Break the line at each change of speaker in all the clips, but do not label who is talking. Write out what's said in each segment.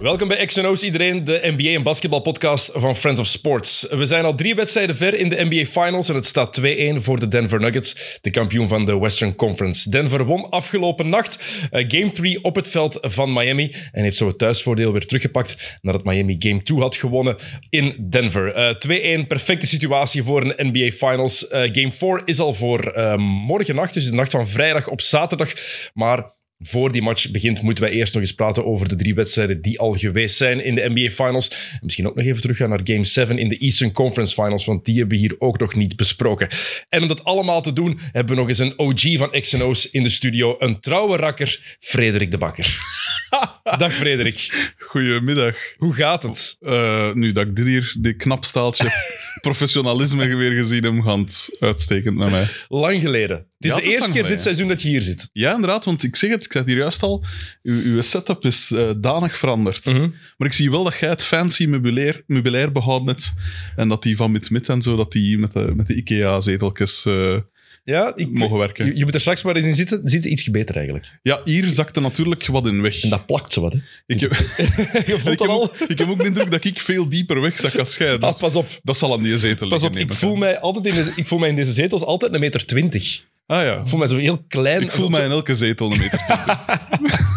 Welkom bij XNO's iedereen, de NBA en basketbalpodcast van Friends of Sports. We zijn al drie wedstrijden ver in de NBA Finals en het staat 2-1 voor de Denver Nuggets, de kampioen van de Western Conference. Denver won afgelopen nacht eh, Game 3 op het veld van Miami en heeft zo het thuisvoordeel weer teruggepakt nadat Miami Game 2 had gewonnen in Denver. Eh, 2-1, perfecte situatie voor een NBA Finals. Eh, game 4 is al voor eh, morgen nacht, dus de nacht van vrijdag op zaterdag, maar voor die match begint, moeten wij eerst nog eens praten over de drie wedstrijden die al geweest zijn in de NBA Finals. En misschien ook nog even teruggaan naar Game 7 in de Eastern Conference Finals, want die hebben we hier ook nog niet besproken. En om dat allemaal te doen, hebben we nog eens een OG van X&O's in de studio. Een trouwe rakker, Frederik de Bakker. Dag Frederik,
Goedemiddag.
hoe gaat het?
Eh, nu dat ik dit hier, dit knap staaltje professionalisme weer gezien heb, gaat uitstekend naar mij.
Lang geleden. Het is
Ja,
de
het is
eerste keer
lang
dit
geleden.
seizoen dat je hier zit.
Ja, inderdaad, want ik zeg het, ik zei het hier juist al, uw, uw setup is eh, danig veranderd.
Mhm.
Maar ik zie wel dat jij het fancy meubilair, meubilair behouden hebt en dat die van Mit-Mit en zo, dat die met de, met de IKEA-zeteltjes... eh,
Ja, ik,
Mogen werken.
Je, je moet er straks maar eens in zitten. Zit iets beter eigenlijk.
Ja, hier zakte natuurlijk wat in weg.
En dat plakt zo wat. Hè.
Ik heb,
Je voelt
ik,
dat
heb
al.
ook, ik heb ook de indruk dat ik veel dieper wegzak als jij.
Ah,
Dus,
pas op.
dat zal aan die zetel
Pas
liggen,
op,
neem
ik
aan.
voel, mij altijd in de- ik voel mij in deze zetels altijd een meter twintig.
Ah ja,
Ik voel mij zo heel klein.
ik voel mij in elke zetel een meter
En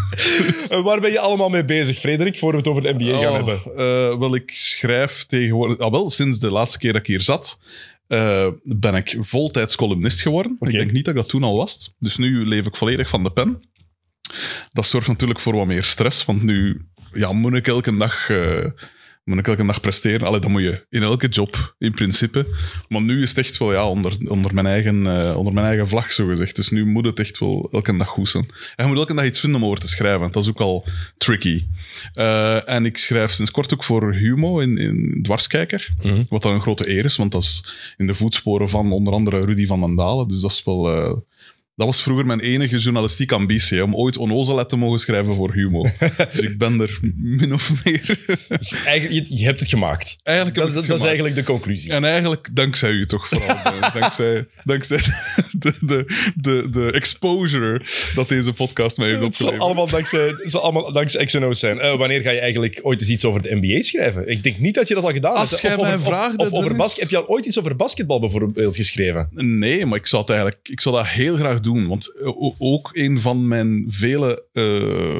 Eh, Waar ben je allemaal mee bezig, Frederik, voor we het over de NBA gaan
Oh,
hebben?
eh, wel, ik schrijf tegenwoordig... Ah, wel, sinds de laatste keer dat ik hier zat, eh, ben ik voltijds columnist geworden.
Oké.
Ik denk niet dat ik dat toen al was. Dus nu leef ik volledig van de pen. Dat zorgt natuurlijk voor wat meer stress, want nu ja, moet ik elke dag... eh, moet ik elke dag presteren? Allee, dat moet je in elke job, in principe. Maar nu is het echt wel ja, onder, onder, mijn eigen, eh, onder mijn eigen vlag, zogezegd. Dus nu moet het echt wel elke dag goed zijn. En je moet elke dag iets vinden om over te schrijven. Dat is ook al tricky. Eh, en ik schrijf sinds kort ook voor Humo in, in Dwarskijker. Wat dan een grote eer is, want dat is in de voetsporen van onder andere Rudy van den Dalen. Dus dat is wel... eh, dat was vroeger mijn enige journalistieke ambitie, hè, om ooit onnozelheid te mogen schrijven voor Humo. dus ik ben er min of meer...
Dus eigenlijk, je, je hebt het gemaakt.
Eigenlijk heb
Dat, dat
ik het
is
gemaakt.
eigenlijk de conclusie.
En eigenlijk dankzij u toch vooral. eh, dankzij dankzij de, de, de, de exposure dat deze podcast mij heeft
Het zal
opgeleverd.
allemaal dankzij, het zal allemaal dankzij XNO's zijn. Eh, wanneer ga je eigenlijk ooit eens iets over de NBA schrijven? Ik denk niet dat je dat al gedaan
Als
hebt. hè.
jij
Of over-
mij
of-
vraagt,
Of, over
Dennis.
basket. Heb je al ooit iets over basketbal bijvoorbeeld geschreven?
Nee, maar ik zou, het eigenlijk, ik zou dat heel graag doen. Want eh, o- ook een van mijn vele eh,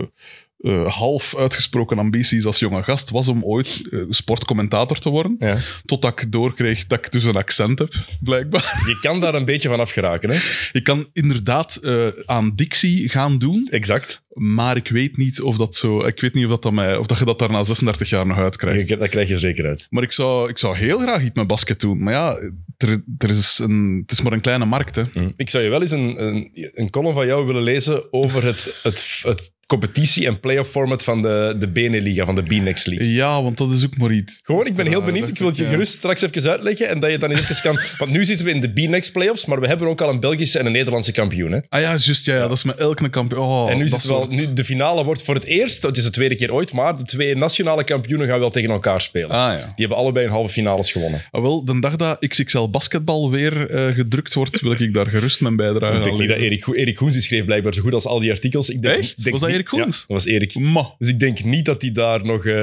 eh, half uitgesproken ambities als jonge gast was om ooit eh, sportcommentator te worden.
Ja.
Totdat ik doorkreeg dat ik dus een accent heb, blijkbaar.
Je kan daar een beetje van afgeraken, hè?
Ik kan inderdaad eh, aan dictie gaan doen.
Exact.
Maar ik weet niet of dat zo. Ik weet niet of dat, dat mij, of dat je dat daar na 36 jaar nog uitkrijgt.
Je- Dat krijg je er zeker uit.
Maar ik zou, ik zou heel graag iets met basket doen. Maar ja, er, er is een, het is maar een kleine markt. Hè.
Ik zou je wel eens een, een, een column van jou willen lezen over het, het, het competitie- en playoff format van de, de BNE-liga, van de B-Next League.
Ja, want dat is ook maar iets.
Gewoon, ik ben heel
Ja,
benieuwd.
dat
Ik wil het je
ik, ja.
gerust straks even uitleggen en dat je dan even kan... Want nu zitten we in de B-Next playoffs, maar we hebben ook al een Belgische en een Nederlandse kampioen. Hè?
Ah ja, juist. Ja, ja, dat is met elke kampioen. Oh,
en nu,
dat
zit wel,
soort-
nu de finale wordt voor het eerst, het is de tweede keer ooit, maar de twee nationale kampioenen gaan wel tegen elkaar spelen.
Ah ja.
Die hebben allebei een halve finales gewonnen.
Ah, wel, de dag dat XXL basketbal weer eh, gedrukt wordt, wil ik daar gerust mijn bijdrage
Ik denk
aan
niet dat
leveren.
Erik, Goe- Erik Goens die schreef blijkbaar zo goed als al die artikels. Ik denk,
Echt?
denk
Was dat
niet-
Erik Goens?
Ja, dat was Erik.
Ma. Ah,
Dus ik denk niet dat hij daar nog, eh,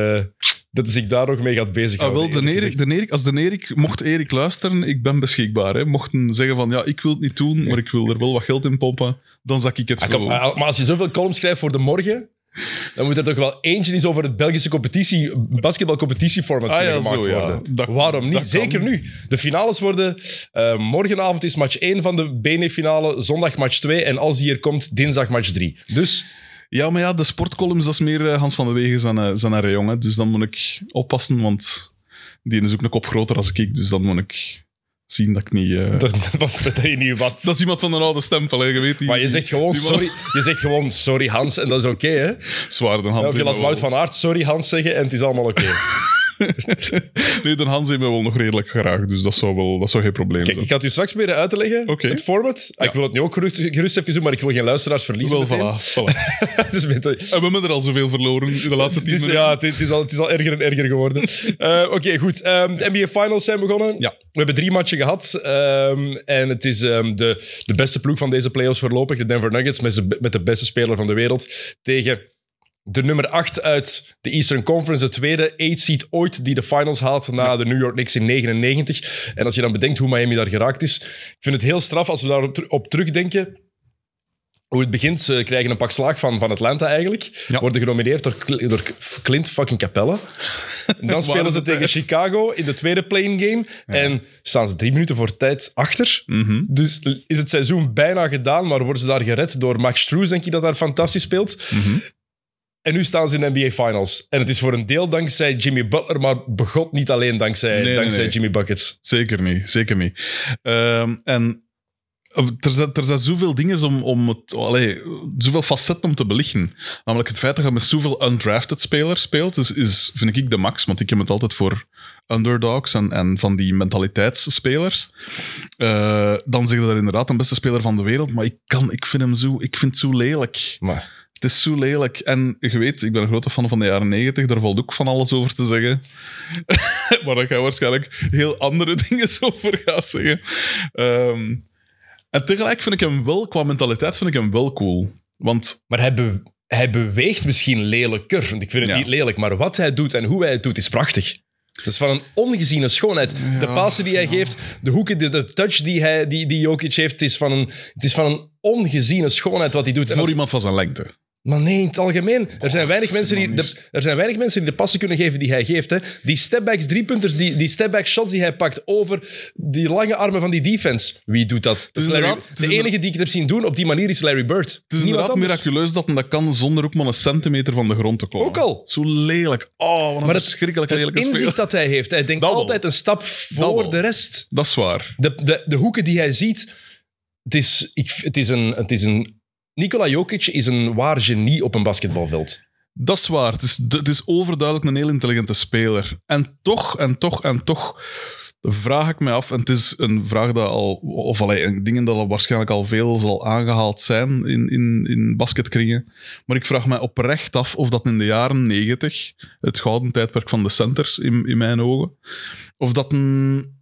dat hij zich daar nog mee gaat
Ah,
bezighouden.
wel, de
eerlijk
Erik,
gezegd.
de Erik, als de Erik, mocht Erik luisteren, ik ben beschikbaar. Hè. Mochten zeggen van, ja, ik wil het niet doen, maar ik wil er wel wat geld in pompen, dan zak ik het
Ah, kom,
vullen.
ah, maar als je zoveel columns schrijft voor de morgen, dan moet er toch wel eentje eens over het Belgische competitie, basketbalcompetitieformat
Ah,
kunnen
ja,
gemaakt
zo, ja.
worden.
Dat-
Waarom niet?
dat kan.
Zeker nu. De finales worden... eh, morgenavond is match 1 van de BNE-finale, zondag match 2 en als die hier komt, dinsdag match 3. Dus
Ja, maar ja, de sportcolumns, dat is meer eh, Hans van der Wegen zijn, eh, zijn haar jongen. Dus dan moet ik oppassen, want die is ook een kop groter als ik. Dus dan moet ik zien dat ik niet... eh, Dat...
dat, dat, dat weet je niet wat.
is iemand van een oude stempel, hè. je weet. Die,
maar je zegt, gewoon
die man-
sorry, je zegt gewoon sorry Hans en dat is oké. hè?
Zwaarder Hans.
of je
in
laat
de
Wout
wal.
van Aert sorry Hans zeggen en het is allemaal oké.
nee, de Hans heeft me wel nog redelijk graag, dus dat zou, wel, dat zou geen probleem
Kijk,
zijn.
ik ga het u straks proberen uit te leggen,
Oké.
het format. Ah, Ik wil het nu ook gerust, gerust even doen, maar ik wil geen luisteraars verliezen.
Wel,
meteen.
voilà. voilà.
dus meteen-
En we hebben er al zoveel verloren in de laatste
het
tien
is,
minuten.
ja, het, is- het is al, het is al erger en erger geworden. Eh, Oké, goed. Ehm, de NBA Finals zijn begonnen.
Ja.
We hebben drie matchen gehad. ehm, en het is ehm, de, de beste ploeg van deze playoffs voorlopig. De Denver Nuggets met, z'n- met de beste speler van de wereld. Tegen de nummer 8 uit de Eastern Conference. De tweede 8-seed ooit die de finals haalt na de New York Knicks in 99. En als je dan bedenkt hoe Miami daar geraakt is. Ik vind het heel straf als we daarop ter- op terugdenken. Hoe het begint, ze krijgen een pak slaag van, van Atlanta eigenlijk.
Ja.
Worden genomineerd door, Cl- door Clint fucking Capella. En dan spelen ze
de
tegen
tijd.
Chicago in de tweede play-in game. En staan ze drie minuten voor tijd achter.
Mhm.
Dus is het seizoen bijna gedaan, maar worden ze daar gered door Max Struz, denk ik, dat daar fantastisch speelt.
Mhm.
En nu staan ze in de NBA Finals. En het is voor een deel dankzij Jimmy Butler, maar begot niet alleen dankzij,
Nee, nee,
dankzij
nee.
Jimmy Buckets.
Zeker niet, zeker niet. Ehm, en eh, er zijn, er zijn zoveel dingen om, om het, allee, zoveel facetten om te belichten. Namelijk het feit dat je met zoveel undrafted spelers speelt, is, is, vind ik de max, want ik heb het altijd voor underdogs en, en van die mentaliteitsspelers. Eh, dan zeg je er inderdaad een beste speler van de wereld, maar ik, kan, ik, vind, hem zo, ik vind het zo lelijk.
Maar
Het is zo lelijk. En je weet, ik ben een grote fan van de jaren 90, daar valt ook van alles over te zeggen. maar daar ga je waarschijnlijk heel andere dingen over gaan zeggen. Ehm, en tegelijk vind ik hem wel, qua mentaliteit, vind ik hem wel cool. Want
Maar hij, be- hij beweegt misschien lelijker. Want ik vind het
Ja.
niet lelijk, maar wat hij doet en hoe hij het doet is prachtig. Dat is van een ongeziene schoonheid. de passen die hij geeft, de hoeken, de, de touch die, hij, die, die Jokic heeft, het is, van een, het is van een ongeziene schoonheid wat hij doet. En
voor
als-
iemand van zijn lengte.
Maar nee, in het algemeen. Er
Oh,
zijn weinig, mensen die,
man is-
de, er zijn weinig mensen die de passen kunnen geven die hij geeft. Hè. Die stepbacks, driepunters, die, die stepback shots die hij pakt over die lange armen van die defense. Wie doet dat? dat is Larry-
inderdaad- het is
de
inderdaad-
enige die ik het heb zien doen op die manier is Larry Bird.
Het is
Niemand
inderdaad
anders.
miraculeus dat hij dat kan zonder ook maar een centimeter van de grond te komen.
Ook al.
Zo lelijk. Oh, wat een
Maar het-
verschrikkelijk
Het
lelijke
inzicht
speler.
dat hij heeft. Hij denkt
Dat wel.
altijd een stap voor
wel.
de rest.
Dat is waar.
De, de, de hoeken die hij ziet. Het is, ik, het is een... Het is een Nikola Jokic is een waar genie op een basketbalveld.
Dat is waar. Het is, het is overduidelijk een heel intelligente speler. En toch, en toch, en toch vraag ik mij af, en het is een vraag dat al, of allee, een dingen dat al waarschijnlijk al veel zal aangehaald zijn in, in, in basketkringen, maar ik vraag mij oprecht af of dat in de jaren negentig, het gouden tijdperk van de centers in, in mijn ogen, of dat een...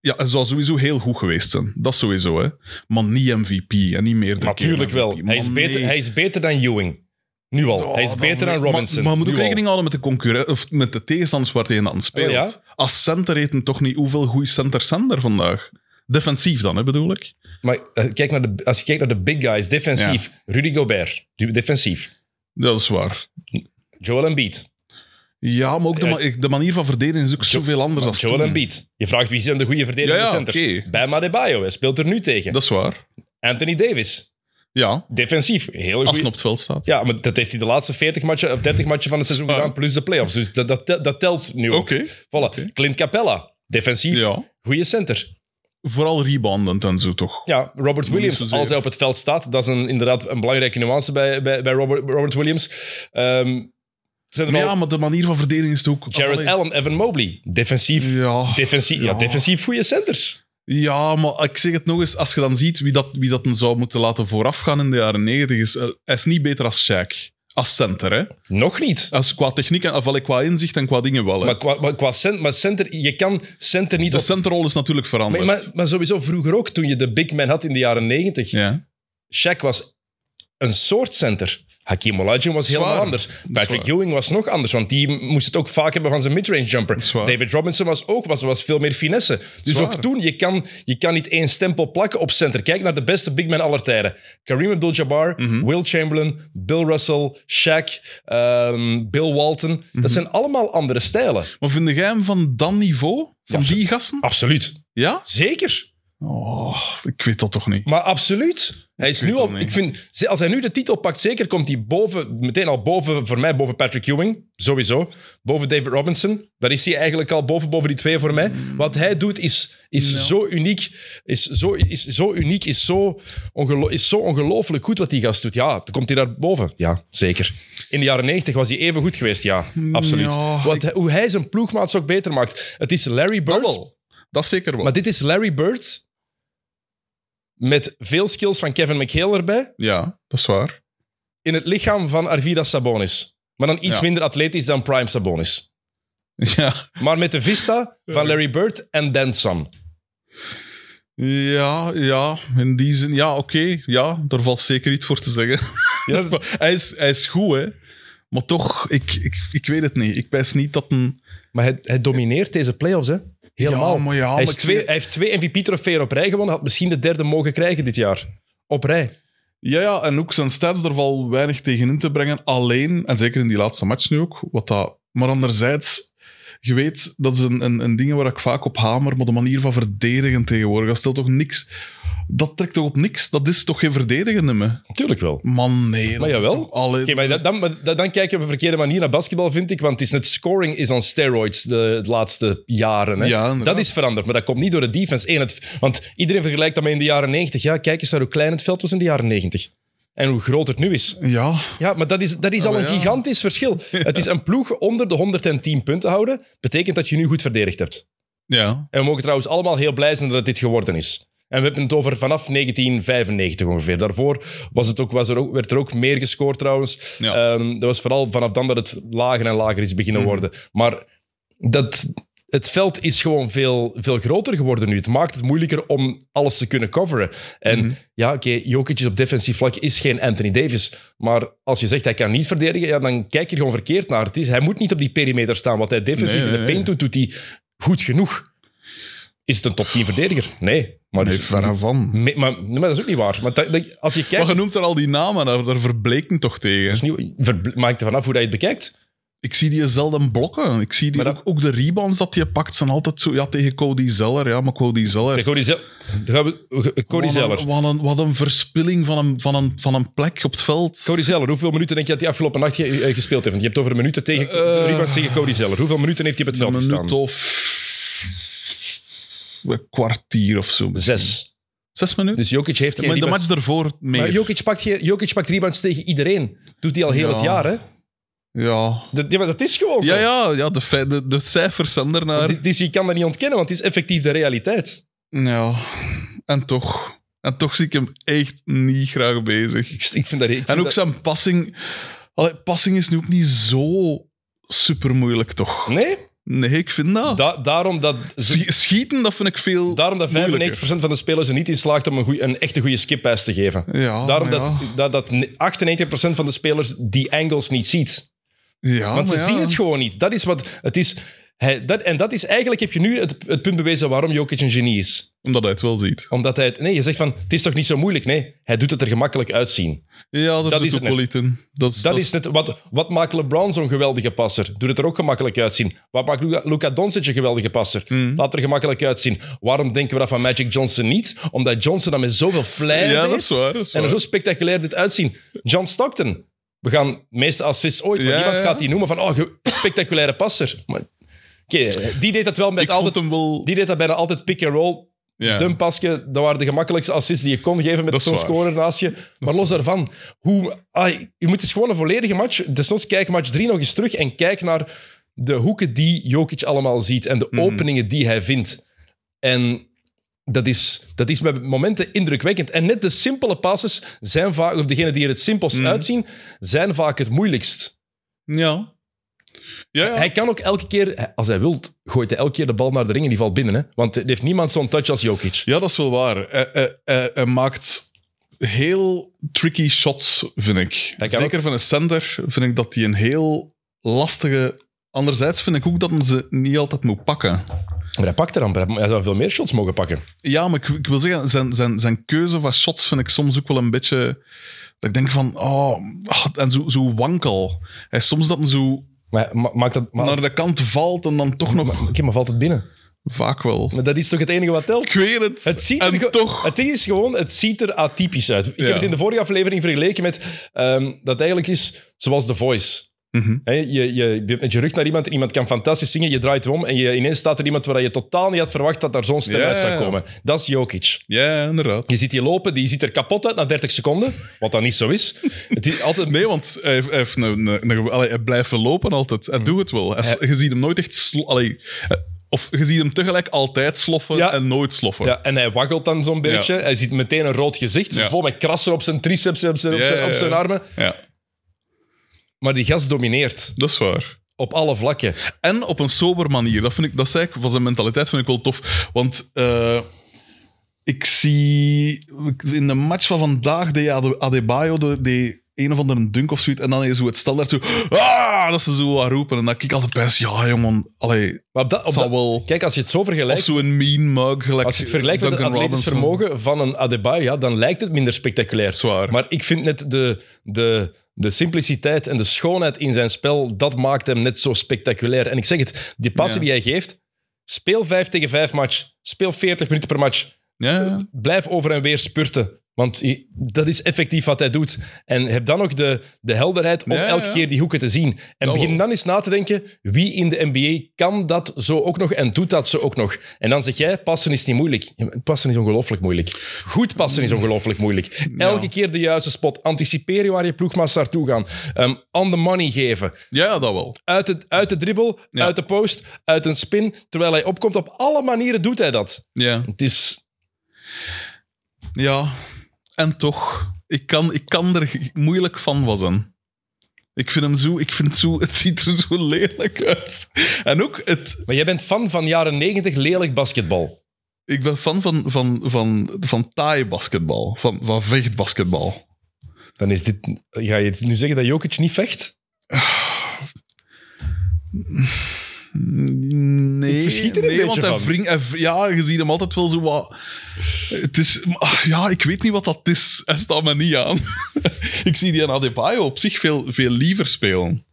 Ja, het zou sowieso heel goed geweest zijn. Dat sowieso, hè. Maar niet MVP en niet meer
Natuurlijk wel. Hij is, beter, hij is beter dan Ewing. Nu al.
Oh,
hij is beter dan
maar-
Robinson.
Maar, je moet
Nu
ook
al.
rekening houden met de concurrent of met de tegenstanders waar tegen aan speelt.
Ah, ja.
Als center heet hem toch niet hoeveel goede centers zijn er vandaag? Defensief dan, hè, bedoel ik.
Maar eh, kijk naar de, als je kijkt naar de big guys, defensief. Rudy Gobert, du- defensief.
Dat is waar.
Joel Embiid.
Ja, maar ook de,
Ja.
ma- ik- de manier van verdedigen is ook zoveel anders dan
Joel
toen.
Embiid. Je vraagt wie zijn de goede verdedigende
Ja, ja,
centers.
oké.
Bij Madebayo, hij speelt er nu tegen.
Dat is waar.
Anthony Davis,
Ja,
defensief. Heel
als hij
goed.
op het veld staat.
Ja, maar dat heeft hij de laatste 40 matchen, of 30 matchen van het seizoen
Waar.
gedaan, plus de playoffs. Dus dat, dat, tel- dat telt nu ook.
Oké.
Voilà.
Oké.
Clint Capella, defensief,
Ja.
goede center.
Vooral reboundend en zo, toch?
Ja, Robert
Niet
Williams,
zozeer.
als hij op het veld staat, dat is een, inderdaad een belangrijke nuance bij, bij, bij Robert, Robert Williams. Ehm, zijn er
Maar
al
ja, maar de manier van verdedigen is het ook...
Jared
Allee.
Allen, Evan Mobley, defensief,
Ja.
defensief, ja.
Ja.
defensief goede centers.
Ja, maar ik zeg het nog eens, als je dan ziet wie dat, wie dat hem zou moeten laten voorafgaan in de jaren 90, is, eh, hij is niet beter als Shaq. Als center, hè.
Nog niet.
Als, qua techniek, en, of allee, qua inzicht en qua dingen wel. Hè.
Maar qua, maar qua cent, maar center, je kan center niet
de
op...
centerrol is natuurlijk
Maar,
veranderd.
maar, maar sowieso vroeger ook, toen je de big man had in de jaren negentig.
ja.
Shaq was een soort center. Hakim Olajuwon was helemaal
waar.
anders.
is
Patrick
waar.
Ewing was nog anders, want die moest het ook vaak hebben van zijn midrange jumper.
is waar.
David Robinson was ook was, was veel meer finesse. Dus
waar.
ook toen, je kan, je kan niet één stempel plakken op center. Kijk naar de beste big man aller tijden. Kareem Abdul-Jabbar, Will Chamberlain, Bill Russell, Shaq, ehm, Bill Walton. Dat zijn allemaal andere stijlen.
Maar vind jij hem van dat niveau? Van die gasten?
Absoluut.
Ja?
Zeker.
Oh, ik weet dat toch niet.
Maar absoluut. Hij is
Ik weet
nu al,
het niet.
ik vind, ze- als hij nu de titel pakt, zeker komt hij boven, meteen al boven, voor mij boven Patrick Ewing, sowieso. Boven David Robinson. Daar is hij eigenlijk al boven, boven die twee voor mij. Wat hij doet is, is
Ja.
zo uniek, is zo, is zo uniek, is zo, ongelo- is zo ongelooflijk goed wat die gast doet. Ja, dan komt hij daar boven. Ja, zeker. In de jaren 90 was hij even goed geweest, ja, absoluut.
Ja,
wat, hij- Hoe hij zijn ploegmaats ook beter maakt. Het is Larry Bird.
Dat wel. Dat is zeker wel.
Maar dit is Larry Bird met veel skills van Kevin McHale erbij
Ja, dat is waar.
in het lichaam van Arvidas Sabonis. Maar dan iets
Ja.
minder atletisch dan Prime Sabonis.
Ja,
Maar met de vista van Larry Bird en Dan Some.
ja, ja in die zin. Ja, oké. Ja, daar valt zeker iets voor te zeggen.
Ja,
Maar hij, is, hij is goed, hè. Maar toch, ik, ik, ik weet het niet. Ik wijs niet dat een...
maar hij, hij domineert deze playoffs, hè? Helemaal.
Ja, maar ja,
hij,
maar
is
ik
twee,
zie-
hij heeft twee MVP-trofeeën op rij gewonnen. Had misschien de derde mogen krijgen dit jaar. Op rij.
Ja, ja, en ook zijn stats, daar valt weinig tegen in te brengen. Alleen, en zeker in die laatste match nu ook, wat dat... Maar anderzijds, je weet, dat is een, een, een ding waar ik vaak op hamer, maar de manier van verdedigen tegenwoordig, dat stelt toch niks... Dat trekt toch op niks? Dat is toch geen verdedigende me?
Natuurlijk wel.
Man, nee. dat
Maar
is
jawel.
toch alle-
Oké, maar dat- dan, maar dat- dan kijk je op een verkeerde manier naar basketbal, vind ik. Want het is net scoring is on steroids de, de laatste jaren. Hè?
Ja, inderdaad.
dat is veranderd, maar dat komt niet door de defense. Eén, het, want iedereen vergelijkt dat met in de jaren 90. Ja, kijk eens naar hoe klein het veld was in de jaren 90. En hoe groot het nu is.
Ja,
Ja, maar dat is, dat is al
maar
een
ja.
gigantisch verschil. Het is een ploeg onder de 110 punten houden, betekent dat je nu goed verdedigd hebt.
ja.
En we mogen trouwens allemaal heel blij zijn dat het dit geworden is. En we hebben het over vanaf 1995 ongeveer. Daarvoor was het ook, was er ook, werd er ook meer gescoord trouwens.
Ja. Mhm.
Ehm, dat was vooral vanaf dan dat het lager en lager is beginnen worden. Maar dat, het veld is gewoon veel, veel groter geworden nu. Het maakt het moeilijker om alles te kunnen coveren. En
Mhm.
ja, oké, Jokic is op defensief vlak is geen Anthony Davis. Maar als je zegt hij kan niet verdedigen, ja, dan kijk je er gewoon verkeerd naar. Het is, hij moet niet op die perimeter staan. Wat hij defensief
Nee,
in
nee,
de
nee.
paint doet, doet hij goed genoeg. Is het een top 10 verdediger? Nee. Maar,
Nee,
is-
dus verre van.
me- maar, maar dat is ook niet waar. Maar dat- dat- als je kijkt...
Maar je noemt er al die namen, daar, daar verbleek hem toch tegen.
dat is niet- ver- maakt er vanaf hoe dat je het bekijkt.
Ik zie die zelden blokken. Ik zie die
Maar
ook, ook de rebounds dat je pakt zijn altijd zo. Ja, tegen Cody Zeller. Ja, maar Cody Zeller.
Zeg, Cody Zeller. Dan gaan we- Cody
Wat een-
Zeller.
Wat een, wat een verspilling van een, van, een, van een plek op het veld.
Cody Zeller, hoeveel minuten denk je dat hij afgelopen nacht ge- eh, gespeeld heeft? Want je hebt het over minuten tegen,
Eh.
rebounds tegen Cody Zeller. Hoeveel minuten heeft hij op het
een
veld
minuut
gestaan?
of. Een kwartier of zo.
Zes.
Zes minuten?
Dus Jokic heeft geen
maar in de
rebounds.
match daarvoor meer.
Maar Jokic pakt, geen- Jokic pakt rebounds tegen iedereen. Doet hij al heel
Ja.
het jaar, hè?
ja.
Dat, ja, maar dat is gewoon zo.
Ja, ja, ja de, fe- de, de cijfers zijn ernaar.
Dit- Dus je kan dat niet ontkennen, want het is effectief de realiteit.
Ja, en toch. En toch zie ik hem echt niet graag bezig.
Ik, ik vind dat... Ik vind
En ook
dat-
zijn passing. Allee, passing is nu ook niet zo super moeilijk, toch?
Nee?
Nee, ik vind dat.
Da- daarom dat, ze-
Schi- Schieten, dat vind ik veel.
daarom dat 95%
moeilijker.
van de spelers er niet in slaagt om een, goeie, een echte goede skippass te geven.
Ja,
daarom
Oh, maar
dat,
ja.
dat, dat 98% van de spelers die angles niet ziet.
Ja,
Want ze
Oh, maar ja.
zien het gewoon niet. Dat is wat het is. Hij, dat, en dat is eigenlijk, heb je nu het, het punt bewezen waarom Jokic een genie is.
Omdat hij het wel ziet.
Omdat hij het, nee, je zegt van, het is toch niet zo moeilijk? Nee, hij doet het er gemakkelijk uitzien.
Ja, daar
Dat
zit
is
ook
het
wel
net.
iets in. Dat,
Dat is net, wat, wat maakt LeBron zo'n geweldige passer? Doet het er ook gemakkelijk uitzien. Wat maakt Luka, Luka Doncic een geweldige passer?
Hmm.
Laat er gemakkelijk uitzien. Waarom denken we dat van Magic Johnson niet? Omdat Johnson dat met zoveel flair
Ja,
deed
dat is waar. Dat is
En er
waar.
zo spectaculair dit uitzien. John Stockton. We gaan de meeste assists ooit, maar
Ja,
niemand
ja.
gaat die noemen van oh, ge- spectaculaire passer. Maar, oké, die deed dat wel met
ik altijd
altijd...
hem wel.
Die deed dat bijna altijd pick-and-roll.
ja.
Dun pasje, dat waren de gemakkelijkste assists die je kon geven
Dat
met
is
zo'n
waar.
scorer naast je. Maar los daarvan, hoe, ah, je moet eens gewoon een volledige match, desnoods kijk match 3 nog eens terug en kijk naar de hoeken die Jokic allemaal ziet en de
Mhm.
openingen die hij vindt. En dat is, dat is met momenten indrukwekkend. En net de simpele passes zijn vaak, of degenen die er het simpelst
Mhm.
uitzien, zijn vaak het moeilijkst.
ja. Ja, ja.
Hij kan ook elke keer, als hij wil, gooit hij elke keer de bal naar de ring en die valt binnen. Hè? Want er heeft niemand zo'n touch als Jokic.
Ja, dat is wel waar. Hij, hij- hij- hij maakt heel tricky shots, vind ik.
Dat kan
Zeker van een center vind ik dat hij een heel lastige... Anderzijds vind ik ook dat hij ze niet altijd moet pakken.
Maar hij pakt er amper. Hij zou veel meer shots mogen pakken.
Ja, maar ik, ik wil zeggen, zijn, zijn, zijn keuze van shots vind ik soms ook wel een beetje... Dat ik denk van, oh... ah, En zo, zo wankel. Hij is soms dat hij zo
Maar ma- maakt dat... Maar als-
naar de kant valt en dan toch nog...
Oké, maar valt het binnen?
Vaak wel.
Maar dat is toch het enige wat telt?
Ik weet het.
Het ziet er
en
ge-
toch.
Het ding is gewoon, het ziet er atypisch uit. Ik
Ja.
heb het in de vorige aflevering vergeleken met ehm, dat eigenlijk is zoals The Voice.
Mhm.
Hè, je, je, je bent met je rug naar iemand en iemand kan fantastisch zingen, je draait om en je, ineens staat er iemand waar je totaal niet had verwacht dat daar zo'n stem
Ja.
uit zou komen. Dat is Jokic.
Ja, inderdaad.
Je ziet die lopen, die ziet er kapot uit na 30 seconden, wat dan niet zo is. Het is altijd
Nee, want hij, heeft- hij, heeft een, een, een- allee, hij blijft lopen altijd.
Mm.
Hij doet het wel. Hij s- je ziet hem nooit echt... slo- allee, eh, of je ziet hem tegelijk altijd sloffen
Ja.
en nooit sloffen.
Ja, en hij waggelt dan zo'n beetje. Hij ziet meteen een rood gezicht,
Ja.
vol met krassen op zijn triceps en op zijn, op
Ja,
zijn,
ja, ja.
op zijn armen.
ja,
Maar die gast domineert
dat is waar.
op alle vlakken.
En op een sober manier. Dat, vind ik, dat zei ik, van zijn mentaliteit vind ik wel tof. Want eh, ik zie... In de match van vandaag deed Ade- Adebayo de, de een of andere dunk of zoiets. En dan is zo het standaard zo... Ah, dat ze zo aan roepen. En dan kijk ik altijd best... Ja, jongen. Allee, het
Maar op dat, op
zal
dat-
wel...
kijk, als je het zo
Of
vergelijkt,
zo'n mean mug. Gelijk
als je het vergelijkt met het
Duncan
atletisch
Robinson.
vermogen van een Adebayo, ja, dan lijkt het minder spectaculair.
Zwaar.
Maar ik vind net de, de, de simpliciteit en de schoonheid in zijn spel, dat maakt hem net zo spectaculair. En ik zeg het, die passen
Ja.
die hij geeft, speel 5 tegen 5 match, speel 40 minuten per match.
Ja, ja.
blijf over en weer spurten. Want i- dat is effectief wat hij doet. En heb dan nog de, de helderheid om
Ja,
elke
ja.
keer die hoeken te zien. En
Dat
begin
wel.
dan eens na te denken, wie in de NBA kan dat zo ook nog en doet dat zo ook nog? En dan zeg jij, passen is niet moeilijk. Ja, maar Passen is ongelooflijk moeilijk. Goed passen
Mm.
is ongelooflijk moeilijk. Elke keer de juiste spot. Anticiperen waar je ploegmaats naartoe gaan. Ehm on the money geven.
ja, dat wel.
Uit de, uit de dribbel,
Ja.
uit de post, uit een spin. Terwijl hij opkomt, op alle manieren doet hij dat.
Ja.
Het is...
ja. En toch, ik kan, ik kan er moeilijk van wassen. Ik vind hem zo, ik vind zo, het ziet er zo lelijk uit. En ook, het,
Maar jij bent fan van jaren 90 lelijk basketbal.
ik ben fan van, van, van, van taai basketbal, van, van vechtbasketbal.
Dan is dit... Ga je nu zeggen dat Jokic niet vecht?
Nee,
Ik verschiet er een
nee,
beetje
want hij
van.
wringt- hij v- ja, je ziet hem altijd wel zo wat. Het is, ah, ja, ik weet niet wat dat is. Hij staat me niet aan. ik zie die aan Adebayo op zich veel, veel liever spelen.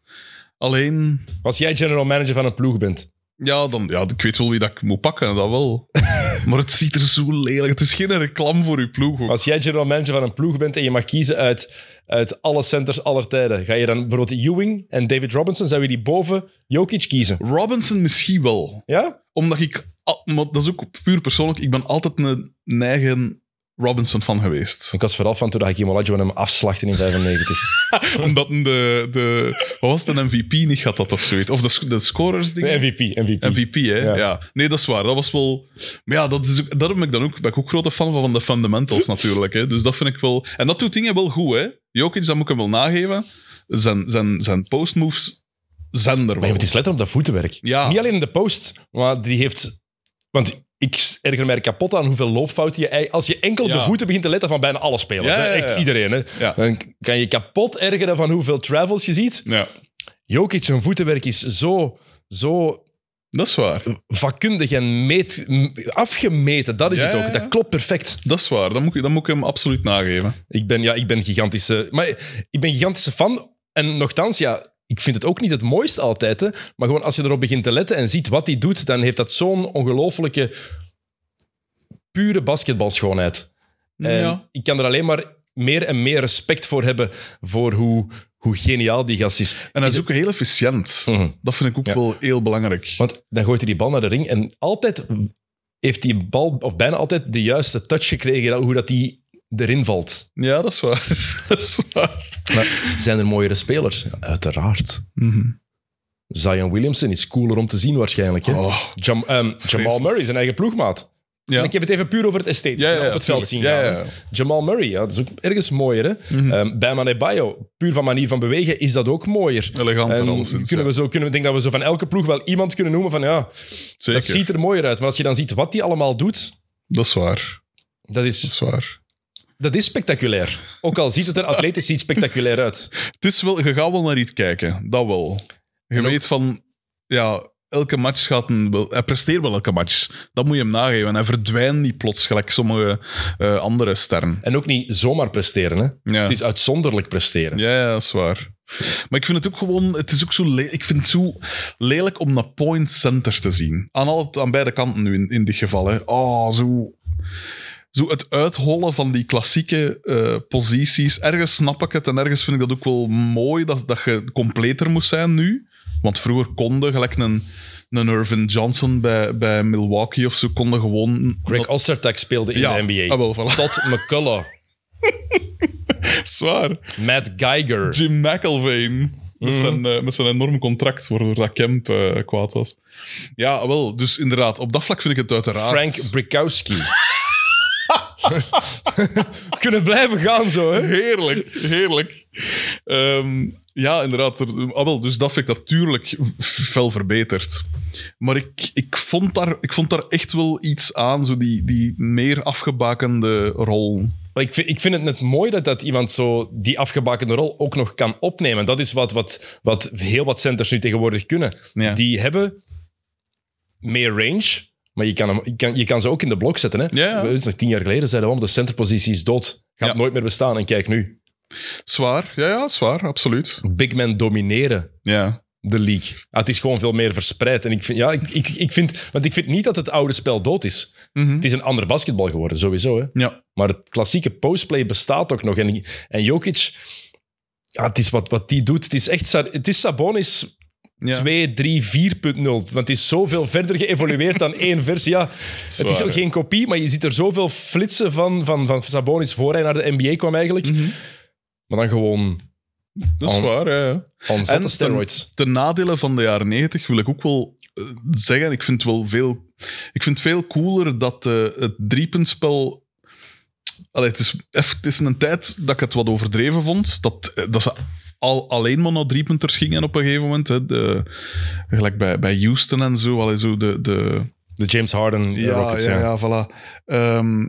Alleen,
Als jij general manager van een ploeg bent.
ja, dan, ja, ik weet wel wie dat ik moet pakken, dat wel. maar het ziet er zo lelijk. Het is geen reclame voor uw ploeg. ook.
Als jij general manager van een ploeg bent en je mag kiezen uit, uit alle centers aller tijden. Ga je dan bijvoorbeeld Ewing en David Robinson, zou je die boven Jokic kiezen?
Robinson misschien wel.
Ja?
Omdat ik, ah, maar dat is ook puur persoonlijk, ik ben altijd een eigen Robinson fan geweest.
Ik was vooral van toen Hakim Olajuwon hem afslachtte in 95.
Omdat hem de, de. Wat was het, een MVP niet had dat of zoiets? Of de, sc- de scorers ding?
Nee, MVP, MVP.
MVP, hè?
Ja.
Ja. Nee, dat is waar. Dat was wel. Maar ja, dat is ook, daarom ben ik dan ook, ben ik ook grote fan van, van de fundamentals natuurlijk. Hè? Dus dat vind ik wel. En dat doet dingen wel goed, hè? Jokic, dat moet ik hem wel nageven. Zijn, zijn, zijn postmoves zijn er
Maar
wel.
ja, het is letterlijk op dat voetenwerk.
Ja.
Niet alleen in de post, maar die heeft... Want ik erger mij kapot aan hoeveel loopfouten je... Als je enkel op de
Ja.
voeten begint te letten van bijna alle spelers.
Ja,
hè,
ja, ja.
Echt iedereen. Hè.
Ja.
Dan kan je kapot ergeren van hoeveel travels je ziet.
Ja,
Jokic, zijn voetenwerk is zo, zo
dat is waar.
vakkundig en meet, m- afgemeten. Dat is
Ja,
het
ja,
ook.
ja.
Dat klopt perfect.
Dat is waar. Dat moet, ik- dat moet ik hem absoluut nageven.
Ik ben, ja, ik ben gigantische... Maar ik ben gigantische fan. En nogthans, ja... Ik vind het ook niet het mooiste altijd, hè. maar gewoon als je erop begint te letten en ziet wat hij doet, dan heeft dat zo'n ongelofelijke pure basketbalschoonheid. En
Ja.
ik kan er alleen maar meer en meer respect voor hebben voor hoe, hoe geniaal die gast is.
En hij is ook heel efficiënt.
Mhm.
Dat vind ik ook
Ja.
wel heel belangrijk.
Want dan gooit hij die bal naar de ring en altijd heeft die bal, of bijna altijd, de juiste touch gekregen dat- hoe dat die erin valt.
Ja, dat is waar. dat is waar.
Maar zijn er mooiere spelers? Ja, uiteraard.
Mhm.
Zion Williamson is cooler om te zien waarschijnlijk. Hè?
Oh.
Jam- ehm, Jamal
Vreselijk.
Murray, zijn eigen ploegmaat.
Ja.
En ik heb het even puur over het esthetische op het veld
tuurlijk.
zien
Ja,
gaan.
ja,
hè. Jamal Murray, ja, dat is ook ergens mooier. Hè?
Mhm.
Ehm, bij Manebayo, puur van manier van bewegen, is dat ook mooier.
Eleganter
En
alleszins,
kunnen
ja.
we zo, kunnen, we- ik denk dat we zo van elke ploeg wel iemand kunnen noemen van ja,
Zeker.
dat ziet er mooier uit. Maar als je dan ziet wat die allemaal doet,
Dat is waar.
dat
Dat
is,
is waar.
dat is spectaculair. Ook al ziet het er atletisch niet spectaculair uit.
Het is wel, je gaat wel naar iets kijken. Dat wel. Je
ook-
weet van, ja, elke match gaat een... wel- Hij presteert wel elke match. Dat moet je hem nageven. En hij verdwijnt niet plots, gelijk sommige eh, andere sterren.
En ook niet zomaar presteren. Hè?
Ja.
Het is uitzonderlijk presteren.
ja, ja, dat is waar. Maar ik vind het ook gewoon, het is ook zo, le- ik vind het zo lelijk om dat point center te zien. Aan, alle, aan beide kanten nu in, in dit geval. Hè. Oh, zo, zo het uithollen van die klassieke eh, posities. Ergens snap ik het en ergens vind ik dat ook wel mooi dat, dat je completer moest zijn nu. Want vroeger konden, gelijk een, een Irvin Johnson bij, bij Milwaukee of zo, konden gewoon...
Greg Ostertag speelde in
ja,
de NBA.
ah, wel, voilà.
Todd McCullough,
Zwaar.
Matt Geiger.
Jim McElveen.
Mhm.
Met zijn, eh, met zijn enorm contract, waardoor dat Kemp eh, kwaad was. Ja, wel, dus inderdaad, op dat vlak vind ik het uiteraard.
Frank Brikowski. We kunnen blijven gaan zo, hè?
Heerlijk, heerlijk. Ehm, ja, inderdaad. er- ah, wel, dus dat vind ik natuurlijk fel verbeterd. Maar ik, ik, vond daar, ik vond daar echt wel iets aan, zo die, die meer afgebakende rol.
Maar ik vind, ik vind het net mooi dat, dat iemand zo die afgebakende rol ook nog kan opnemen. Dat is wat, wat, wat heel wat centers nu tegenwoordig kunnen.
Ja.
Die hebben meer range, maar je kan, hem, je kan, je kan ze ook in de blok zetten. Hè?
Ja.
We- nog tien jaar geleden zeiden we, "Oh, de centerpositie is dood. Gaat
Ja.
nooit meer bestaan. En kijk nu,
Zwaar, ja, ja, zwaar, absoluut.
big men domineren
Ja.
de league. Ah, het is gewoon veel meer verspreid. En ik vind, ja, ik, ik, ik vind, want ik vind niet dat het oude spel dood is.
Mhm.
Het is een ander basketbal geworden, sowieso. Hè?
Ja,
Maar het klassieke postplay bestaat ook nog. En, en Jokic, ja, het is wat, wat die doet. Het is echt Sa- het is Sabonis
ja.
2, 3, 4.0. Want het is zoveel verder geëvolueerd dan één versie. Ja, het is
Zwaar,
ook
hè?
geen kopie, maar je ziet er zoveel flitsen van, van, van Sabonis voor hij naar de NBA kwam eigenlijk.
Mhm.
Maar dan gewoon
Dat is
Al-
waar, ja, ja.
on
ten-
zette steroids.
Ten, nadele van de jaren 90 wil ik ook wel eh, zeggen, ik vind het wel veel, ik vind het veel cooler dat eh, het driepuntspel. Allee, het, is, eff- het is een tijd dat ik het wat overdreven vond. Dat, eh, dat ze al, alleen maar naar driepunters gingen op een gegeven moment. Hè, de, gelijk bij, bij Houston en zo. Allee, zo de, de,
De James Harden eh,
ja,
Rockets, ja.
ja, ja, voilà. Ehm,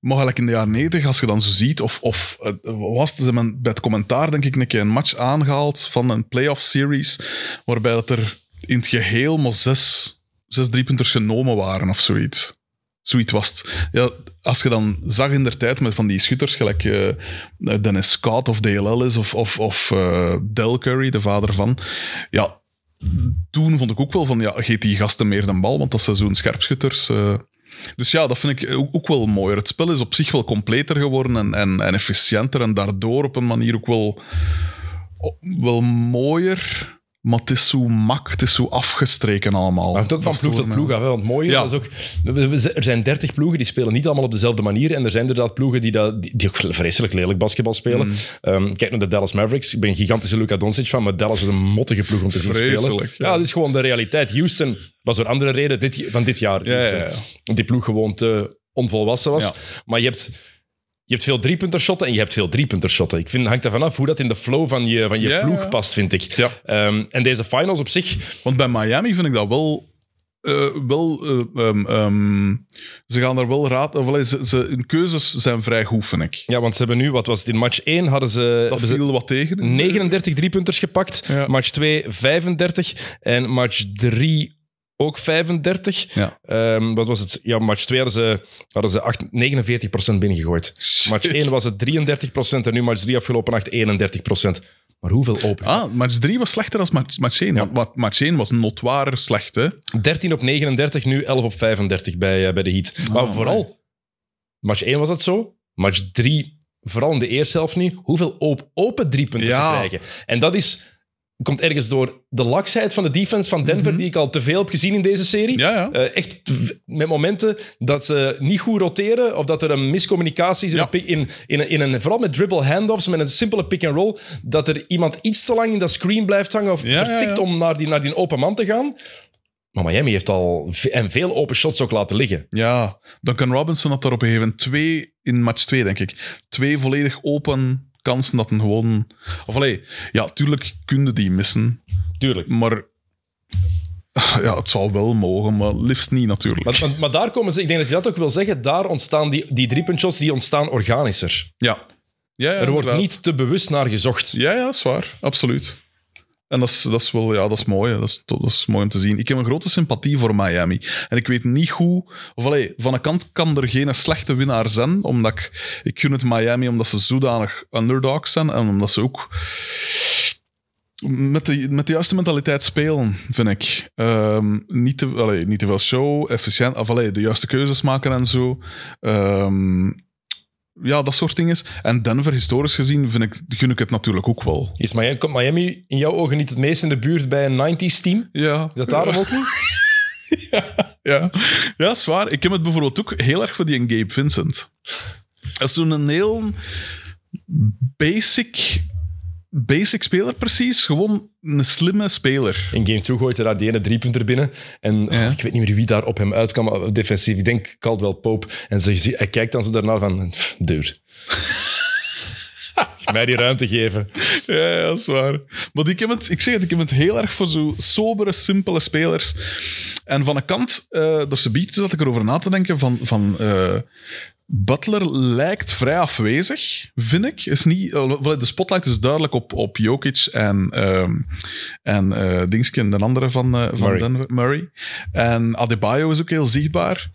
maar gelijk in de jaren 90, als je dan zo ziet, of, of eh, was het ze men bij het commentaar denk ik een keer een match aangehaald van een playoff series, waarbij dat er in het geheel maar zes, zes driepunters genomen waren of zoiets. Zoiets was het. Ja, als je dan zag in de tijd met van die schutters, gelijk eh, Dennis Scott of DLL is, of, of, of eh, Del Curry, de vader van, ja, toen vond ik ook wel van, ja, geet die gasten meer de bal, want dat zijn zo'n scherpschutters. eh. Dus ja, dat vind ik ook, ook wel mooier. Het spel is op zich wel completer geworden en, en, en efficiënter en daardoor op een manier ook wel, wel mooier. Maar het is zo mak, het is zo afgestreken allemaal.
Maar het hangt ook van
Dat
ploeg tot
stoort
ploeg
mij.
af. Hè? Want mooi is,
Ja.
dat is ook, we- we- er zijn dertig ploegen die spelen niet allemaal op dezelfde manier. En er zijn inderdaad ploegen die, dat, die, die ook vreselijk lelijk basketbal spelen.
Mm.
Ehm, kijk naar de Dallas Mavericks. Ik ben een gigantische Luka Doncic van, maar Dallas is een mottige ploeg om te zien spelen.
Vreselijk, ja.
Ja, dat is gewoon de realiteit. Houston was door andere reden dit, van dit jaar.
Ja,
Houston.
ja, ja.
Want die ploeg gewoon te onvolwassen was.
Ja.
Maar je hebt, je hebt veel driepuntershotten en je hebt veel driepuntershotten. Ik vind, het hangt ervan af hoe dat in de flow van je, van je
Ja,
ploeg
ja.
past, vind ik.
Ja.
Ehm, en deze finals op zich...
Want bij Miami vind ik dat wel. eh, wel eh, ehm, ehm, ze gaan daar wel raad. Of, allee, ze, ze, hun keuzes zijn vrij goed, vind ik.
Ja, want ze hebben nu, wat was het, in match 1 hadden ze...
Dat
hebben ze-
viel wat tegen.
39 driepunters gepakt.
Ja.
Match 2, 35. En match 3 ook 35.
Ja.
Ehm, wat was het? Ja, match 2 hadden ze, hadden ze acht- 49% binnengegooid. Match 1 was het 33% en nu match 3 afgelopen nacht 31%. Maar hoeveel open?
Ah, match 3 was slechter dan match, match 1. Want match 1 was notwaar slecht, hè?
13 op 39, nu 11 op 35 bij, eh, bij de Heat. maar
mooi.
vooral, match 1 was dat zo. Match 3, vooral in de eerste helft niet. Hoeveel op, open driepunten
Ja.
ze krijgen. En dat is, komt ergens door de laksheid van de defense van Denver, die ik al te veel heb gezien in deze serie.
Ja, ja.
Eh, echt v- met momenten dat ze niet goed roteren of dat er een miscommunicatie is. in
Ja.
een pick- In, in, een- in een, vooral met dribble handoffs, met een simpele pick-and-roll, dat er iemand iets te lang in dat screen blijft hangen of
Ja, ja,
vertikt
ja.
om naar die, naar die open man te gaan. Maar Miami heeft al ve- en veel open shots ook laten liggen.
Ja, Duncan Robinson had daar op een gegeven moment twee in match 2, denk ik. Twee volledig open kansen dat een gewoon. Of allee, ja, tuurlijk konden die missen.
Tuurlijk.
Maar. Ja, het zou wel mogen, maar liefst niet natuurlijk.
Maar, maar, maar daar komen ze, ik denk dat je dat ook wil zeggen, daar ontstaan die, die driepuntshots, die ontstaan organischer.
Ja. ja, ja
Er wordt
inderdaad.
niet te bewust naar gezocht.
Ja, ja, dat is waar. Absoluut. En dat is, dat is wel, ja, dat is mooi. hè. Dat is, dat is mooi om te zien. Ik heb een grote sympathie voor Miami. En ik weet niet hoe. Of allee, van een kant kan er geen slechte winnaar zijn. Omdat ik, ik gun het Miami omdat ze zodanig underdogs zijn. En omdat ze ook. met de, met de juiste mentaliteit spelen, vind ik. Ehm, niet, te, allee, niet te veel show, efficiënt, of allee, de juiste keuzes maken en zo. Ehm, ja, dat soort dingen. En Denver, historisch gezien, vind ik, gun ik het natuurlijk ook wel.
Is Miami, komt Miami in jouw ogen niet het meest in de buurt bij een 90s team? Is
Ja.
dat daarom ook niet?
Ja, ja is waar. Ik heb het bijvoorbeeld ook heel erg voor die Gabe Vincent. Dat is zo'n een heel basic, basic speler, precies. Gewoon een slimme speler.
In game 2 gooit hij daar die ene driepunter binnen. En oh,
Ja.
ik weet niet meer wie daar op hem uitkwam, maar defensief. Ik denk Caldwell Pope. En ze, zie- hij kijkt dan zo daarna van, "Pff, dude. Mij die ruimte geven.
Ja, ja, dat is waar. Maar ik, heb het, ik zeg het, ik heb het heel erg voor zo sobere, simpele spelers. En van een kant, eh door ze biedt, zat ik erover na te denken van... van eh, Butler lijkt vrij afwezig, vind ik. Is niet, eh, wel, de spotlight is duidelijk op, op Jokic en, ehm en eh Dingskin, de andere van, eh, van
Murray.
Denver, Murray. En Adebayo is ook heel zichtbaar.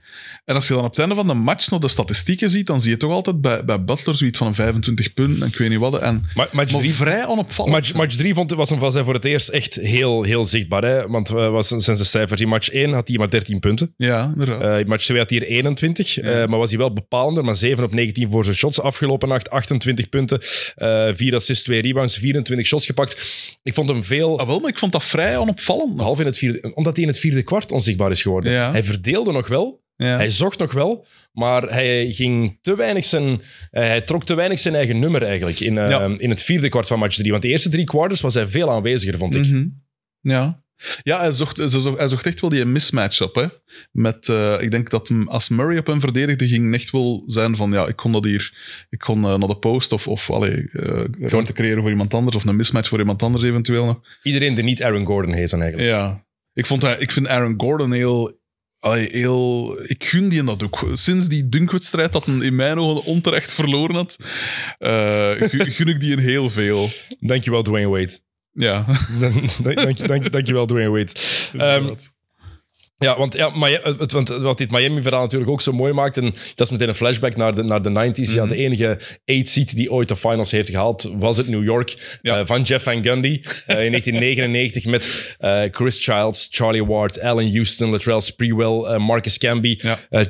En als je dan op het einde van de match nog de statistieken ziet, dan zie je toch altijd bij, bij Butler zoiets van 25 punten en ik weet niet wat. En,
Maar, match
maar
drie-
vrij onopvallend.
Match, match 3 vond, was hem van zijn voor het eerst echt heel, heel zichtbaar. Hè? Want eh, was zijn zijn cijfers in match 1 had hij maar 13 punten.
Ja, inderdaad.
Eh, in match 2 had hij er 21. eh, maar was hij wel bepalender. Maar 7 op 19 voor zijn shots. Afgelopen nacht 28 punten. eh 4 assists, 2 rebounds, 24 shots gepakt. Ik vond hem veel...
Ah, wel, maar ik vond dat vrij onopvallend. nog.
Half in het vierde, omdat hij in het vierde kwart onzichtbaar is geworden.
Ja.
Hij verdeelde nog wel,
Ja.
hij zocht nog wel, maar hij ging te weinig zijn... eh, hij trok te weinig zijn eigen nummer eigenlijk in, eh,
Ja.
in het vierde kwart van match 3. Want de eerste drie quarters was hij veel aanweziger, vond ik.
Mhm. ja. Ja, hij zocht, hij zocht, hij zocht echt wel die mismatch op. Hè? Met, eh, ik denk dat hem- als Murray op hem verdedigde, ging echt wel zijn van ja, ik kon dat hier, ik kon eh, naar de post of, of allee, eh ruimte creëren voor iemand anders of een mismatch voor iemand anders eventueel nog.
Iedereen die niet Aaron Gordon heet dan eigenlijk.
Ja. Ik, vond, hij- ik vind Aaron Gordon heel... allee, heel ik gun die dat ook. Sinds die dunkwedstrijd dat hij in mijn ogen onterecht verloren had, eh, gu- gun ik die een heel veel.
Dankjewel, Dwayne Wade.
Ja.
dank, dank, dank, dankjewel, Dwayne Wade. Ehm, ja, want, ja, Mia- het, want eh, wat dit Miami-verhaal natuurlijk ook zo mooi maakt, en dat is meteen een flashback naar de, naar de 90s. Ja,
Mhm.
de enige eight seed die ooit de finals heeft gehaald, was het New York
Ja.
eh, van Jeff Van Gundy eh, in 1999 met eh, Chris Childs, Charlie Ward, Allen Houston, Latrell Sprewell, eh, Marcus Camby.
Ja.
Eh,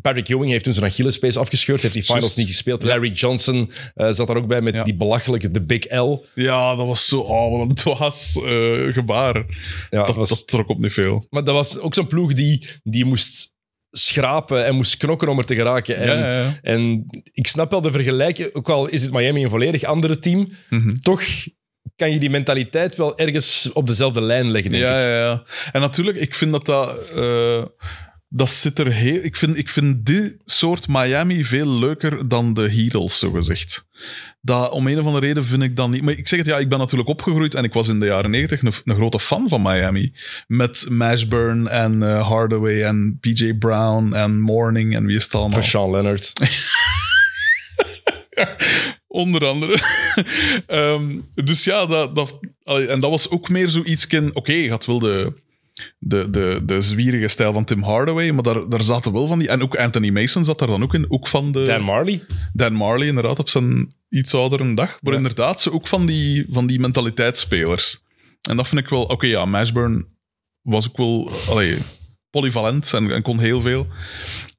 Patrick Ewing heeft toen zijn Achillespees afgescheurd, heeft die finals
Juist.
niet gespeeld. Larry Johnson eh, zat daar ook bij met
Ja.
die belachelijke The Big L.
ja, dat was zo... Oh, wat een dwaas eh, gebaar.
Ja,
dat,
was-
dat trok op niet veel.
Maar dat was ook zo'n ploeg die, die moest schrapen en moest knokken om er te geraken. En,
Ja, ja, ja.
en ik snap wel de vergelijking, ook al is het Miami een volledig andere team,
Mhm.
toch kan je die mentaliteit wel ergens op dezelfde lijn leggen, denk
Ja,
ik.
ja, ja. En natuurlijk, ik vind dat dat... eh, dat zit er heel... Ik vind, ik vind dit soort Miami veel leuker dan de Heatles, zogezegd. Dat, om een of andere reden vind ik dat niet... Maar ik zeg het, ja, ik ben natuurlijk opgegroeid en ik was in de jaren negentig een, een grote fan van Miami. Met Mashburn en eh, Hardaway en PJ Brown en Morning en wie is het allemaal.
Van Sean Leonard.
Onder andere. Ehm, dus ja, dat, dat, allee, en dat was ook meer zoiets. Oké, je had wel de, de, de, de zwierige stijl van Tim Hardaway, maar daar, daar zaten wel van die. En ook Anthony Mason zat daar dan ook in. Ook van de.
Dan Marley.
Dan Marley, inderdaad, op zijn iets oudere dag. Maar
Ja.
inderdaad, ze ook van die, van die mentaliteitsspelers. En dat vind ik wel... Oké, ja, Mashburn was ook wel allee, polyvalent en, en kon heel veel.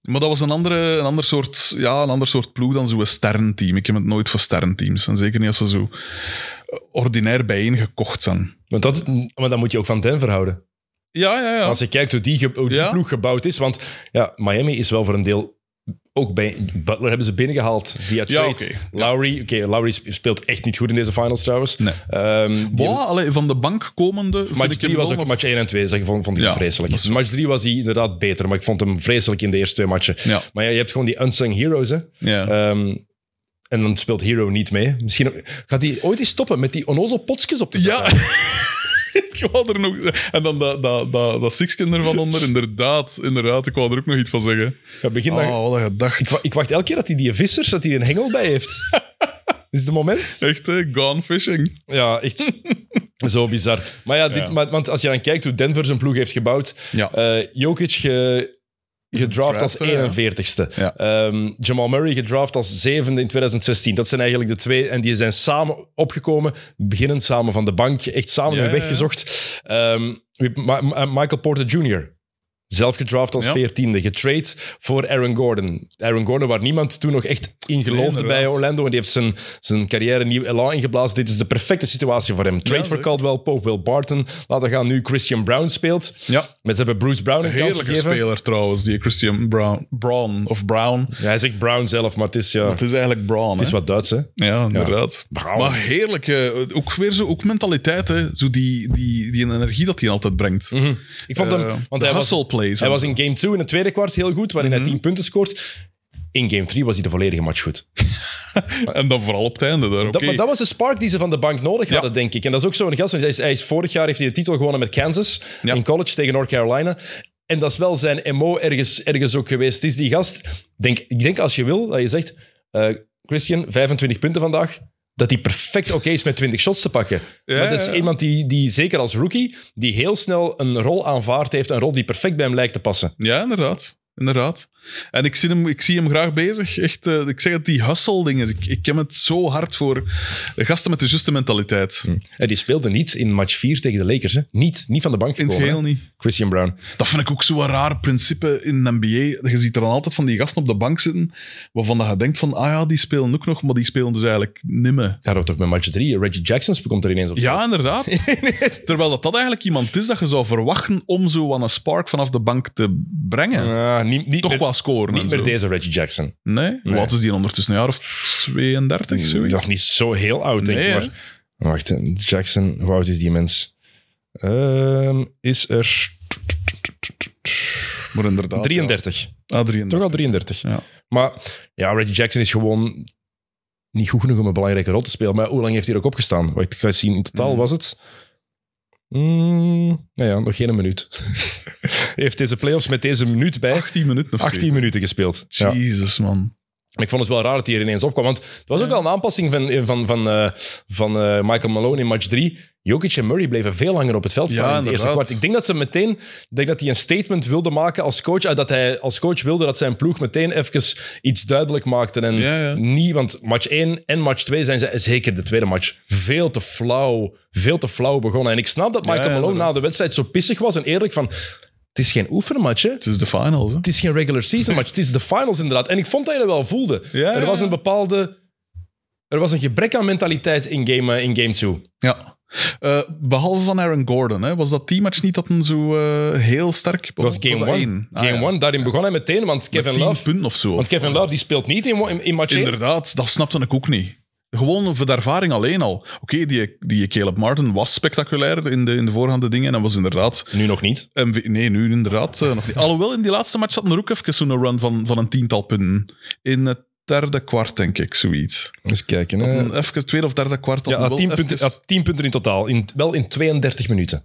Maar dat was een, andere, een, ander soort, ja, een ander soort ploeg dan zo'n sterrenteam. Ik heb het nooit voor sterrenteams. En zeker niet als ze zo eh, ordinair bijeengekocht zijn.
Want dat, maar dan moet je ook van Denver houden.
Ja, ja, ja.
Als je kijkt hoe die, ge- hoe die
Ja.
ploeg gebouwd is. Want ja, Miami is wel voor een deel. Ook bij Butler hebben ze binnengehaald via
Ja,
trade.
oké. Ja.
Lowry, oké, Lowry sp- speelt echt niet goed in deze finals trouwens.
Nee.
Ehm, die-
Boah, allee, van de bank komende... vind
match
ik hem
3 was
wel
ook
nog-
match 1 en 2, zeg, ik vond, vond ik
Ja, dat
vreselijk. Match 3 was hij inderdaad beter, maar ik vond hem vreselijk in de eerste twee matchen.
Ja.
Maar ja, je hebt gewoon die unsung heroes, hè.
Ja.
Ehm, en dan speelt Hero niet mee. Misschien ook- gaat hij ooit eens stoppen met die onnozel potjes op te
Ja.
zetten?
ik wou er nog... En dan dat, dat, dat, dat sixken ervan onder. Inderdaad, inderdaad. Ik wou er ook nog iets van zeggen.
Ja, begin dan-
Oh, wat een
ik, wa-
gedacht.
ik wacht elke keer dat hij die vissers, dat hij een hengel bij heeft. is het moment?
Echt, hè? Gone fishing.
Ja, echt. Zo bizar. Maar ja, dit,
Ja.
Maar, want als je dan kijkt hoe Denver zijn ploeg heeft gebouwd.
Ja.
eh, Jokic ge- gedraft als
Gedraft, ja.
41ste.
Ja.
Ehm, Jamal Murray gedraft als zevende in 2016. Dat zijn eigenlijk de twee. En die zijn samen opgekomen, beginnend samen van de bank, echt samen
Ja,
hun
ja,
weg
ja.
gezocht. Ehm, wie- Ma- Ma- Michael Porter Jr., zelf gedraft als
Ja.
14e, getrade voor Aaron Gordon. Aaron Gordon, waar niemand toen nog echt in geloofde
inderdaad.
bij Orlando. En die heeft zijn, zijn carrière een nieuw elan ingeblazen. Dit is de perfecte situatie voor hem. Trade
Ja,
voor
zeker.
Caldwell Pope, Will Barton. Laten gaan nu Christian Brown speelt.
Ja.
Met ze hebben Bruce Brown een kans
Heerlijke
gegeven.
speler trouwens, die Christian Brown, Brown of Brown.
Ja, hij zegt Brown zelf, maar het is, ja,
Het is eigenlijk Brown.
het is
hè?
wat Duits, hè?
Ja, inderdaad.
Brown.
Maar heerlijk. eh, Ook weer zo, ook mentaliteit. Hè. Zo die, die, die energie dat hij altijd brengt.
Ik vond hem,
Eh,
want
de
hij was,
hustle Mhm. plays.
hij was in game 2 in het tweede kwart heel goed, waarin hij 10 punten scoort. In game 3 was hij de volledige match goed.
En dan vooral op het einde. Daar,
Dat,
oké.
Maar dat was de spark die ze van de bank nodig hadden, denk ik. En dat is ook zo'n gast. want Hij is, hij is vorig jaar heeft hij de titel gewonnen met Kansas
Ja.
in college tegen North Carolina. En dat is wel zijn MO ergens, ergens ook geweest. Het is die gast, denk, ik denk als je wil, dat je zegt, eh, Christian, 25 punten vandaag, dat hij perfect oké is met 20 shots te pakken.
Ja,
maar dat is
ja.
iemand die, die, zeker als rookie, die heel snel een rol aanvaard heeft, een rol die perfect bij hem lijkt te passen.
Ja, inderdaad. Inderdaad. En ik zie hem, ik zie hem graag bezig. Echt, eh, ik zeg het, die hustle-dingen. Ik, ik ken het zo hard voor gasten met de juiste mentaliteit.
En die speelde niet in match 4 tegen de Lakers, hè? Niet, niet van de bank
In het
gekomen.
geheel
hè?
niet.
Christian Brown.
Dat vind ik ook zo'n raar principe in de NBA. Je ziet er dan altijd van die gasten op de bank zitten, waarvan dat je denkt van, ah ja, die spelen ook nog, maar die spelen dus eigenlijk nimmer.
Daar ook toch met match 3. Reggie Jackson komt er ineens op.
Ja, inderdaad. Terwijl dat, dat eigenlijk iemand is dat je zou verwachten om zo aan een spark vanaf de bank te brengen.
Ah, niet, niet
Toch
meer,
qua scoren en
Niet meer
zo.
deze Reggie Jackson.
Nee?
Nee. Mm,
Wat is die ondertussen? Een jaar of 32, zoiets?
Nog niet zo heel oud, denk
Nee,
ik.
hè?
Maar. Wacht, hè. Jackson, hoe oud is die mens? Ehm, is er
Maar inderdaad.
33.
Ja. Ah, 33.
Toch al 33.
Ja.
Maar ja, Reggie Jackson is gewoon niet goed genoeg om een belangrijke rol te spelen. Maar hoe lang heeft hij er ook opgestaan? Wacht, ik ga eens zien. In totaal
Mm.
was het... Mm, nou ja, nog geen een minuut. heeft deze playoffs met deze minuut bij
18 minuten of zo.
18 minuten gespeeld. Ja.
Jezus, man.
Maar Ik vond het wel raar dat hij er ineens opkwam. Want het was ook
Ja.
al een aanpassing van, van, van, eh, van eh, Michael Malone in match 3. Jokic en Murray bleven veel langer op het veld staan
Ja,
in het eerste
inderdaad.
kwart. Ik denk dat ze meteen ik denk dat hij een statement wilde maken als coach. eh, Dat hij als coach wilde dat zijn ploeg meteen even iets duidelijk maakte. En
Ja, ja.
niet, want match 1 en match 2 zijn ze, zeker de tweede match, veel te flauw, veel te flauw begonnen. En ik snap dat Michael
Ja, ja,
Malone na
inderdaad.
de wedstrijd zo pissig was en eerlijk van... Het is geen oefenmatch, hè?
Het is de finals, hè?
het is geen regular season match, het is de finals inderdaad. En ik vond dat je dat wel voelde.
Ja,
er
ja,
was
ja.
een bepaalde... Er was een gebrek aan mentaliteit in game, eh, in game 2.
Ja. Eh, behalve van Aaron Gordon, hè, was dat teammatch niet dat een zo eh, heel sterk...
Dat was game 1.
Ah,
Game
ja.
1, daarin begon hij meteen, want
Met
Kevin
10
Love...
punten of zo.
Want Kevin Love die speelt niet in, in, in match 1.
Inderdaad, dat snapte ik ook niet. Gewoon voor de ervaring alleen al. Oké, die, die Caleb Martin was spectaculair in de, in de voorgaande dingen. En dat was inderdaad...
Nu nog niet.
MV nee, nu inderdaad eh, nog niet. Alhoewel, in die laatste match zat er ook even zo'n run van, van een tiental punten. In het derde kwart, denk ik, zoiets.
Eens kijken. hè.
Een Eh, even tweede of derde kwart.
ja,
had
ah,
wel
10
even-
punten, ah, 10 punten in totaal. In, wel in 32 minuten.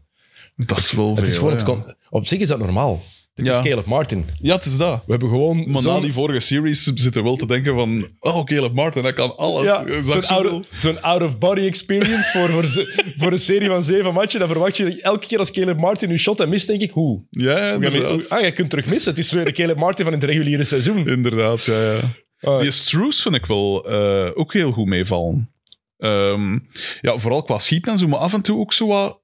Dat is wel
Het
veel,
is gewoon,
ja.
het kon- op zich is dat normaal. Dit
Ja.
is Caleb Martin.
Ja, het is dat.
We hebben gewoon
Maar na
zo'n
die vorige series zit er wel te denken van... Oh, Caleb Martin, hij kan alles. Eh,
Ja,
Hij zag
zo'n
zoveel.
out, zo'n out-of-body experience voor, voor, ze- voor een serie van zeven matchen. Dan verwacht je elke keer als Caleb Martin nu shot en mist, denk ik, hoe?
Ja, ja,
Hoe ga je-
inderdaad.
hoe- ah, je kunt terug missen. Het is weer de Caleb Martin van het reguliere seizoen.
Inderdaad, ja, ja.
Ah.
Die Struce vind ik wel eh, ook heel goed meevallen. Ehm, ja, vooral qua schieten en zo, maar af en toe ook zo wat...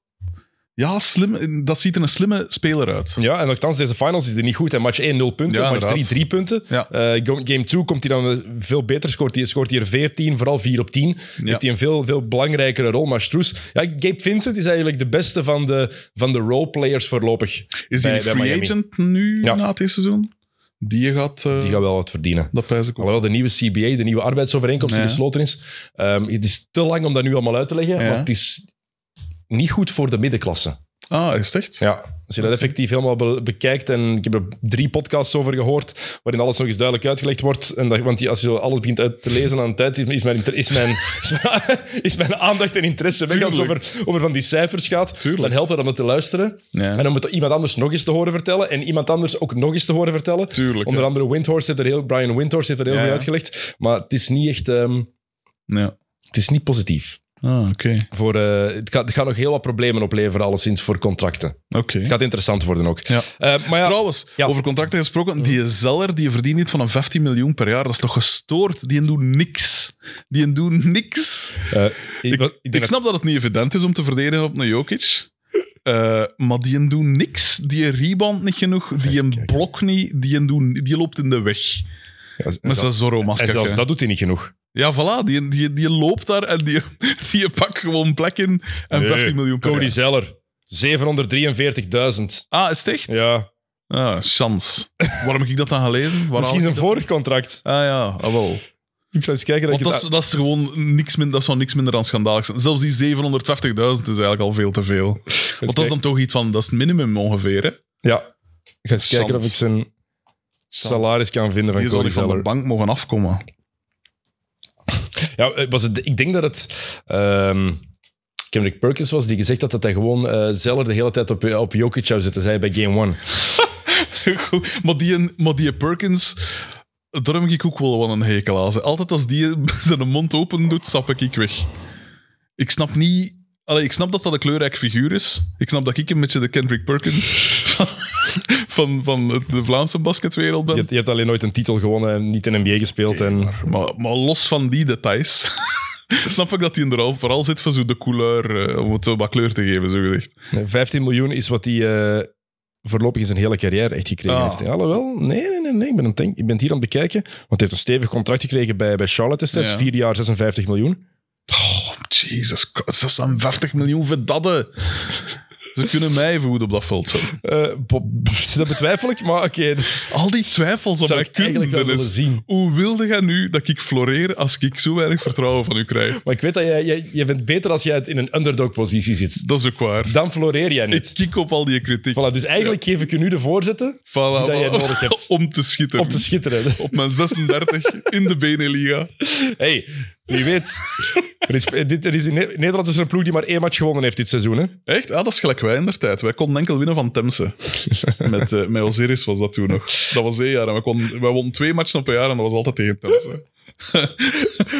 Ja, slim, dat ziet er een slimme speler uit.
Ja, en nogthans, deze finals is er niet goed. Hè. Match 1, 0 punten.
Ja,
match 3,
inderdaad.
3 punten.
Ja.
Eh, go- game 2 komt hij dan eh, veel beter. Scoort hij, scoort hij er 14, vooral 4 op 10. Heeft hij een veel, veel belangrijkere rol. Maar Stroes... Ja, Gabe Vincent is eigenlijk de beste van de, van de roleplayers voorlopig.
Is die
Bij-
een
bij
free
Miami.
agent nu
Ja.
na het eerste seizoen? Die gaat... eh,
Die gaat wel wat verdienen.
Dat pijs ik ook.
Alhoewel de nieuwe CBA, de nieuwe arbeidsovereenkomst die
Ja.
gesloten is. ehm, het is te lang om dat nu allemaal uit te leggen,
Ja.
maar het is niet goed voor de middenklasse.
Ah, is het echt?
Ja. Als je dat effectief helemaal be- bekijkt, en ik heb er drie podcasts over gehoord, waarin alles nog eens duidelijk uitgelegd wordt. En dat, want die- als je zo alles begint uit te lezen aan de tijd, is, is mijn, inter- is, mijn, is, mijn, is mijn aandacht en interesse weg als het
Tuurlijk.
over, over van die cijfers gaat.
Tuurlijk.
Dan helpt het om het te luisteren.
Ja.
En om het iemand anders nog eens te horen vertellen. En iemand anders ook nog eens te horen vertellen.
Tuurlijk,
Onder
ja.
andere Windhorst heeft er heel, Brian Windhorst heeft er heel
Ja,
goed
ja.
uitgelegd. Maar het is niet echt... ehm,
Ja.
het is niet positief.
Ah, oké.
Voor, eh, het, gaat, het gaat nog heel wat problemen opleveren, alleszins voor contracten.
Oké.
Het gaat interessant worden ook.
Ja.
Eh, maar ja,
Trouwens,
Ja.
over contracten gesproken, die Zeller die verdient niet van een 15 miljoen per jaar. Dat is toch gestoord? Die doet niks. Die doet niks.
eh, ik, ik denk
Ik
dat-
snap dat het niet evident is om te verdedigen op een Jokic. Eh, maar die doet niks. Die rebound niet genoeg. Die
eens
een
kijken.
blok niet. Die, doet, die loopt in de weg.
ja, en
Met
zelfs-
zijn
en zelfs
Zorro-masker.
dat doet hij niet genoeg.
Ja, voilà. Die, die, die loopt daar en die, die pakt gewoon plek in. En
Nee,
15 miljoen per
Cody
jaar.
Zeller, 743.000.
Ah, is het echt?
Ja.
Ah, chance. Waarom heb ik dat dan gelezen? Waar haal
Misschien
ik
zijn
dat?
vorig contract.
Ah ja, ah, wel.
Ik zou eens kijken dat
Want
je
dat is, dat is gewoon niks minder, dat zou niks minder dan schandalig zijn. Zelfs die 750.000 is eigenlijk al veel te veel. Want dat is dan toch iets van, dat is het minimum ongeveer, hè?
Ja. Ik ga eens kijken of
Chance.
ik zijn salaris kan vinden van
Die zou
Cody
niet van de
Zeller.
bank mogen afkomen.
Ja, eh, was het, ik denk dat het... ehm Kendrick Perkins was die gezegd had dat hij gewoon eh, Zeller de hele tijd op, eh, op Jokic zou zitten, zei hij bij Game 1.
Goed, maar, die, maar die Perkins, daar heb ik ook wel wat een hekel aan. Altijd als die zijn mond open doet, stap ik weg. Ik snap niet... Allee, ik snap dat dat een kleurrijk figuur is. Ik snap dat ik een beetje de Kendrick Perkins van, van, van het- de Vlaamse basketwereld ben.
Je hebt, je hebt alleen nooit een titel gewonnen en niet in NBA gespeeld. En...
Maar, maar los van die details, snap ik dat hij er al- vooral zit voor zo de couleur, eh, om het zo wat kleur te geven, zo gezegd.
Nee, 15 miljoen is wat hij eh, voorlopig in zijn hele carrière echt gekregen
Ah.
heeft. Alhoewel, nee, nee, nee, nee. Ik, ben aan het denk- ik ben het hier aan het bekijken. Want hij heeft een stevig contract gekregen bij, bij Charlotte destijds.
Ja.
Vier jaar 56 miljoen.
Oh, Jesus Christ, 56 miljoen verdadden. Ze kunnen mij even goed op dat veld zetten.
Eh, bo- dat betwijfel ik, maar oké. dat
Al die twijfels aan
zou
mijn
ik eigenlijk wel
kunde.
willen
is,
zien.
Hoe wilde jij nu dat ik floreer als ik zo weinig vertrouwen van u krijg?
Maar ik weet dat jij, jij, jij bent beter als jij in een underdog-positie zit.
Dat is ook waar.
Dan floreer jij
Ik
niet.
kik op al die kritiek.
Voilà, dus eigenlijk geef ik je nu de voorzetten
Voilà,
die dat jij
voilà.
nodig hebt
Om te schieten.
om te schitteren.
op mijn 36 in de Beneliga.
hey, wie weet. Er is, dit, er is in Ne- Nederland is er een ploeg die maar één match gewonnen heeft dit seizoen. Hè?
Echt? Ah, dat is gelijk wij in der tijd. Wij konden enkel winnen van Temse. Met, eh, met Osiris was dat toen nog. Dat was één jaar. En wij, konden, wij wonnen twee matchen op een jaar en dat was altijd tegen Temse.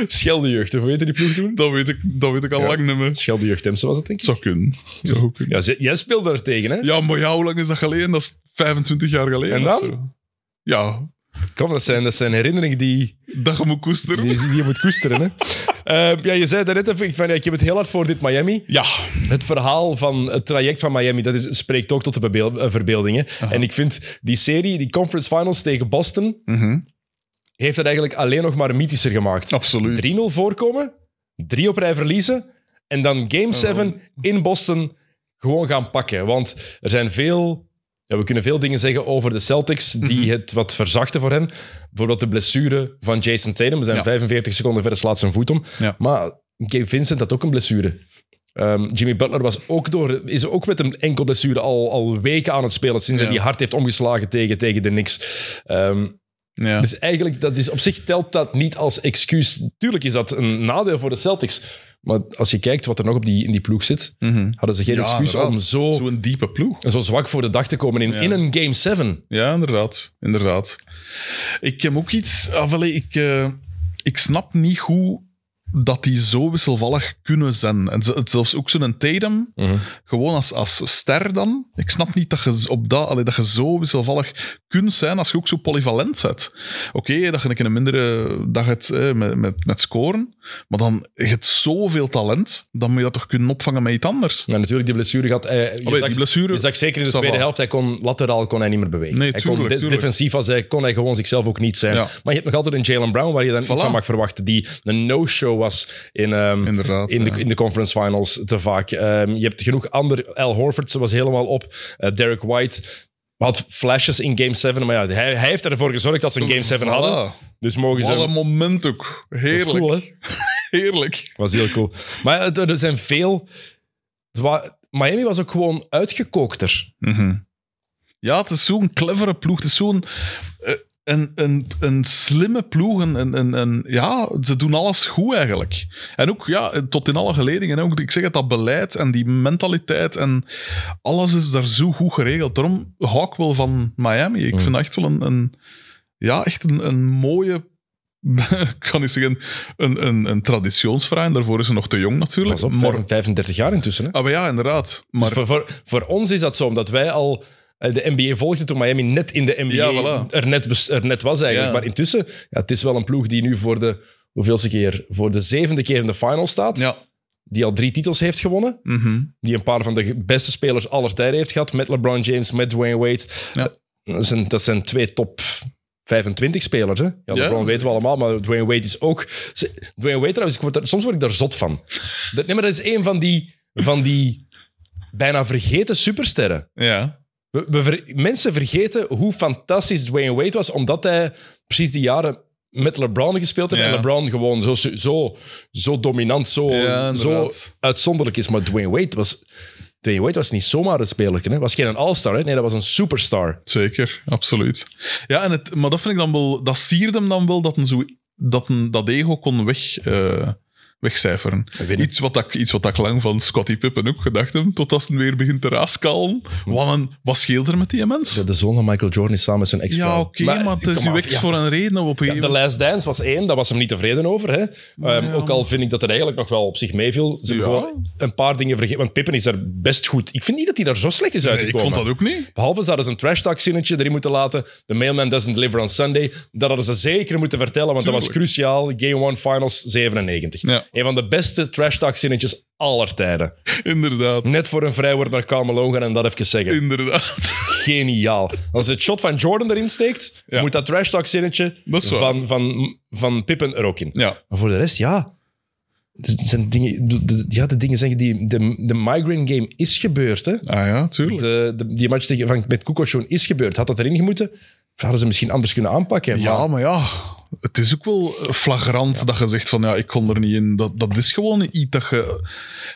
Scheldejeugd, of hoe heette die ploeg toen?
Dat weet ik, dat weet ik al
Ja.
lang niet meer. Het
Scheldejeugd Temse was dat, denk ik.
zou kunnen. Het zou kunnen.
Ja, ze- jij speelde er tegen, hè?
Ja, maar ja, hoe lang is dat geleden? Dat is 25 jaar geleden.
En dan?
of zo. Ja,
Kom, dat zijn, dat zijn herinneringen die,
dat je moet koesteren.
die, die je moet koesteren, hè? Eh, ja, je zei daarnet even, van, ja, ik heb het heel hard voor dit Miami.
Ja,
Het verhaal van het traject van Miami, dat is, spreekt ook tot de bebeel- eh, verbeelding. Hè? En ik vind die serie, die conference finals tegen Boston, heeft het eigenlijk alleen nog maar mythischer gemaakt.
absoluut.
3-0 voorkomen, 3 op rij verliezen en dan
Oh.
Game 7 in Boston gewoon gaan pakken. Want er zijn veel... Ja, we kunnen veel dingen zeggen over de Celtics
Mhm.
die het wat verzachten voor hen. Bijvoorbeeld de blessure van Jason Tatum. We zijn
Ja.
45 seconden verder, slaat zijn voet om.
Ja.
Maar Gabe Vincent had ook een blessure. Ehm, Jimmy Butler was ook door, is ook met een enkel blessure al, al weken aan het spelen. Sinds hij
Ja.
die hard heeft omgeslagen tegen, tegen de Knicks. Ehm,
Ja.
dus eigenlijk, dat is, op zich telt dat niet als excuus. Tuurlijk is dat een nadeel voor de Celtics. Maar als je kijkt wat er nog op die, in die ploeg zit,
Mhm.
hadden ze geen
Ja,
excuus om
inderdaad.
zo, zo...
Zo'n diepe ploeg.
zwak voor de dag te komen in,
Ja.
in een Game 7.
Ja, inderdaad. inderdaad. Ik heb ook iets. Ah, wel, ik, eh, ik snap niet hoe dat die zo wisselvallig kunnen zijn. En ze- het zelfs ook zo'n Tatum, gewoon als, als ster dan. Ik snap niet dat je, z- op dat, allee, dat je zo wisselvallig kunt zijn als je ook zo polyvalent bent. Oké, dat je een keer een mindere dag hebt eh, met, met, met scoren, maar dan je hebt zoveel talent, dan moet je dat toch kunnen opvangen met iets anders.
Maar natuurlijk, die blessure gaat... eh, je,
Allee,
zag,
die blessure-
je zag zeker in de
Ça va.
tweede helft, hij kon, lateraal kon hij niet meer bewegen.
Nee,
hij kon
tuurlijk,
de-
tuurlijk.
defensief als hij kon hij gewoon zichzelf ook niet zijn.
Ja.
Maar je hebt nog altijd een Jalen Brown waar je dan iets
Voilà.
van mag verwachten, die een no-show was in, ehm,
Inderdaad.
in,
ja.
de, in de conference finals te vaak. Ehm, je hebt genoeg ander. Al Horford ze was helemaal op. Eh, Derek White had flashes in Game 7. Maar ja, hij, hij heeft ervoor gezorgd dat ze een Game 7 hadden.
Voilà.
Dus mogen ze...
Alle moment ook.
Dat
Heerlijk.
was cool, hè?
Heerlijk.
was heel cool. Maar het- er zijn veel... het wa- Miami was ook gewoon uitgekookter.
Ja, het is zo'n clevere ploeg. Het is zo'n... eh, Een, een, een slimme ploeg. Een, een, een, een- ja, ze doen alles goed eigenlijk. En ook, ja, tot in alle geledingen. hè. Ook, ik zeg het, dat beleid en die mentaliteit en alles is daar zo goed geregeld. Daarom
Mm.
hou ik wel van Miami. Ik vind dat echt wel een, een, ja, echt een, een mooie ik kan niet zeggen, een, een, een traditionsvraag. En daarvoor is ze nog te jong natuurlijk.
Pas op,
maar,
35 jaar intussen. Hè?
ah, maar ja, inderdaad. Maar
Dus voor, voor, voor ons is dat zo, omdat wij al eh, de NBA volgden toen Miami net in de NBA
Ja, voilà.
er, net, bes- er net was eigenlijk.
Ja.
Maar intussen, ja, het is wel een ploeg die nu voor de, hoeveelste keer, voor de zevende keer in de final staat.
ja.
Die al drie titels heeft gewonnen.
Mhm.
Die een paar van de beste spelers aller tijden heeft gehad. Met LeBron James, met Dwayne Wade.
Ja.
Eh, Dat, zijn, dat zijn twee top 25 spelers. Hè? Ja, LeBron weten we allemaal, maar Dwayne Wade is ook... Ze- Dwayne Wade trouwens, ik word daar- soms word ik daar zot van. Dat, nee, maar dat is een van die, van die bijna vergeten supersterren.
ja.
We, we ver- mensen vergeten hoe fantastisch Dwayne Wade was, omdat hij precies die jaren met LeBron gespeeld heeft.
Ja.
En LeBron gewoon zo, su- zo, zo dominant, zo,
Ja,
zo
inderdaad.
uitzonderlijk is. Maar Dwayne Wade was, Dwayne Wade was niet zomaar een spelertje. Hè? Was geen all-star, hè? nee, dat was een superstar.
Zeker, absoluut. Ja, en het, maar dat vind ik dan wel, dat sierde hem dan wel dat een zo, dat, een, dat ego kon weg, eh, wegcijferen.
Winnen.
Iets wat, ik, iets wat ik lang van Scottie Pippen ook gedacht heb, totdat ze weer begint te raaskalmen. Wat, een, wat scheelt er met die mens?
De, de zoon van Michael Jordan is samen met zijn ex-vrouw.
Ja, oké, maar, het is
kom
uw
af,
ex
ja.
voor een reden op een
Ja,
gegeven
de Last Dance was één, daar was hem niet tevreden over. Hè? Ehm,
ja.
Ook al vind ik dat het eigenlijk nog wel op zich meeviel. Ze hebben
Ja.
gewoon een paar dingen vergeten. Want Pippen is daar best goed. Ik vind niet dat hij daar zo slecht is
Nee, ik
uitgekomen.
vond dat ook niet.
Behalve ze hadden ze een trash talk zinnetje erin moeten laten. The mailman doesn't deliver on Sunday. Dat hadden ze zeker moeten vertellen, want dat was
Tuurlijk.
cruciaal. Game 1 Finals 97.
Ja.
Een van de beste trash talk zinnetjes aller tijden.
Inderdaad.
Net voor een vrijwoord naar Karl Malone gaan en dat even zeggen.
Inderdaad.
Geniaal. Als het shot van Jordan erin steekt,
Ja.
moet dat trash talk zinnetje
Dat is waar.
van, van, van Pippen er ook in.
Ja,
Maar voor de rest, ja. Het zijn dingen, de- de- ja, de dingen zeggen die... De, de migraine game is gebeurd, hè.
ah ja, tuurlijk.
De, de- die match tegen, van, met Kukoc is gebeurd. Had dat erin moeten? Hadden ze misschien anders kunnen aanpakken.
Ja,
maar
maar ja, het is ook wel flagrant dat je zegt van ja, ik kon er niet in. Dat, dat is gewoon iets dat je.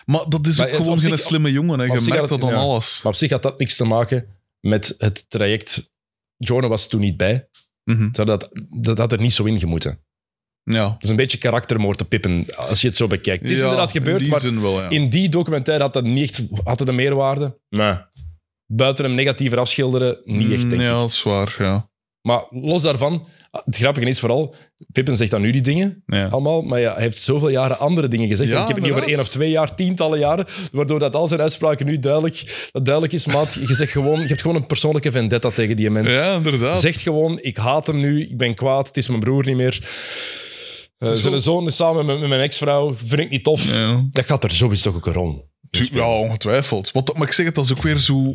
Maar dat is
Maar
ook
het- op
gewoon
zich-
geen slimme jongen. En
op
je
zich
merkt
had het-
dat dan
ja.
alles.
maar op zich had dat niks te maken met het traject. Jordan was toen niet bij.
Mhm.
Dat, dat, dat had er niet zo in gemoeten.
Ja.
Dat is een beetje karaktermoord te pippen, als je het zo bekijkt. Het is
Ja,
inderdaad gebeurd,
in die
maar
zin wel, ja.
in die documentaire had dat niet echt had het een meerwaarde.
Nee.
Buiten hem negatiever afschilderen, niet echt, denk
Mm, ja,
ik.
dat is waar, ja.
Maar los daarvan, het grappige is vooral, Pippen zegt dan nu die dingen,
ja.
allemaal. Maar ja, hij heeft zoveel jaren andere dingen gezegd.
Ja,
ik heb het niet over één
inderdaad.
of twee jaar, tientallen jaren. Waardoor dat al zijn uitspraken nu duidelijk, dat duidelijk is. Maat, je, zegt gewoon, je hebt gewoon een persoonlijke vendetta tegen die mens.
Ja, inderdaad.
Zegt gewoon, ik haat hem nu, ik ben kwaad, het is mijn broer niet meer. Eh,
is
zijn
wel-
zoon is samen met, met mijn ex-vrouw, vind ik niet tof.
Ja.
Dat gaat er sowieso toch ook Dus, een rol.
Tu- ja, ongetwijfeld. Want, dat- maar ik zeg het, dat is ook weer zo.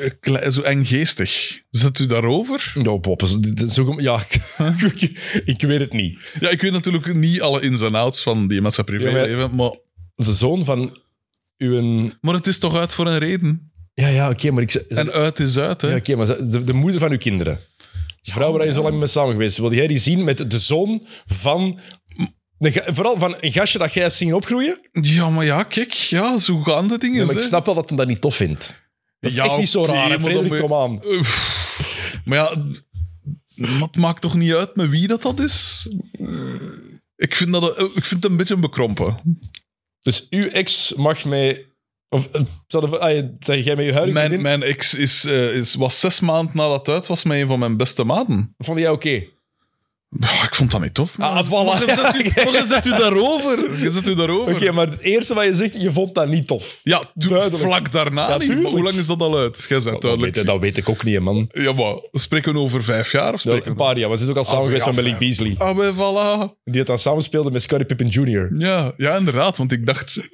eh, kle- Zo enggeestig. Zet u daarover?
Ja, Nou, Bob, is- dit is ook een- ja, ik- ik weet het niet.
Ja, ik weet natuurlijk niet alle ins en outs van die mensen privéleven, maar,
De zoon van uw...
maar het is toch uit voor een reden.
Ja, ja, oké, maar ik... ze-
En uit is uit, hè?
Ja, oké, maar ze- de, de moeder van uw kinderen. De vrouw waar je zo lang mee samen geweest bent, Wil jij die zien met de zoon van... een ga- vooral van een gastje dat jij hebt zien opgroeien?
Ja, maar ja, kijk, ja, zo gaan de dingen.
Ja, maar
hè.
ik snap wel dat hem dat niet tof vindt. Dat is
Ja,
echt niet zo
oké,
raar. hè,
maar dan
Frederik,
moet je-
kom aan.
Uff. Maar ja, maar het maakt toch niet uit met wie dat, dat is? Ik vind, dat, eh, ik vind het een beetje bekrompen.
Dus uw ex mag mee... Of eh, zou de- ah, je- zeg jij met je huidige
Mijn,
vriendin?
mijn ex is, eh, is, was zes maanden nadat het uit was met een van mijn beste maten.
Vond jij oké?
Ja, ik vond dat niet tof.
Ah,
maar-
voilà.
Maar je zet u- maar je zet u daarover. Je zet u daarover.
Oké, maar het eerste wat je zegt, je vond dat niet tof.
Ja, tu-
Duidelijk.
vlak daarna
Ja,
niet. Maar
tuurlijk.
hoe lang is dat al uit? Jij bent
Dat weet,
duidelijk.
dat weet ik ook niet, hè, man.
Ja, maar spreken we over vijf jaar? Of
Dat,
spreken
een
we...
paar jaar. We zijn ook al samen
Ah,
geweest
ja,
met Malik
fijn.
Beasley.
Ah, ben voilà.
Die het dan samenspeelde met Scottie Pippen Jr.
Ja, ja, inderdaad. Want ik dacht,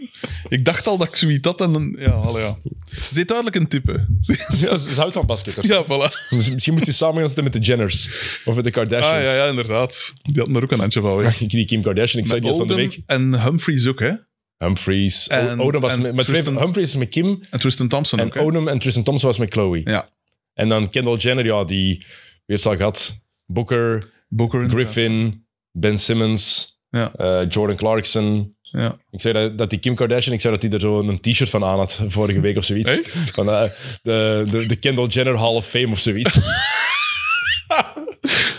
ik dacht al dat ik zoiets had. En dan, ja, allee, ja. Ze heeft duidelijk een type.
Ja, ze ze houdt van basketters.
Ja, voilà.
Misschien moet je samen gaan zitten met de Jenners of met de Kardashians.
Ah, ja, ja, inderdaad. Die had er ook een handje van weg.
Ik die Kim Kardashian, ik zei die al van de week.
en Humphries ook, hè?
Humphries. O-
En-
Odom was
en
met, met twee van
Tristan-
Humphries was met Kim
En Tristan Thompson
en
ook, hè?
Odom en Tristan Thompson was met Chloe.
Ja.
En dan Kendall Jenner, ja, die heeft al gehad. Booker,
Booker.
Griffin, Ben Simmons,
Ja.
eh, Jordan Clarkson.
Ja.
Ik zei dat, dat die Kim Kardashian, ik zei dat die er zo een t-shirt van aan had vorige week of zoiets.
Echt?
Van eh, de, de, de Kendall Jenner Hall of Fame of zoiets.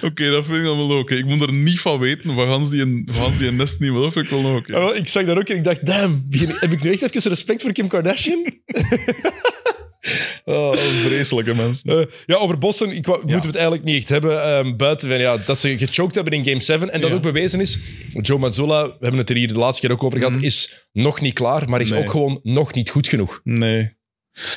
Oké, dat vind ik dan wel oké. Ik moet er niet van weten. Van gans die, een- van gans die een nest niet wil, vind ik wel nog oké.
Ja, wel, ik zag dat ook en ik dacht, damn, begin- heb ik nu echt even respect voor Kim Kardashian? Oh.
Ah, Vreselijke mensen.
Eh, ja, over Boston ik wou- moeten we het eigenlijk niet echt hebben. ehm, buiten van, ja, dat ze gechoked hebben in Game 7. En dat
Ja.
ook bewezen is. Joe Mazzola, we hebben het er hier de laatste keer ook over gehad, is nog niet klaar, maar is
Mhm. Nee.
ook gewoon nog niet goed genoeg.
Nee.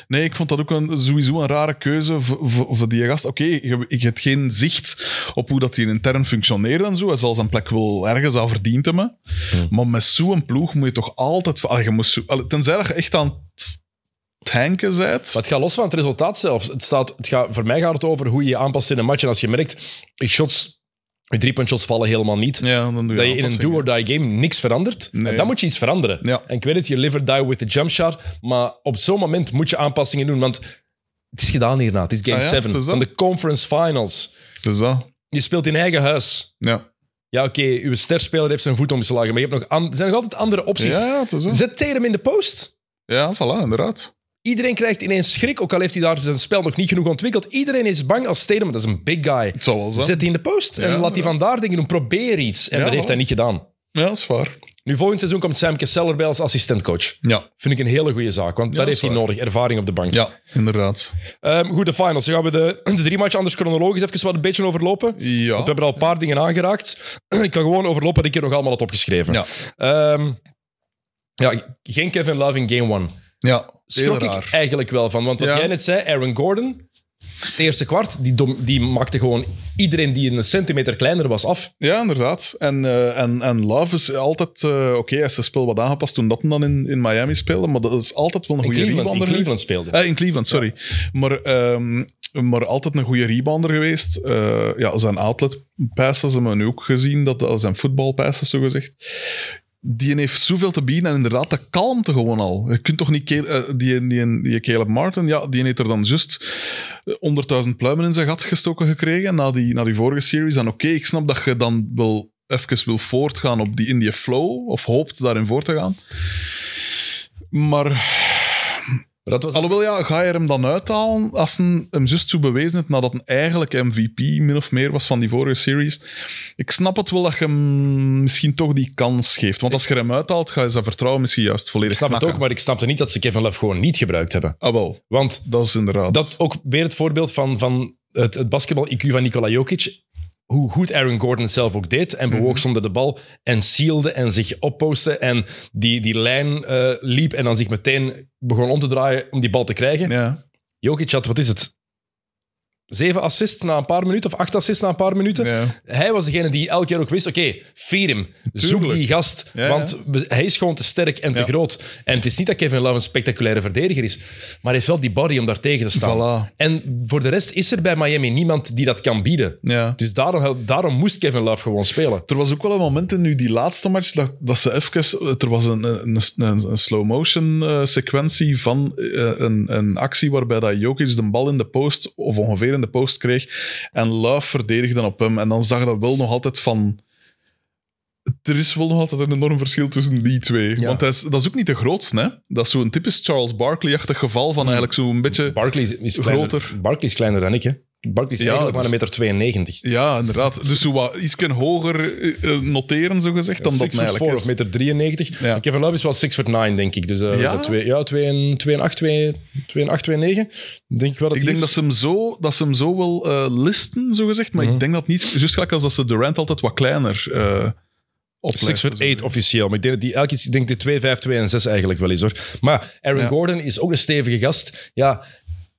Nee, ik vond dat ook een, sowieso een rare keuze voor, voor, voor die gast. Oké, je- ik heb geen zicht op hoe dat die intern functioneert en zo. Hij zal zijn plek wel ergens aan verdiend hebben.
Hmm.
Maar met zo'n ploeg moet je toch altijd... Allee, je moest, zo- allee, tenzij dat je echt aan het tanken bent.
Maar het gaat los van het resultaat zelf. Het staat, het gaat, voor mij gaat het over hoe je je aanpast in een match. En als je merkt, je shots, je driepuntshots vallen helemaal niet.
ja, dan doe
dat
je
je in een
aanpassingen.
do-or-die game niks verandert.
Nee.
En dan moet je iets veranderen.
Ja.
En ik weet het, je live or die with the jump shot. Maar op zo'n moment moet je aanpassingen doen, want het is gedaan hierna. Het is game
Ah ja,
7
het is dat.
van de conference finals.
Dus dat,
Je speelt in eigen huis.
ja.
Ja, oké, uw sterspeler heeft zijn voet omgeslagen, maar je hebt nog an- er zijn nog altijd andere opties.
Ja, ja, het is dat.
Zet Tatum in de post.
Ja, voilà, inderdaad.
Iedereen krijgt ineens schrik, ook al heeft hij daar zijn spel nog niet genoeg ontwikkeld. Iedereen is bang als Tatum, dat is een big guy.
Het zal wel zijn.
Zet die in de post en laat hij
inderdaad.
van daar dingen doen. Probeer iets. En
Ja,
dat heeft
voilà.
hij niet gedaan.
Ja, dat is waar.
Nu, volgend seizoen komt Sam Kesseller bij als assistentcoach.
Ja,
Vind ik een hele goede zaak, want daar
dat
heeft
is
hij
waar.
nodig. Ervaring op de bank.
ja inderdaad.
Ehm, goed, de finals. Dan gaan we de, de drie matchen anders chronologisch even wat een beetje overlopen. Want
Ja.
we hebben er al een paar dingen aangeraakt. ik kan gewoon overlopen dat ik hier nog allemaal had opgeschreven.
Ja.
Ehm, ja, geen Kevin Love in game one.
Ja, heel
Schrok ik
raar.
eigenlijk wel van. Want wat
Ja.
jij net zei, Aaron Gordon, het eerste kwart, die, dom- die maakte gewoon iedereen die een centimeter kleiner was af.
Ja, inderdaad. En, eh, en, en Love is altijd... eh, Oké, hij is zijn spel wat aangepast toen dat hem dan in, in Miami speelde, maar dat is altijd wel een
In
goede
Cleveland, in
rebounder. geweest.
Cleveland speelde.
Eh, in Cleveland, sorry. Maar, ehm, maar altijd een goede rebounder geweest. Eh, ja, zijn outlet passes hebben we nu ook gezien, dat, dat zijn voetbalpasses zogezegd. Die heeft zoveel te bieden en inderdaad, dat kalmte gewoon al. Je kunt toch niet... Cal- eh, die, die, die Caleb Martin, ja, die heeft er dan juist 100.000 pluimen in zijn gat gestoken gekregen na die, na die vorige series. En oké, ik snap dat je dan wel even wil voortgaan op die, in die flow, of hoopt daarin voort te gaan. Maar
Maar dat was
Alhoewel, ja, ga je er hem dan uithalen als een, hem juist zo bewezen heeft nadat hij eigenlijk MVP min of meer was van die vorige series? Ik snap het wel dat je hem misschien toch die kans geeft. Want als je hem uithaalt, ga je zijn vertrouwen misschien juist
Ik
volledig
snap het ook,
knakken.
maar ik snapte niet dat ze Kevin Love gewoon niet gebruikt hebben.
Ah, wel.
Want
Dat is inderdaad...
dat ook weer het voorbeeld van, van het, het basketbal-IQ van Nikola Jokic. Hoe goed Aaron Gordon het zelf ook deed en
Mhm.
bewoog zonder de bal en sealde en zich oppostte en die, die lijn eh, liep en dan zich meteen begon om te draaien om die bal te krijgen.
Ja.
Jokic had, wat is het? Zeven assists na een paar minuten of acht assists na een paar minuten.
ja.
Hij was degene die elke keer ook wist: oké, feed hem. Zoek
Tuurlijk.
die gast.
Ja, ja.
want we- hij is gewoon te sterk en te
Ja.
groot. En het is niet dat Kevin Love een spectaculaire verdediger is, maar hij heeft wel die body om daar tegen te staan.
Voilà.
En voor de rest is er bij Miami niemand die dat kan bieden.
Ja.
Dus daarom, daarom moest Kevin Love gewoon spelen.
Er was ook wel een moment in nu die laatste match dat, dat ze even... Er was een, een, een, een slow-motion eh, sequentie van eh, een, een actie waarbij dat Jokic de bal in de post, of ongeveer in de post, kreeg. En Love verdedigde op hem. En dan zag dat wel nog altijd van... Er is wel nog altijd een enorm verschil tussen die twee.
Ja.
Want hij is, dat is ook niet de grootste, hè? Dat is zo'n typisch Charles Barkley-achtig geval van eigenlijk
Hmm.
zo'n beetje...
Barkley is, is kleiner,
Groter.
Barkley is kleiner dan ik, hè? Barkley is
Ja,
eigenlijk maar
dus-
een meter 92.
Ja, inderdaad. Dus zo wat iets hoger eh, eh, noteren, zogezegd, dan dat
Six
hij
foot
eigenlijk
four
is.
of meter 93.
Ja.
En Kevin Love is wel 6 foot 9, denk ik. Dus eh,
Ja?
is dat twee- ja, 2 en 2 en 8, 2 en 8, 2 en 9. Denk ik wel dat
Ik
die
denk
is.
dat ze hem zo, dat ze hem zo wel eh, listen, zo gezegd. Maar
Mhm.
ik denk dat niet. Juist gelijk als dat ze Durant altijd wat kleiner eh oplijsten,
6 foot
zo
8 officieel. Maar ik denk dat die elk iets, ik denk die 2, 5, 2 en 6 eigenlijk wel is hoor. Maar Aaron
Ja.
Gordon is ook een stevige gast. Ja,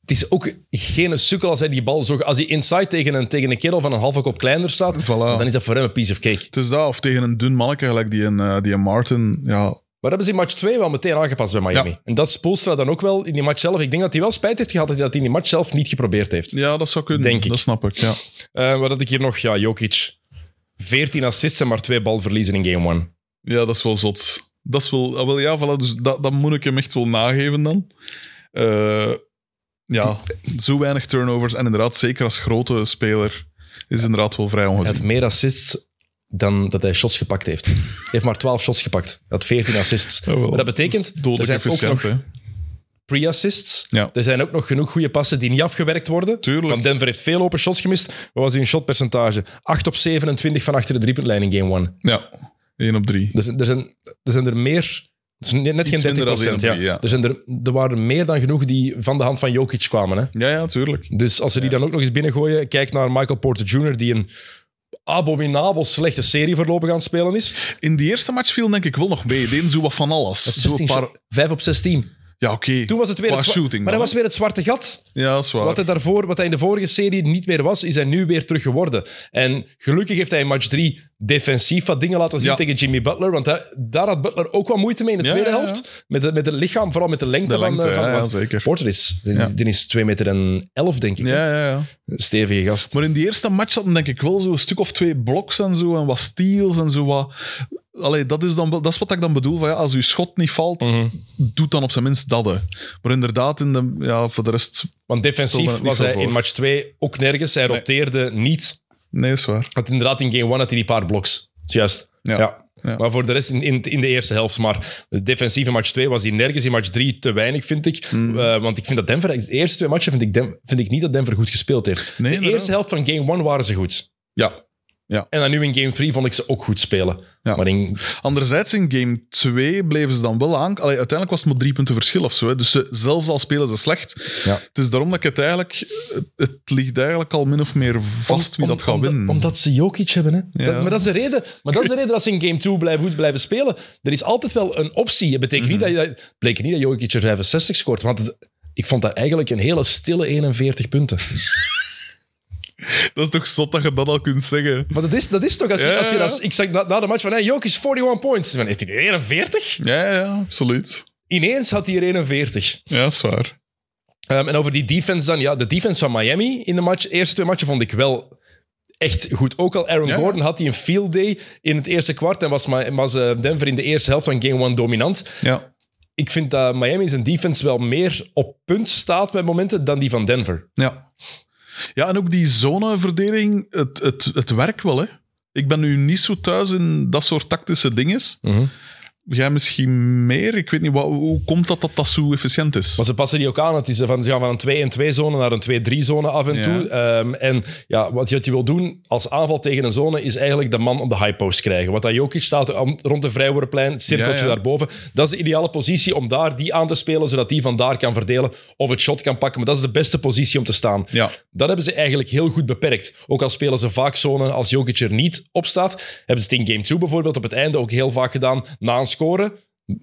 het is ook geen sukkel als hij die bal zo. Als hij inside tegen een, tegen een kerel van een halve kop kleiner staat,
gezegd. Voilà.
dan is dat voor hem een piece of cake.
Het is dat, of tegen een dun manneke, gelijk die een, eh, die een Martin. Ja,
Maar hebben ze in match 2 wel meteen aangepast bij Miami.
Ja.
En dat Spoelstra dan ook wel in die match zelf. Ik denk dat hij wel spijt heeft gehad dat hij dat in die match zelf niet geprobeerd heeft.
ja dat zou kunnen.
Denk ik.
dat snap ik, ja.
Eh, wat had ik hier nog? Ja, Jokic. 14 assists en maar twee balverliezen in game 1.
Ja, dat is wel zot. Dat is wel... ah, wel ja, voilà, dus dat, dat moet ik hem echt wel nageven dan. Eh, ja, zo weinig turnovers. En inderdaad, zeker als grote speler, is inderdaad wel vrij
Hij
ongezien.
had meer assists dan dat hij shots gepakt heeft. Hij heeft maar 12 shots gepakt. Hij had 14 assists.
Jawel,
maar dat
Oh, is
betekent, er
dodelijk
zijn ook
efficiënt,
nog
hè.
pre-assists.
Ja.
Er zijn ook nog genoeg goede passen die niet afgewerkt worden.
Tuurlijk.
Want Denver heeft veel open shots gemist. Wat was hun shotpercentage? 8 op 27 van achter de driepuntlijn in game 1.
Ja, 1 op 3.
Er, zijn- er, zijn, er zijn er meer Dus net net
Iets
geen 30
minder dan
procent. Ja.
1 op drie, ja.
Er, zijn er, er waren meer dan genoeg die van de hand van Jokic kwamen. Hè?
Ja, ja, tuurlijk.
Dus als ze die dan ook nog eens binnengooien, kijk naar Michael Porter Jr., die een abominabel slechte serie voorlopig aan het spelen is.
In die eerste match viel denk ik wel nog mee. Die deden zo wat van alles. Zo een
16,
paar...
5 op 16.
Ja, oké.
Toen was het weer
Qua
het zwa-
shooting.
maar dat
dan.
was weer het zwarte gat.
Ja, dat is waar.
Wat hij, daarvoor, wat hij in de vorige serie niet meer was, is hij nu weer terug geworden. En gelukkig heeft hij in match 3 defensief wat dingen laten zien
Ja.
tegen Jimmy Butler. Want hij- daar had Butler ook wel moeite mee in de
Ja,
tweede
ja, ja.
helft. Met het met het lichaam, vooral met de lengte,
De
van,
lengte,
eh, van
ja, ja,
want
zeker.
Porter is, die-
Ja.
die is 2 meter en 11, denk ik. hè?
Ja, ja, ja.
Stevige gast.
Maar in die eerste match hadden denk ik wel zo'n stuk of twee bloks en zo, en wat steals en zo wat... Allee, dat is, dan, wel- dat is wat ik dan bedoel, van, ja, als uw schot niet valt,
Mhm.
doet dan op zijn minst dat. hè. Maar inderdaad, in de, ja, voor de rest...
Want
Stond er
defensief
niet
was
veel
hij
voor.
in match 2 ook nergens. Hij
Nee.
roteerde niet.
Nee, is waar.
Want inderdaad, in game 1 had hij die paar bloks. Juist.
Ja. Ja.
Maar voor de rest in, in, in de eerste helft. Maar defensief in match 2 was hij nergens. In match 3 te weinig, vind ik.
Mm.
Eh, want ik vind dat Denver... De eerste twee matchen vind ik, Dem- vind ik niet dat Denver goed gespeeld heeft.
Nee,
de
inderdaad.
eerste helft van game 1 waren ze goed.
Ja.
En dan nu in game 3 vond ik ze ook goed spelen.
Ja.
Maar in,
Anderzijds, in game 2 bleven ze dan wel aan... Allee, uiteindelijk was het maar drie punten verschil of zo. Hè. Dus ze- zelfs al spelen ze slecht.
Ja.
Het is daarom dat ik het eigenlijk... Het, het ligt eigenlijk al min of meer vast wie
Om-
dat gaat
omdat-
winnen.
Omdat ze Jokic hebben, hè.
Ja.
Dat, maar dat is de reden. Maar dat is de reden dat ze in game 2 blijven, goed blijven spelen. Er is altijd wel een optie. Het betekent
Mhm.
niet dat, dat, bleek niet dat Jokic er 65 scoort, want het- ik vond dat eigenlijk een hele stille 41 punten.
Dat is toch zot dat je dat al kunt zeggen?
Maar dat is, dat is toch, als je,
Ja,
als je
ja, ja.
dat- ik zeg na, na de match van, hey, Jokic 41 points. Van, heeft hij er 41?
Ja, ja, absoluut.
Ineens had hij er 41.
Ja, is waar.
Ehm, en over die defense dan, ja, de defense van Miami in de match, eerste twee matchen vond ik wel echt goed. Ook al Aaron
Ja, ja.
Gordon had hij een field day in het eerste kwart en was, Ma- was eh, Denver in de eerste helft van game one dominant.
Ja.
Ik vind dat Miami zijn defense wel meer op punt staat bij momenten dan die van Denver.
Ja. Ja, en ook die zoneverdeling, het, het, het werkt wel, hè. Ik ben nu niet zo thuis in dat soort tactische dingen.
Mhm.
Jij misschien meer? Ik weet niet, wat, hoe komt dat dat dat zo efficiënt is?
Maar ze passen die ook aan. Het is eh, van, ze gaan van een 2-1-2-zone naar een 2-3-zone af en
Ja.
toe. Ehm, en ja, wat je, wat je wil doen als aanval tegen een zone is eigenlijk de man op de high post krijgen. Wat dat Jokic staat om- rond de vrijwoordenplein, het cirkeltje
Ja, ja.
daarboven. Dat is de ideale positie om daar die aan te spelen, zodat die vandaar kan verdelen of het shot kan pakken. Maar dat is de beste positie om te staan.
Ja.
Dat hebben ze eigenlijk heel goed beperkt. Ook al spelen ze vaak zone als Jokic er niet op staat, hebben ze het in game 2 bijvoorbeeld op het einde ook heel vaak gedaan. Na een scoren,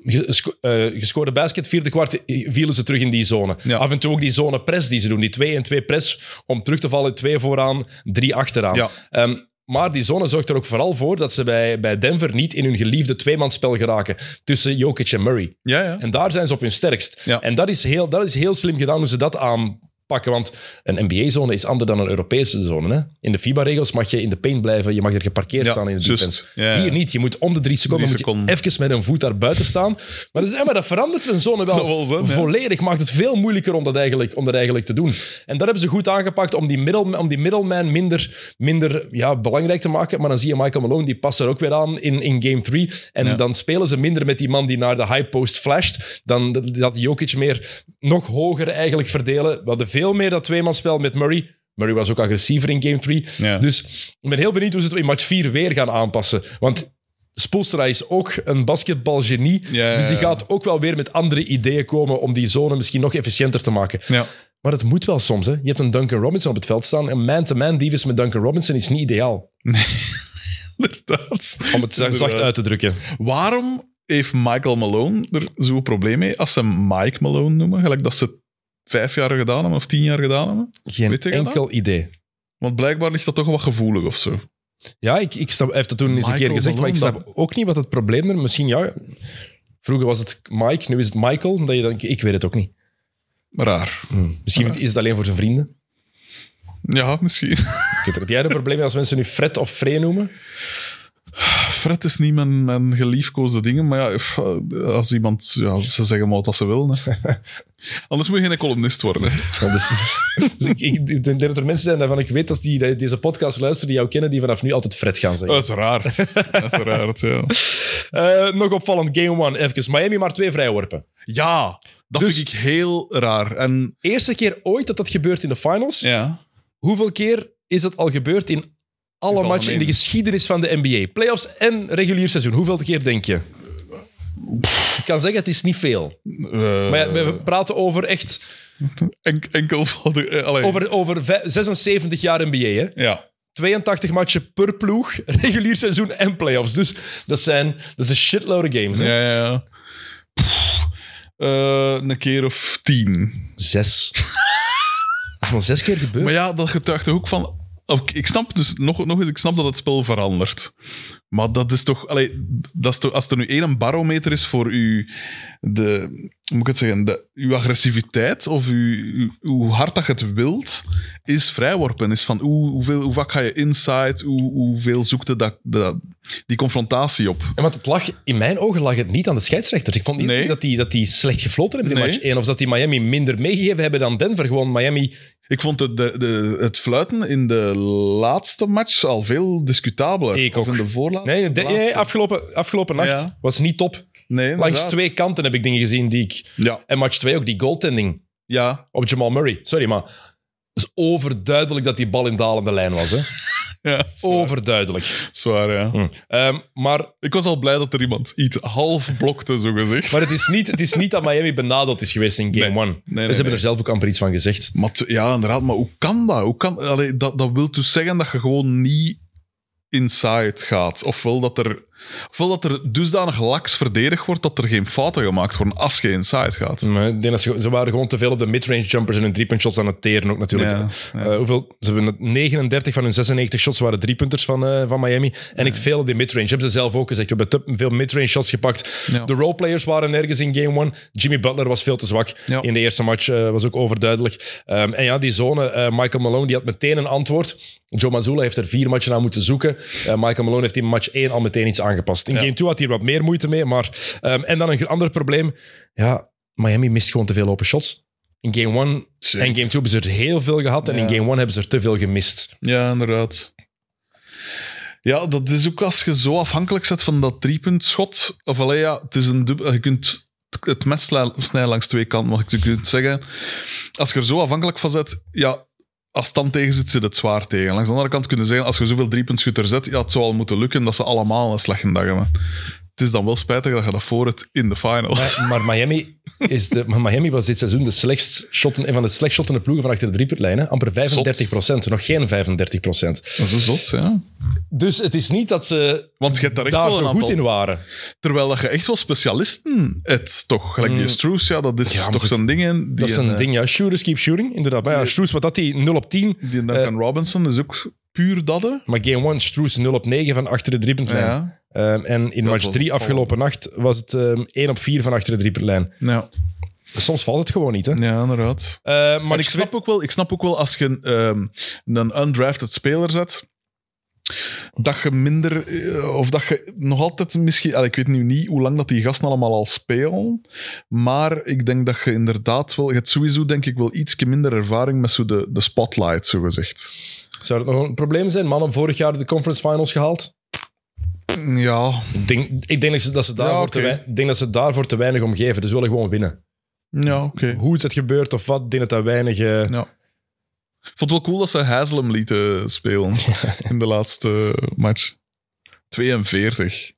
ge- sco- eh, gescoorde basket, vierde kwart, eh, vielen ze terug in die zone.
Ja.
Af en toe ook die zone press die ze doen, die 2 en 2 press, om terug te vallen, 2 vooraan, 3 achteraan.
Ja.
Ehm, maar die zone zorgt er ook vooral voor dat ze bij, bij Denver niet in hun geliefde tweemansspel geraken tussen Jokic en Murray.
Ja, ja.
En daar zijn ze op hun sterkst.
Ja.
En dat is, heel, dat is heel slim gedaan hoe ze dat aanpakken. Want een NBA-zone is anders dan een Europese zone. Hè? In de FIBA-regels mag je in de paint blijven. Je mag er geparkeerd
Ja,
staan in de
juist.
defense.
Ja, ja.
Hier niet. Je moet om de drie seconden,
Drie
Moet je
seconden.
even met een voet daar buiten staan. Maar dat, is, ja, maar dat verandert een zone wel,
Dat wel zo, ja.
volledig. Maakt het veel moeilijker om dat, eigenlijk, om dat eigenlijk te doen. En dat hebben ze goed aangepakt om die, middel, om die middleman minder, minder ja, belangrijk te maken. Maar dan zie je Michael Malone, die past er ook weer aan in, in game 3. En
Ja.
dan spelen ze minder met die man die naar de high post flasht. Dan dat- dat Jokic meer nog hoger eigenlijk verdelen. We hadden veel meer dat tweemanspel met Murray. Murray was ook agressiever in game 3.
Ja.
Dus ik ben heel benieuwd hoe ze het in match 4 weer gaan aanpassen. Want Spoelstra is ook een basketbalgenie.
Ja, ja,
Dus die
ja.
gaat ook wel weer met andere ideeën komen om die zone misschien nog efficiënter te maken.
ja.
Maar dat moet wel soms. Hè. Je hebt een Duncan Robinson op het veld staan. Een man-to-man defense met Duncan Robinson is niet ideaal.
Inderdaad.
Om het zacht
Inderdaad.
uit te drukken.
Waarom heeft Michael Malone er zo'n probleem mee als ze hem Mike Malone noemen? Gelijk dat ze het vijf jaar gedaan hebben of tien jaar gedaan hebben?
Geen
Weet je dat?
enkel idee.
Want blijkbaar ligt dat toch wat gevoelig of zo.
Ja, ik, ik snap, hij heeft dat toen eens een
Michael
keer gezegd, maar ik
Malone,
snap ook niet wat het probleem er... Misschien, ja... Vroeger was het Mike, nu is het Michael. Omdat je dan, ik weet het ook niet.
Raar.
Misschien is het alleen voor zijn vrienden.
Ja, misschien.
Ik weet het. Heb jij er een probleem mee als mensen nu Fred of Frey noemen?
Fred is niet mijn, mijn geliefkoosde dingen, maar ja, f- eh, als iemand... Ja, ze zeggen maar wat ze willen. hè. Anders moet je geen columnist worden. hè.
dus ik, ik, ik denk dat er mensen zijn waarvan ik weet dat die die deze podcast luisteren, die jou kennen, die vanaf nu altijd Fred gaan zeggen.
Uiteraard. Uiteraard, ja.
Eh, nog opvallend, game one, even. Miami maar twee vrijworpen.
Ja, dat
Dus-
vind ik heel raar. En
Eerste keer ooit dat dat gebeurt in de finals.
ja,
Hoeveel keer is dat al gebeurd in alle
algemeen.
matchen in de geschiedenis van de NBA? Playoffs en regulier seizoen. Hoeveel keer denk je? Ik kan zeggen, het is niet veel.
Eh,
Maar ja, we, we praten over echt
enk- enkel van de... eh, allee,
over, over vij- 76 jaar NBA. Hè?
Ja,
82 matchen per ploeg, regulier seizoen en playoffs. Dus dat zijn dat is een shitload of games. Hè?
ja, ja. ja. Pff, eh, een keer of tien.
Zes. dat is maar zes keer gebeurd.
Maar ja, dat getuigt ook van. Oké, ik snap dus nog, nog eens, ik snap dat het spel verandert. Maar dat is toch. Allee, dat is toch als er nu één barometer is voor uw. De, hoe moet ik het zeggen? De, uw agressiviteit of uw, uw- hoe hard dat je het wilt, is vrijworpen. Is van hoe, hoeveel, hoe vaak ga je inside, hoe, hoeveel zoekt je dat, dat, die confrontatie op.
En want het lag, in mijn ogen lag het niet aan de scheidsrechters. Ik vond niet
Nee.
dat, die, dat die slecht gefloten hebben in
Nee.
match 1. Of dat die Miami minder meegegeven hebben dan Denver. Gewoon Miami.
Ik vond het, de, de, het fluiten in de laatste match al veel discutabeler.
Ik
Of
ook.
in de voorlaatste.
Nee, de-
laatste.
nee, afgelopen, afgelopen nacht
Ja.
was niet top.
nee
Langs
inderdaad.
twee kanten heb ik dingen gezien die ik.
Ja,
En match 2 ook, die goaltending
ja.
op Jamal Murray. Sorry, maar. Het is overduidelijk dat die bal in dalende lijn was. Hè?
Ja, zwaar.
Overduidelijk.
Zwaar, ja.
Hm. Ehm, maar
Ik was al blij dat er iemand iets half blokte, zo gezegd.
Maar het is, niet, het is niet dat Miami benadeeld is geweest in game
Nee.
one. Dus
nee,
Ze hebben
nee.
er zelf ook amper iets van gezegd.
Maar t- ja, inderdaad. Maar hoe kan dat? Hoe kan, allee, dat, dat wil dus zeggen dat je gewoon niet inside gaat. Ofwel dat er, ofwel dat er dusdanig laks verdedigd wordt dat er geen fouten gemaakt worden als je inside gaat.
Maar ik denk dat ze, ze waren gewoon te veel op de midrange jumpers en hun driepunt shots aan het teren ook natuurlijk.
Ja,
Eh,
ja.
hoeveel, ze hebben het- 39 van hun 96 shots waren driepunters van, eh, van Miami. En echt veel op die midrange. Hebben ze zelf ook gezegd. We hebben te veel midrange shots gepakt.
Ja.
De roleplayers waren nergens in game one. Jimmy Butler was veel te zwak.
Ja.
In de eerste match eh, was ook overduidelijk. Ehm, en ja, die zone, eh, Michael Malone, die had meteen een antwoord. Joe Mazzulla heeft er vier matchen aan moeten zoeken. Eh, Michael Malone heeft in match 1 al meteen iets aangepast. In
Ja.
game 2 had hij er wat meer moeite mee. Maar, ehm, en dan een gro- ander probleem. Ja, Miami mist gewoon te veel open shots. In game 1
Zeker.
en game 2 hebben ze er heel veel gehad. En in
Ja.
game 1 hebben ze er te veel gemist.
Ja, inderdaad. Ja, dat is ook als je zo afhankelijk zet van dat driepuntschot. Of allee, ja, het is een dubbel. Je kunt het mes sla- snijden langs twee kanten, mag ik je kunt zeggen. Als je er zo afhankelijk van zet, ja, als het dan tegen zit, zit het zwaar tegen. Langs de andere kant kunnen zeggen, als je zoveel driepuntschutter zet, ja, het zou al moeten lukken dat ze allemaal een slechte dag hebben. Het is dan wel spijtig dat je dat voor het in de finals.
Maar, maar Miami, is de, maar Miami was dit seizoen de slechtst shotten, een van de slecht shottende ploegen van achter de driepuntlijn. hè. Amper 35 nog geen 35
Dat is zot, ja.
Dus het is niet dat ze
Want je hebt daar echt
daar
wel een
zo goed
aantal-
in waren.
Terwijl dat je echt wel specialisten hebt, toch? Gelijk die Struus, ja, dat is
Ja, maar
toch
dat-
zo'n ding. hè, Die
Dat is
een,
een
eh,
ding, ja. Shooters keep shooting, inderdaad. Maar ja, Stroes, wat had hij? 0 op 10.
Die
eh,
Duncan Robinson is ook puur dat. hè.
Maar game 1, Stroes 0 op 9 van achter de driepuntlijn.
Ja.
Ehm, en in match
was
3
opvallend.
afgelopen nacht was het ehm 1 op 4 van achter de driepuntlijn.
Ja.
Soms valt het gewoon niet, hè.
ja, inderdaad.
Eh, maar
Maar
ik
ik snap, ook wel, ik snap ook wel als je ehm, een undrafted speler zet, dat je minder, eh, of dat je nog altijd misschien, allee, ik weet nu niet hoe lang dat die gasten allemaal al spelen, maar ik denk dat je inderdaad wel, je hebt sowieso denk ik wel ietsje minder ervaring met zo de, de spotlight, zo gezegd.
Zou dat nog een probleem zijn? Mannen vorig jaar de conference finals gehaald.
Ja,
Ik denk, ik denk, dat, ze, dat, ze daarvoor
oké.
te wei- ik denk dat ze daarvoor te weinig om geven. Dus ze willen gewoon winnen.
ja oké.
Hoe het gebeurt of wat, ik denk dat dat weinig... eh,
Ja. Ik vond het wel cool dat ze Haslem lieten spelen in de laatste match. 42.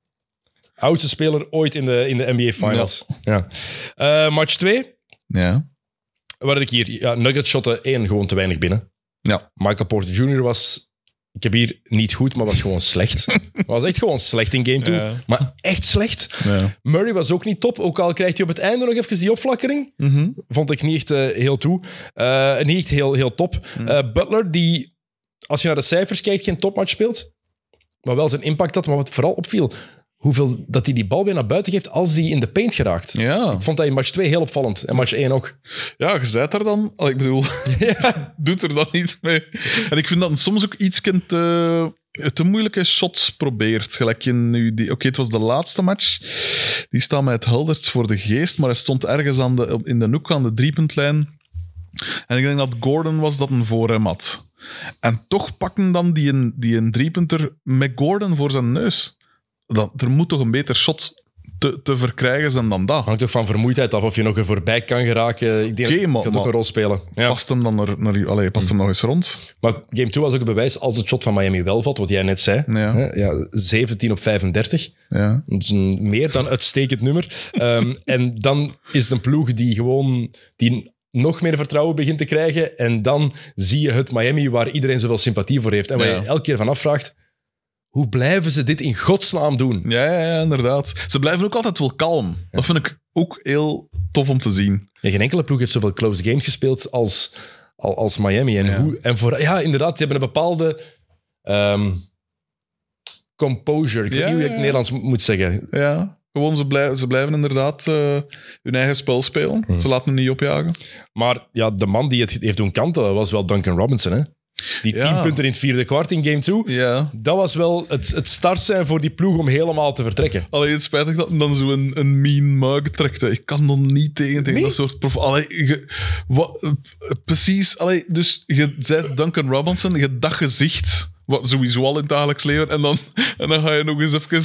Oudste speler ooit in de, in de NBA finals. Ja. Eh, match 2,
Ja.
waar had ik hier... Ja, Nuggets shotten 1 gewoon te weinig binnen.
Ja.
Michael Porter Jr. was... Ik heb hier niet goed, maar was gewoon slecht. was echt gewoon slecht in game 2.
Ja.
Maar echt slecht. Murray was ook niet top, ook al krijgt hij op het einde nog even die opflakkering. vond ik niet echt eh, heel toe. Eh, niet echt heel, heel top.
Hmm.
Eh, Butler, die als je naar de cijfers kijkt, geen topmatch speelt. Maar wel zijn impact had. Maar wat vooral opviel, hoeveel dat hij die bal weer naar buiten geeft als hij in de paint geraakt.
Ja.
Ik vond dat in match 2 heel opvallend. En match 1 ook.
ja, je zet er dan. Allee, Ik bedoel, doet er dan niet mee. En ik vind dat soms ook iets te, te moeilijke shots probeert. Gelijk in nu die. Oké, het was de laatste match. Die staat mij het helderst voor de geest. Maar hij stond ergens aan de, in de noek aan de driepuntlijn. En ik denk dat Gordon was dat een voor hem had. En toch pakken dan die een, die een driepunter met Gordon voor zijn neus. Dat, er moet toch een beter shot te, te verkrijgen zijn dan dat.
Hangt toch van vermoeidheid af of je nog er voorbij kan geraken. Ik denk
Oké,
dat
maar-
dat ook
maar-
een rol spelen. Ja.
Past hem dan naar, naar, allee, past hem nog eens rond?
Maar game 2 was ook een bewijs als het shot van Miami wel valt, wat jij net zei.
Ja.
Hè, ja 17 op 35.
Ja.
Dat is een meer dan uitstekend nummer. Ehm, en dan is het een ploeg die gewoon die nog meer vertrouwen begint te krijgen. En dan zie je het Miami waar iedereen zoveel sympathie voor heeft. En waar
Ja.
je elke keer van afvraagt, hoe blijven ze dit in godsnaam doen?
Ja, ja, ja, inderdaad. Ze blijven ook altijd wel kalm. Dat vind ik ook heel tof om te zien.
Ja, geen enkele ploeg heeft zoveel close games gespeeld als, al- als Miami. En,
Ja.
Hoe, en voor, ja, inderdaad, die hebben een bepaalde ehm, composure. Ik weet
Ja,
niet hoe je het
ja, ja.
Nederlands mo- moet zeggen.
Ja, gewoon ze, blij- ze blijven inderdaad eh, hun eigen spel spelen. Ze laten hem niet opjagen.
Maar ja, de man die het heeft doen kantelen was wel Duncan Robinson. Hè? Die tien
Ja.
punten in het vierde kwart in game 2.
Ja.
Dat was wel het, het start zijn voor die ploeg om helemaal te vertrekken.
Alleen het spijtig dat hij dan zo'n een, mean mug trekt. hè. Ik kan nog niet tegen, tegen
Nee?
dat soort prof. Allee, je- wat, eh, precies. Allee, dus je zei Duncan Robinson, je dat gezicht. Wat sowieso al in het dagelijks leven. En dan, en dan ga je nog eens even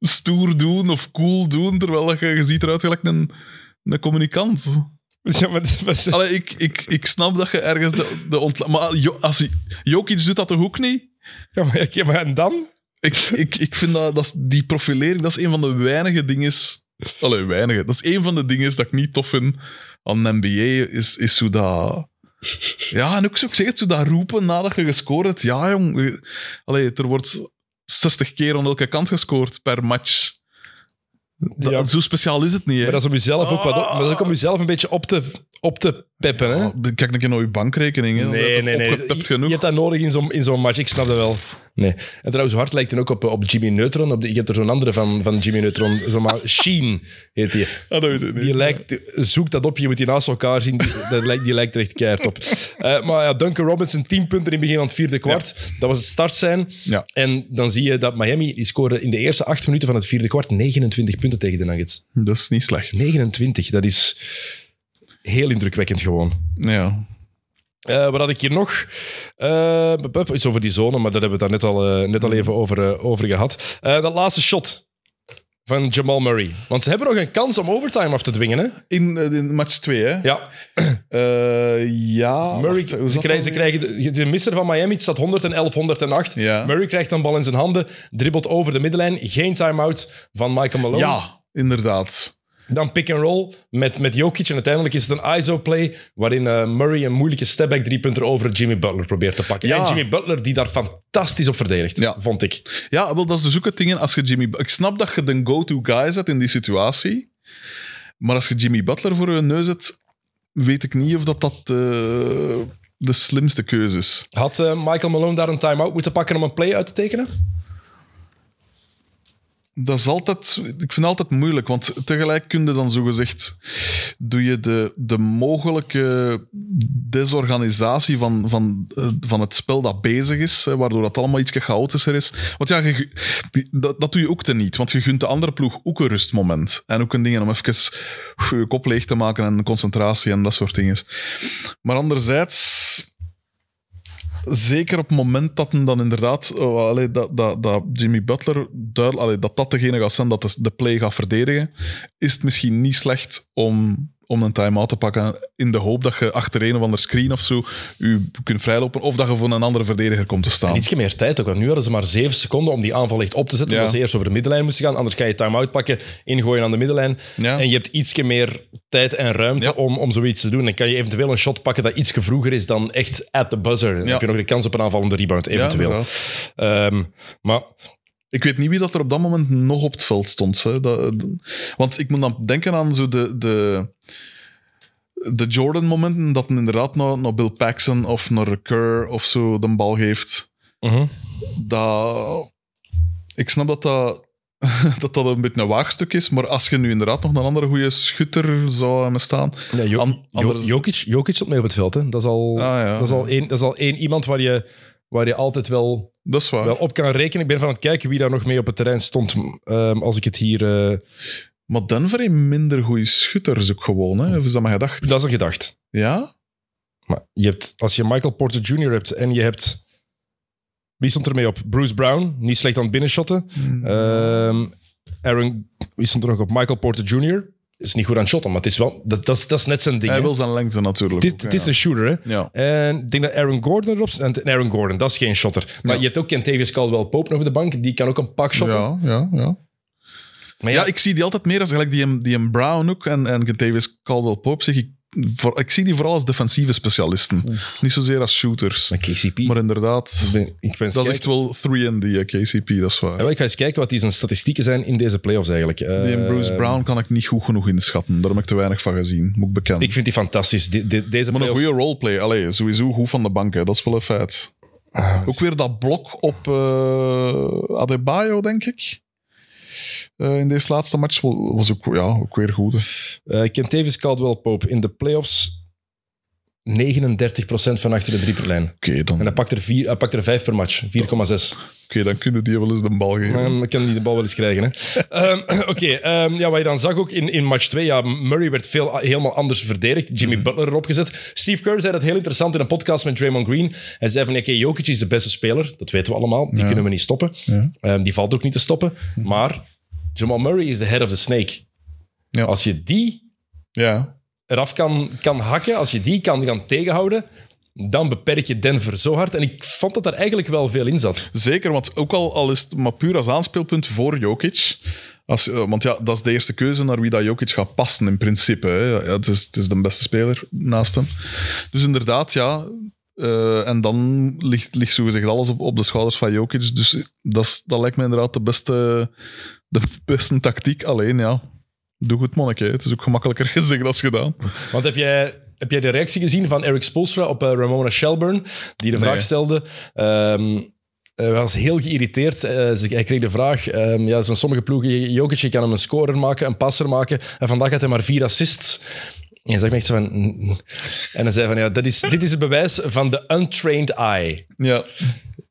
stoer doen of cool doen. Terwijl dat je, je ziet eruit gelijk een, een communicant.
Ja, maar,
Allee, ik, ik, ik snap dat je ergens de, de ontla- Maar Jo- als hij, Jokic doet dat toch ook niet?
ja, maar en dan?
Ik, ik, ik vind dat, dat is- die profilering, dat is een van de weinige dingen. Allee, weinige. Dat is een van de dingen dat ik niet tof vind aan de NBA. Is, is hoe dat. Ja, en ook zo, ik zeg het, hoe dat roepen nadat je gescoord hebt. Ja, jong. je- Allee, er wordt 60 keer aan elke kant gescoord per match. Dat-
Ja.
Zo speciaal is het niet, hè?
Maar dat is om jezelf ook, wat
Ah.
op, maar dat is ook om jezelf een beetje op te, op te peppen. Hè?
Oh, Kijk een keer naar je bankrekening. Hè. Dat
Nee,
is
nee, nee.
opgepept
Je, je
genoeg.
hebt dat nodig in zo'n in zo'n match. Ik snap dat wel. Nee. En trouwens, hard lijkt het ook op, op Jimmy Neutron. Op de, je hebt er zo'n andere van, van Jimmy Neutron. Zomaar Sheen heet die.
Ah, dat weet ik niet.
Die lijkt, zoek dat op, je moet die naast elkaar zien. Die, dat lijkt, die lijkt er echt keihard op. Eh, maar ja, Duncan Robinson, 10 punten in het begin van het vierde kwart. Dat was het start zijn.
Ja.
En dan zie je dat Miami, die scoorde in de eerste acht minuten van het vierde kwart 29 punten tegen de Nuggets.
Dat is niet slecht.
29, dat is heel indrukwekkend gewoon.
Ja.
Eh, wat had ik hier nog? Eh, bup, bup, iets over die zone, maar daar hebben we het daar net al, eh, net al even over, eh, over gehad. Eh, dat laatste shot van Jamal Murray. Want ze hebben nog een kans om overtime af te dwingen, hè?
In, eh, in match 2, hè?
Ja.
Eh, ja.
Murray,
wacht, hoe zat
ze, krijgen,
dat
ze
weer?
krijgen de, de misser van Miami, het staat 111, 108.
Ja.
Murray krijgt een bal in zijn handen, dribbelt over de middenlijn, geen time-out van Michael Malone.
Ja, inderdaad.
Dan pick-and-roll met, met Jokic en uiteindelijk is het een ISO-play waarin eh, Murray een moeilijke stepback driepunter over Jimmy Butler probeert te pakken.
Ja.
En Jimmy Butler die daar fantastisch op verdedigt,
Ja.
vond ik.
Ja, wel, dat is dus ook het ding. hè, Als je Jimmy, ik snap dat je de go-to guy zet in die situatie. Maar als je Jimmy Butler voor je neus zet, weet ik niet of dat, dat eh, de slimste keuze is.
Had eh, Michael Malone daar een time-out moeten pakken om een play uit te tekenen?
Dat is altijd, ik vind het altijd moeilijk, want tegelijk kun je dan zogezegd, doe je de, de mogelijke desorganisatie van, van, eh, van het spel dat bezig is, hè, waardoor dat allemaal iets chaotischer is. Want ja, je gu- die- dat, dat doe je ook teniet, want je gunt de andere ploeg ook een rustmoment. En ook een ding om even je kop leeg te maken en concentratie en dat soort dingen. Maar anderzijds, zeker op het moment dat hem dan inderdaad, oh, allee, dat, dat, dat Jimmy Butler duidelijk, allee, dat dat degene gaat zijn dat de, de play gaat verdedigen, is het misschien niet slecht om, om een time-out te pakken in de hoop dat je achter een of ander screen of zo u kunt vrijlopen of dat je voor een andere verdediger komt te
En
staan.
ietsje meer tijd ook, want nu hadden ze maar zeven seconden om die aanval echt op te zetten.
Ja.
Omdat ze eerst over de middenlijn moesten gaan, anders kan je time-out pakken, ingooien aan de middenlijn.
Ja.
En je hebt ietsje meer tijd en ruimte
Ja.
om, om zoiets te doen. Dan kan je eventueel een shot pakken dat ietsje vroeger is dan echt at the buzzer. Dan
Ja.
heb je nog de kans op een aanvallende rebound, eventueel.
Ja, inderdaad.
Ehm, maar
Ik weet niet wie dat er op dat moment nog op het veld stond. Hè. Dat, want ik moet dan denken aan zo de, de, de Jordan-momenten, dat men inderdaad naar, naar Bill Paxson of naar Kerr of zo de bal geeft.
mhm.
Dat, ik snap dat dat, dat dat een beetje een waagstuk is, maar als je nu inderdaad nog een andere goede schutter zou hebben staan...
ja, Jo-
An-
Jo-
anders-
Jokic, Jokic stond mee op het veld. Hè. Dat, is al,
Ah, ja.
Oh, dat, is al één, dat is al één iemand waar je, waar je altijd wel,
Dat is waar.
wel op kan rekenen. Ik ben van het kijken wie daar nog mee op het terrein stond. ehm, als ik het hier... eh,
Maar Denver heeft minder goede schutters ook gewoon, hè. Of is dat maar gedacht?
dat is een gedacht.
Ja?
Maar je hebt, als je Michael Porter Jr. hebt en je hebt... Eh, Wie stond er mee op? Bruce Brown, niet slecht aan het binnenshotten. Ehm, Aaron, wie stond er nog op? Michael Porter Jr. Is niet goed aan het shotten, maar het is wel, dat, dat, is, dat is net zijn ding.
Hij
hè.
wil zijn lengte natuurlijk.
Het is,
ook,
het
ja.
is een shooter, hè?
Ja.
En ik denk dat Aaron Gordon erop staat. En Aaron Gordon, dat is geen shotter. Maar
Ja.
je hebt ook Kentavious Caldwell Pope nog op de bank. Die kan ook een pak shotten.
Ja, ja, ja.
Maar
Ja, ik zie die altijd meer als gelijk die, M- die M. Brown ook en, en Davis Caldwell Pope. Zeg ik, voor, ik zie die vooral als defensieve specialisten. Niet zozeer als shooters.
Maar KCP.
Maar inderdaad,
ik ben, ik ben eens
dat is
kijken-
echt wel 3D, eh, KCP, dat is
Ja,
waar.
wel, ik ga eens kijken wat die zijn statistieken zijn in deze playoffs eigenlijk. Eh,
Die en Bruce Brown kan ik niet goed genoeg inschatten. Daar heb ik te weinig van gezien, moet ik bekennen.
Ik vind die fantastisch. De- de- deze
maar een
playoffs.
goede roleplay, allee, sowieso goed van de bank, hè. dat is wel een feit.
Ah,
Ook weer dat blok op eh, Adebayo, denk ik. Eh, in deze laatste match wa- was ook, ja, ook weer goed. hè.
eh, Kentavious Caldwell Pope in de playoffs 39% van achter de drieperlijn.
Oké, dan,
En hij pakt er, vier, hij pakt er vijf per match. 4,6.
oké, dan kunnen die wel eens de bal geven.
Ehm, Ik kan die de bal wel eens krijgen. hè. Ehm, Oké, ehm, ja, wat je dan zag ook in, in match 2, ja, Murray werd veel, ah, helemaal anders verdedigd. Jimmy
Mhm.
Butler erop gezet. Steve Kerr zei dat heel interessant in een podcast met Draymond Green. Hij zei van, oké, Jokic is de beste speler. Dat weten we allemaal. Die kunnen we niet stoppen.
Ja. Mhm.
Ehm, die valt ook niet te stoppen. Maar Jamal Murray is de head of the snake.
Ja.
Als je die
Ja,
eraf kan, kan hakken, als je die kan gaan tegenhouden, dan beperk je Denver zo hard. En ik vond dat daar eigenlijk wel veel in zat.
zeker. Want ook al, al is het maar puur als aanspeelpunt voor Jokic. Als, eh, want ja, dat is de eerste keuze naar wie dat Jokic gaat passen in principe. Hè. Ja, het, is, het is de beste speler naast hem. Dus inderdaad, ja. eh, en dan ligt, ligt zogezegd alles op, op de schouders van Jokic. Dus dat, is- dat lijkt me inderdaad de beste, de beste tactiek. Alleen ja, doe goed monnik. hè. Het is ook gemakkelijker gezegd dan gedaan.
Want heb jij, heb jij de reactie gezien van Eric Spoelstra op eh, Ramona Shelburne, die de vraag
Nee.
stelde... ehm, hij was heel geïrriteerd. Eh, ze- hij kreeg de vraag: ehm, ja, er zijn sommige ploegen. Jokic je kan hem een scorer maken, een passer maken. En vandaag had hij maar vier assists. En hij zegt me echt zo van. "Mm, mm." En hij zei van: ja, dat is, dit is het bewijs van de untrained eye.
Ja,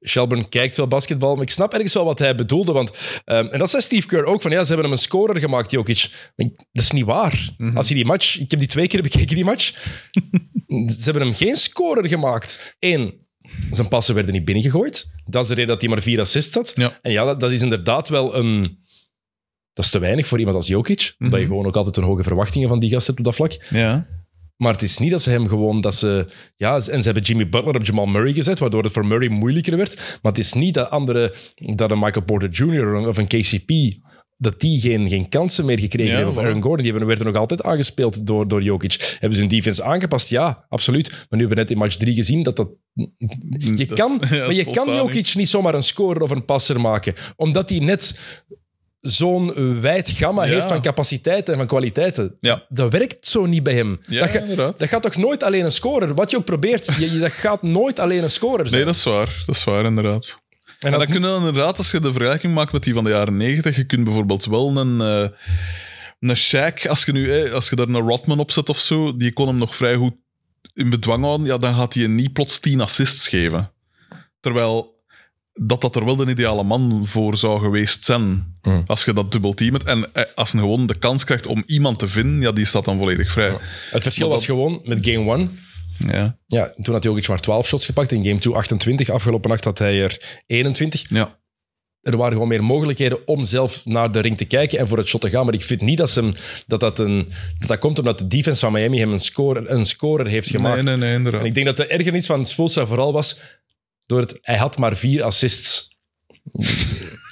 Shelburne kijkt wel basketbal, maar ik snap ergens wel wat hij bedoelde. Want, ehm, en dat zei Steve Kerr ook, van ja, ze hebben hem een scorer gemaakt, Jokic. Maar ik- dat is niet waar. Als je die match, ik heb die twee keer bekeken, die match. ze hebben hem geen scorer gemaakt. Eén, zijn passen werden niet binnengegooid. Dat is de reden dat hij maar vier assists had.
Ja.
En ja, dat, dat is inderdaad wel een... Dat is te weinig voor iemand als Jokic. Dat je gewoon ook altijd een hoge verwachtingen van die gast hebt op dat vlak.
ja.
Maar het is niet dat ze hem gewoon dat ze. Ja, en ze hebben Jimmy Butler op Jamal Murray gezet, waardoor het voor Murray moeilijker werd. Maar het is niet dat andere, dat een Michael Porter Jr. of een KCP. Dat die geen, geen kansen meer gekregen
Ja,
hebben. Of
voilà.
Aaron Gordon, die hebben, werden nog altijd aangespeeld door, door Jokic. Hebben ze hun defense aangepast? Ja, absoluut. Maar nu hebben we net in match 3 gezien dat dat... Je kan,
Ja,
maar je
volstaat
kan
niet.
Jokic niet zomaar een scorer of een passer maken. Omdat hij net zo'n wijd gamma
Ja.
heeft van capaciteiten en van kwaliteiten.
Ja.
Dat werkt zo niet bij hem.
Ja,
dat, ga-
inderdaad.
dat gaat toch nooit alleen een scorer? Wat je ook probeert, je, je- dat gaat nooit alleen een scorer zijn.
Nee, dat is waar. Dat is waar, inderdaad.
en
Maar
dat,
dan kunnen we inderdaad, als je de vergelijking maakt met die van de jaren 90, je kunt bijvoorbeeld wel een, eh een Shaq, als je, nu, eh, als je daar een Rodman op zet of zo, die kon hem nog vrij goed in bedwang houden, ja, dan gaat hij niet plots 10 assists geven. Terwijl dat dat er wel de ideale man voor zou geweest zijn.
Mm.
Als je dat dubbelteamt en eh, als hij gewoon de kans krijgt om iemand te vinden, ja, die staat dan volledig vrij.
het verschil
maar
was gewoon met game 1.
Ja.
Ja, toen had Jokic maar 12 shots gepakt. In game 2 28. Afgelopen nacht had hij er 21.
ja.
er waren gewoon meer mogelijkheden om zelf naar de ring te kijken en voor het shot te gaan. Maar ik vind niet dat ze hem, dat, dat, een, dat, dat komt omdat de defense van Miami hem een scorer, een scorer heeft gemaakt.
Nee, nee, nee, inderdaad.
En ik denk dat de ergernis van Spoelstra vooral was door het... Hij had maar vier assists.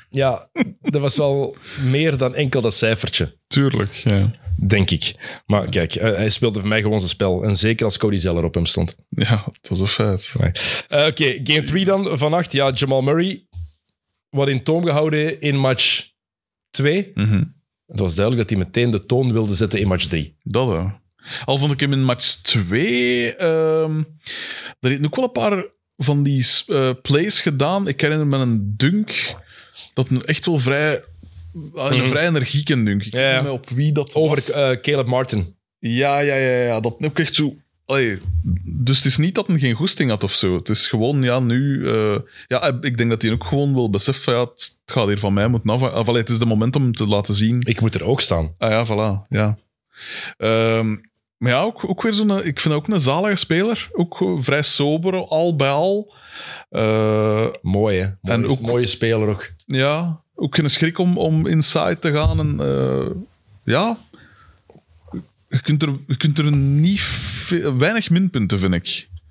ja, dat was wel meer dan enkel dat cijfertje,
Tuurlijk, ja.
denk ik. Maar kijk, eh, hij speelde voor mij gewoon zijn spel. En zeker als Cody Zeller op hem stond.
Ja, dat is een feit.
Nee. Eh, Oké, game 3 dan vannacht. Ja, Jamal Murray wat in toom gehouden in match 2.
Mhm.
Het was duidelijk dat hij meteen de toon wilde zetten in match 3.
Dat hè. Al vond ik hem in match 2. ehm er heeft ook wel een paar van die eh, plays gedaan. Ik herinner me een dunk. Dat een echt wel vrij. Een
Mhm.
vrij energieke dunk. Ik
Ja,
weet
ja.
niet meer op wie dat
Over
was.
eh, Caleb Martin.
Ja, ja, ja, ja. Dat ook echt zo. Allee, dus het is niet dat hij geen goesting had of zo. Het is gewoon, ja, nu. eh, ja, ik denk dat hij ook gewoon wil beseffen. van, Ja, het het gaat hier van mij moeten af. Of, allee, het is de moment om hem te laten zien.
Ik moet er ook staan.
Ah ja, voilà. Ja. Ehm, maar ja, ook, ook weer zo'n... eh, Ik vind ook een zalige speler. Ook eh, vrij sober, al bij al. Eh,
Mooi, hè? Mooi,
En ook-
mooie speler ook.
ja. ook geen schrik om, om inside te gaan. En, eh, ja, je kunt er, je kunt er niet ve- weinig minpunten, vind ik.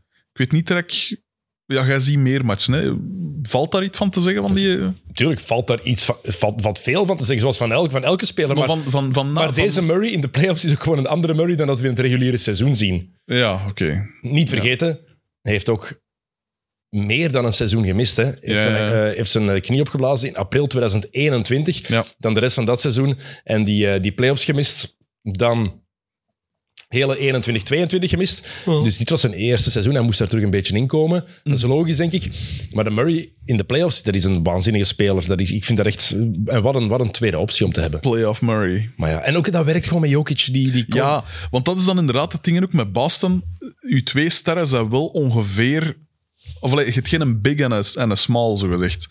Ik weet niet direct... Ja, jij ziet meer matchen. Hè. Valt daar iets van te zeggen? Van die,
Natuurlijk valt daar iets van, valt, valt veel van te zeggen, zoals van, elk, van elke speler. Maar,
van, van, van,
maar
van-
deze Murray in de playoffs is ook gewoon een andere Murray dan dat we in het reguliere seizoen zien.
Ja, oké.
Niet vergeten, hij heeft ook meer dan een seizoen gemist. Hè. Hij Heeft,
Ja,
zijn,
ja,
eh, heeft zijn eh, knie opgeblazen in april 2021.
Ja.
Dan de rest van dat seizoen. En die, eh, die playoffs gemist. Dan hele 21-22 gemist. Dus dit was zijn eerste seizoen. Hij moest daar terug een beetje inkomen. Dat is logisch, denk ik. Maar de Murray in de playoffs, dat is een waanzinnige speler. Dat is, ik vind dat echt... En wat een, wat een tweede optie om te hebben.
Playoff Murray.
Maar ja, en ook dat werkt gewoon met Jokic. Die, die
Ja, want dat is dan inderdaad het ding ook met Boston. Uw twee sterren zijn wel ongeveer. Of allee, je hebt geen een big en een, en een small, zogezegd.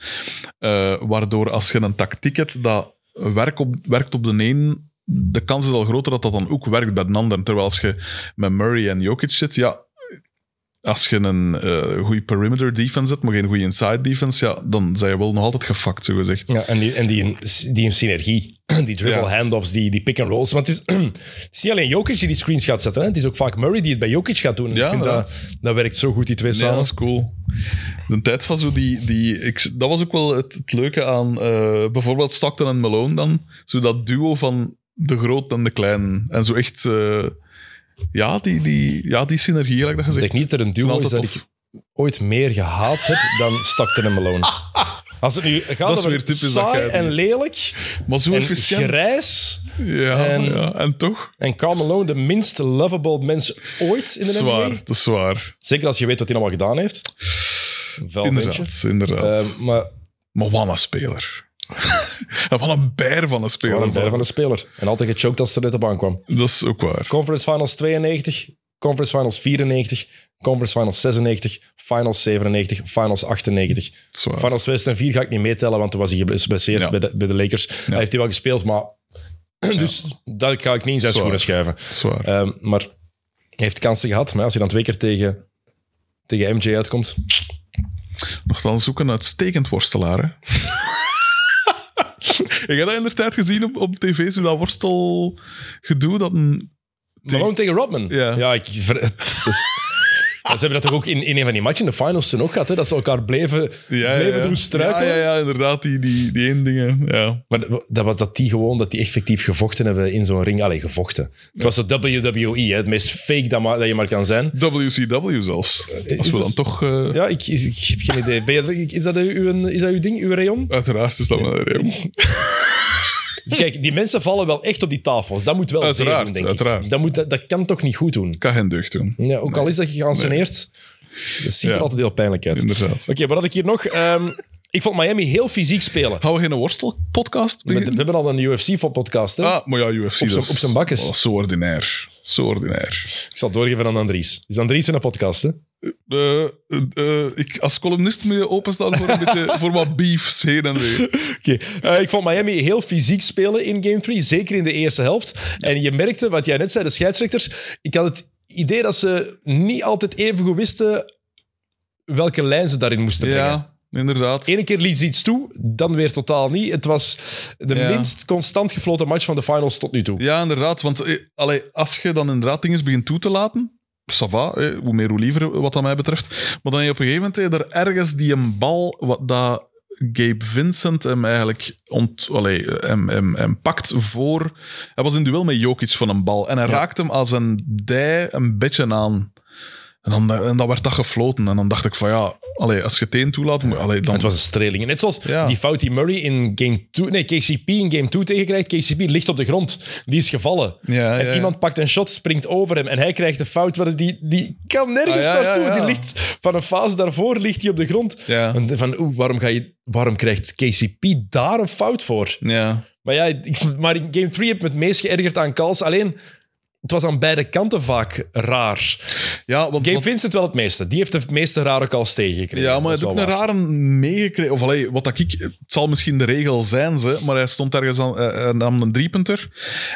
Eh waardoor als je een tactiek hebt dat werkt op, werkt op de een, de kans is al groter dat dat dan ook werkt bij de ander. Terwijl als je met Murray en Jokic zit, ja. Als je een eh goede perimeter defense hebt, maar geen goede inside defense, ja, dan zijn je wel nog altijd gefakt, zogezegd.
Ja, en die, en die, die synergie, die dribble
Ja.
handoffs, die, die pick and rolls. Want het is, het is niet alleen Jokic die die screens gaat zetten. Hè? Het is ook vaak Murray die het bij Jokic gaat doen. En
Ja,
ik vind dat, dat werkt zo goed, die twee
Ja,
samen.
dat is cool. De tijd van zo die... die ik, dat was ook wel het, het leuke aan eh, bijvoorbeeld Stockton en Malone dan. Zo dat duo van de groot en de klein. En zo echt... eh, ja, die, die, ja, die synergie, gelijk dat
Ik
gezegd.
denk niet dat er een duo is
altijd
dat
tof.
ik ooit meer gehaat heb dan Stockton en Malone. Als het nu gaat
Dat is
over
weer typisch dat
saai
jij het
en
doet.
lelijk
Maar zo
en
efficiënt.
grijs
Ja,
en-
en, ja, en toch?
en Karl Malone de minst lovable mens ooit in de
Zwaar,
NBA.
dat is zwaar.
Zeker als je weet wat hij allemaal gedaan heeft. Wel, weet je.
Inderdaad, inderdaad.
Eh, maar
maar wat een speler. en wat een bijer van een speler.
wel een ver van de speler. En altijd gechoked als ze er uit de baan kwam.
Dat is ook waar.
Conference Finals 92, Conference Finals 94, Conference Finals 96, Finals 97, Finals 98.
Dat is waar.
Finals 2004 ga ik niet meetellen, want toen was hij geblesseerd
Ja.
bij, de, bij de Lakers. Hij heeft hij wel gespeeld, maar... dus dat ga ik niet in zijn
Zwaar.
schoenen schuiven.
Dat is waar.
Ehm, maar hij heeft kansen gehad, maar als je dan twee keer tegen, tegen MJ uitkomt...
Nochtans ook een uitstekend worstelaar. Hè? Ik heb dat in de tijd gezien op, op tv, zo dat worstelgedoe. Dat een...
Malone tegen Rodman.
Ja.
ik... ver- het is- Ja, ze hebben dat toch ook in, in een van die matchen, in de finals toen ook gehad, hè, dat ze elkaar bleven, bleven doen struikelen.
Ja, ja, ja, inderdaad, die, die, die één dingen. Ja.
Maar dat- dat was dat die gewoon, dat die effectief gevochten hebben in zo'n ring. Allee, gevochten. Het was de WWE, hè, het meest fake dat, ma- dat je maar kan zijn.
WCW zelfs. Als
is
we dan
het-
toch... eh,
Ja, ik, is, ik heb geen idee. Ben je- ik- is, dat uw, uw- is dat uw ding, uw rayon?
Uiteraard is dat wel een reden.
Dus kijk, die mensen vallen wel echt op die tafels. Dat moet wel zeer
Uiteraard,
doen, denk ik.
uiteraard.
Dat, moet, dat, dat kan toch niet goed doen?
kan geen deugd doen.
Ja, ook al is dat geanceneerd, dat ziet er
Ja.
altijd heel pijnlijk uit. Oké,
Inderdaad.
wat had ik hier nog? Ehm, ik vond Miami heel fysiek spelen.
Gaan we geen worstelpodcast
We, we
beginnen?
hebben al een UFC-podcast. hè
Ah, maar ja, UFC.
Op z'n- op z'n bakkes.
Oh, zo ordinair. Zo ordinair.
Ik zal het doorgeven aan Andries. Is Andries in een podcast, hè?
Eh, eh, eh, ik, als columnist moet je openstaan voor een beetje voor wat beefs heen en weer.
Oké, eh, ik vond Miami heel fysiek spelen in Game 3, zeker in de eerste helft. En je merkte, wat jij net zei, de scheidsrechters, ik had het idee dat ze niet altijd even goed wisten welke lijn ze daarin moesten brengen.
Ja, inderdaad.
Ene keer liet ze iets toe, dan weer totaal niet. Het was de
Ja.
minst constant gefloten match van de finals tot nu toe.
Ja, inderdaad. Want eh, allee, als je dan inderdaad dingen begint toe te laten, ça va, eh, hoe meer hoe liever, wat dat mij betreft. Maar dan heb je op een gegeven moment eh, daar ergens die een bal, wat dat Gabe Vincent hem eigenlijk ont, allee, eh, hem, hem, hem pakt voor... Hij was in duel met Jokic van een bal. En hij raakte hem als een dij een beetje aan. En dan, en dan werd dat gefloten. En dan dacht ik van ja, allee, als je het één toelaat... moet- Allee, dan,
Het was een streling. Net zoals
Ja.
die fout die Murray in game 2, nee, KCP in game 2 tegenkrijgt. KCP ligt op de grond. Die is gevallen.
Ja,
en
ja, ja.
iemand pakt een shot, springt over hem en hij krijgt de fout. want Die, die kan nergens
Ah, ja, ja,
naartoe.
ja.
Die ligt van een fase daarvoor ligt hij op de grond.
Ja.
En van, oeh, waarom, ga je, waarom krijgt KCP daar een fout voor?
Ja.
Maar ja, ik- maar in game 3 heb ik me het meest geërgerd aan Kals. Alleen het was aan beide kanten vaak raar.
Ja, want,
Gabe
want-
Vincent wel het meeste. Die heeft de meeste rare calls tegengekregen.
ja, maar
Dat
hij
is
heeft ook
wel
een
waar.
rare meegekregen. Of allee, wat dat ik... Het zal misschien de regel zijn, ze, maar hij stond ergens aan, eh, eh, nam een driepunter.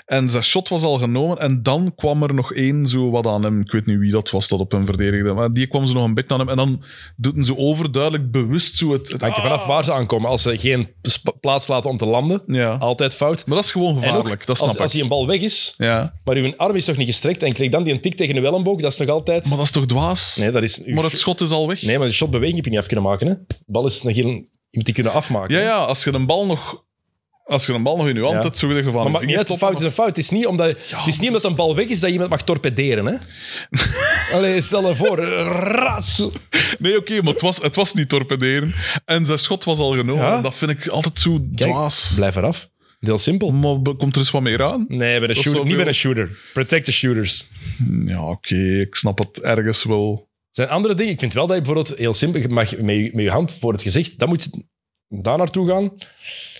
En zijn shot was al genomen. En dan kwam er nog één zo wat aan hem. Ik weet niet wie dat was dat op hem verdedigde. Maar die kwam ze nog een beetje aan hem. En dan doet hij zo overduidelijk bewust zo het... het
Hangt er vanaf waar ze aankomen. Als ze geen sp- plaats laten om te landen,
Ja.
altijd fout.
Maar dat is gewoon
En ook,
gevaarlijk. dat snap
als,
ik.
als hij een bal weg is,
Ja.
maar uw arm is toch niet gestrekt en krijgt dan die een tik tegen uw elleboog, dat is toch altijd...
Maar dat is toch dwaas?
nee, dat is... uw
maar het
sh-
schot is al weg.
Nee, maar de shotbeweging heb je niet af kunnen maken. Hè? De bal is nog heel... Je moet die kunnen afmaken.
Ja, ja, als je een bal nog... Als je een bal nog in je hand
Ja.
hebt, zo je van...
Maar maakt niet uit, een fout is een fout. Het is niet omdat, het is niet omdat een bal weg is dat je iemand mag torpederen. Hè? Allee, stel je voor. Rats.
Nee, oké, maar het was, het was niet torpederen. En zijn schot was al genomen.
Ja?
En Dat vind ik altijd zo
Kijk,
dwaas.
blijf eraf. Heel simpel.
Maar be- komt er eens wat meer aan?
Nee, bij de
is
shooter,
wel
niet bij
veel.
een shooter. Protect the shooters.
Ja, oké, ik snap het ergens wel.
Er zijn andere dingen. Ik vind wel dat je bijvoorbeeld heel simpel je mag met je, met je hand voor het gezicht. Dan moet je daar naartoe gaan.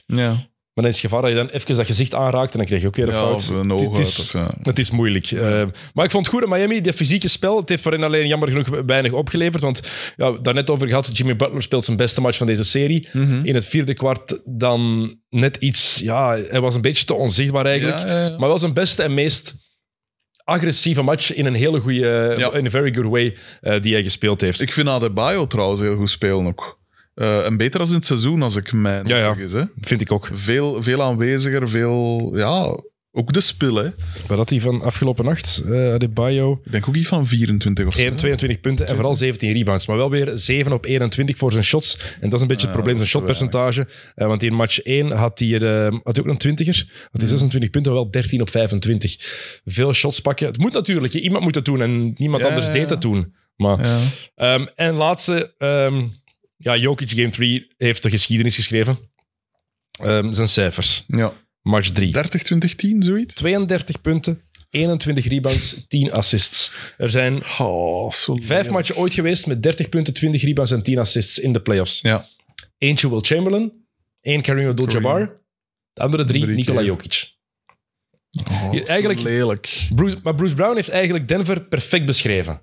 Maar
Ja.
dan is het gevaar dat je dan even dat gezicht aanraakt en dan krijg je ook weer een
Ja,
fout.
of een
Het-
oog
het
uit,
is-
of ja.
Het is moeilijk. Eh, maar ik vond het goed in Miami, dat fysieke spel. Het heeft voor hen alleen jammer genoeg weinig opgeleverd. Want ja, daarnet over gehad, Jimmy Butler speelt zijn beste match van deze serie.
Hm.
In het vierde kwart dan net iets... Ja, hij was een beetje te onzichtbaar eigenlijk.
Ja, ja, ja.
Maar wel zijn beste en meest agressieve match in een hele goede...
Ja.
In a very good way eh, die hij gespeeld heeft.
Ik vind Adebayo trouwens heel goed spelen ook. Eh, en beter als in het seizoen, als ik mij niet
Ja, ja.
vergis. Hè.
Vind ik ook.
Veel, veel aanweziger, veel... Ja, ook de spil, hè.
Wat had hij van afgelopen nacht? eh Adebayo.
Ik denk ook iets van 24 of zo.
1, 22 punten en vooral 17 rebounds. Maar wel weer 7 op 21 voor zijn shots. En dat is een beetje het
Ja,
probleem,
dat
zijn
is te
shotpercentage. Eh, want in match 1 had hij, er, eh, had hij ook een 20er. Had hij
Mhm.
26 punten, maar wel 13 op 25. Veel shots pakken. Het moet natuurlijk, hè. iemand moet dat doen en niemand
Ja,
anders
ja,
deed
ja.
dat toen. Maar,
Ja.
ehm, en laatste, ehm, ja, Jokic Game 3 heeft de geschiedenis geschreven. Ehm, zijn cijfers.
ja.
Match 3.
30, 20, 10, zoiets?
32 punten, 21 rebounds, 10 assists. Er zijn
Oh, zo
Vijf
lelijk.
matchen ooit geweest met 30 punten, 20 rebounds en 10 assists in de playoffs.
Ja.
Eentje Will Chamberlain, één Kareem Abdul-Jabbar, de andere drie,
Drie
Nikola
keer.
Jokic.
Oh,
Je-
zo
eigenlijk-
lelijk.
Bruce, maar Bruce Brown heeft eigenlijk Denver perfect beschreven.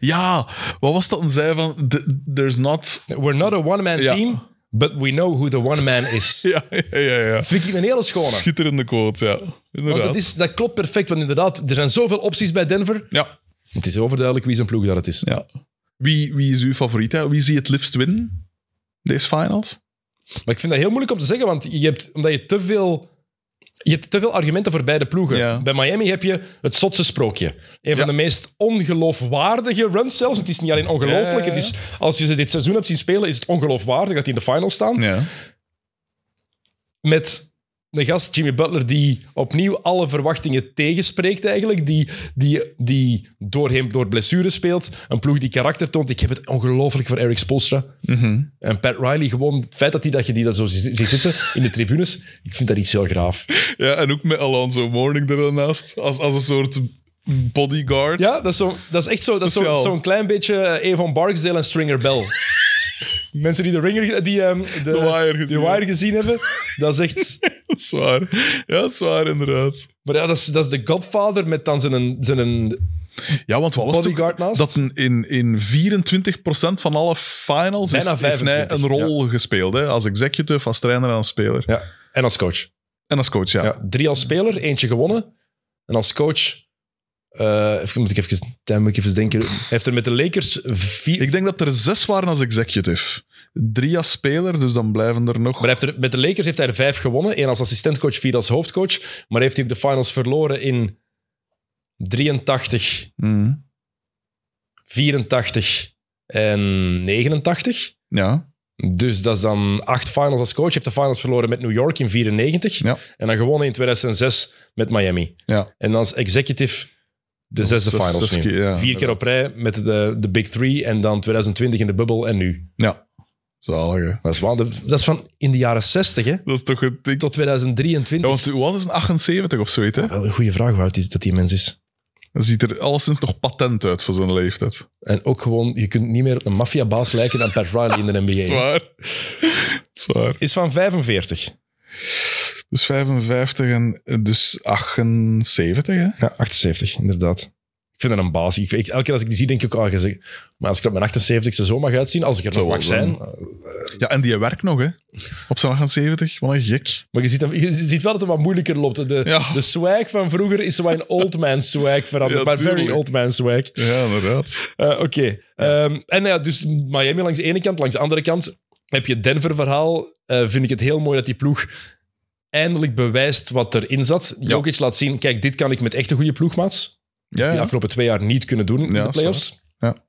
Ja, wat was dat een zei van... th- There's not...
We're not a one-man
Ja.
team, but we know who the one-man is.
Ja, ja, ja. ja.
Vind ik een hele schone.
Schitterende quote, ja.
Want
Inderdaad.
dat, is, dat klopt perfect, want inderdaad, er zijn zoveel opties bij Denver.
Ja,
Het is overduidelijk wie zijn ploeg dat het is.
ja. Wie, wie is uw favoriet? Hè? Wie zie je het liefst winnen? Deze finals?
Maar ik vind dat heel moeilijk om te zeggen, want je hebt, omdat je te veel... Je hebt te veel argumenten voor beide ploegen.
Ja.
Bij Miami heb je het zotse sprookje. Een van
Ja.
de meest ongeloofwaardige runs zelfs. Het is niet alleen ongelooflijk,
Ja, ja, ja.
het is, als je ze dit seizoen hebt zien spelen, is het ongeloofwaardig dat die in de final staan.
Ja.
Met een gast, Jimmy Butler, die opnieuw alle verwachtingen tegenspreekt eigenlijk. Die, die, die doorheen door blessures speelt. Een ploeg die karakter toont. Ik heb het ongelooflijk voor Eric Spoelstra.
Mhm.
En Pat Riley gewoon, het feit dat, die, dat je die dat zo zi- ziet zitten in de tribunes, ik vind dat iets heel graaf.
ja, en ook met Alonso Mourning ernaast. Als, als een soort bodyguard.
Ja, dat is, zo, dat is echt zo, dat is zo- zo'n
Speciaal.
klein beetje eh, Evan Barksdale en Stringer Bell. Mensen die de Ringer, die ehm, de,
Wire gezien
die wire gezien hebben, dat is echt...
Dat is waar. Ja, dat is waar, inderdaad.
Maar ja, dat is, dat is de Godfather met dan zijn, zijn
Ja, want wat was het ook?
bodyguard naast.
Dat een- in, in 24% van alle finals
Bijna
heeft, heeft hij
25,
een rol gespeeld. Hè? Als executive, als trainer en als speler.
Ja, en als coach.
En als coach, ja.
Ja, drie als speler, eentje gewonnen. En als coach... eh, even, moet ik even, dan moet ik even denken. Hij heeft er met de Lakers vier...
Ik denk dat er zes waren als executive. Drie als speler, dus dan blijven er nog...
Maar hij heeft er, met de Lakers heeft hij er vijf gewonnen. Eén als assistentcoach, vier als hoofdcoach. Maar heeft hij de finals verloren in 83,
Mhm.
84 en 89.
Ja,
Dus dat is dan acht finals als coach. Heeft de finals verloren met New York in 94.
Ja.
En dan gewonnen in 2006 met Miami.
ja.
En als executive de zesde
zes-
finals
zes
nu.
keer, ja,
Vier keer op rij met de, de Big Three. En dan 2020 in de bubbel en nu.
ja. Zalige.
Dat is, wel- dat is van in de jaren 60 hè,
Dat is toch het ding.
tot 2023.
Ja, want wat is een 78 of zoiets, hè?
Wel een goede vraag hoe oud is dat die mens is.
Dan ziet er alleszins nog patent uit voor zijn leeftijd.
En ook gewoon, je kunt niet meer op een maffiabaas lijken dan Pat Riley in de
Dat is
NBA.
waar. Dat is waar.
Is van 45.
Dus 55 en eh, dus 78, hè?
Ja, 78, inderdaad. Ik vind dat een baas. Ik, ik- elke keer als ik die zie, denk ik ook, ah, gezegd. maar als ik er op mijn 78 e zo mag uitzien, als ik er
Zo
nog mag
wel
zijn.
Ja, en die werkt nog, hè? Op zijn 78, wat een gek.
Maar je ziet, dat- je ziet wel dat het wat moeilijker loopt. De,
Ja.
de swag van vroeger is zo een old man swag veranderd,
Ja,
maar very
tuurlijk.
old man swag.
Ja, inderdaad.
Eh, Oké. Ehm, en ja, dus Miami langs de ene kant, langs de andere kant heb je Denver-verhaal. Eh, vind ik het heel mooi dat die ploeg eindelijk bewijst wat erin zat.
Ja.
Jokic laat zien, kijk, dit kan ik met echte goede ploegmaats.
Ja,
Die de
ja.
afgelopen twee jaar niet kunnen doen in
Ja,
de
dat is waar.
playoffs.
Ja.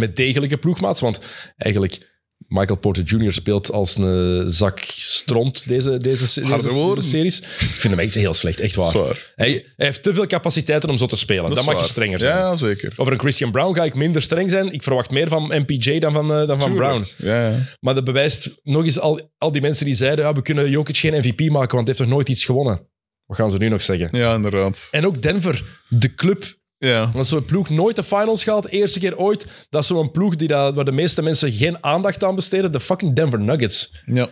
Met degelijke ploegmaats, want eigenlijk... Michael Porter Jr. speelt als een zak stront deze, deze,
Harde
deze,
woorden.
deze series. Ik vind hem echt heel slecht, echt
Dat
waar.
is waar.
Hij, hij heeft te veel capaciteiten om zo te spelen.
Dat
Dan
is
mag
waar.
je strenger zijn.
Ja, zeker.
Over een Christian Brown ga ik minder streng zijn. Ik verwacht meer van MPJ dan van, eh, dan van
Tuurlijk.
Brown.
Ja, ja.
Maar dat bewijst nog eens al, al die mensen die zeiden: ja, we kunnen Jokic geen MVP maken, want hij heeft nog nooit iets gewonnen. Wat gaan ze nu nog zeggen?
ja, inderdaad.
En ook Denver, de club.
Ja.
Want zo'n ploeg nooit de finals gehaald. Eerste keer ooit. Dat is zo'n ploeg die dat, waar de meeste mensen geen aandacht aan besteden. De fucking Denver Nuggets.
ja.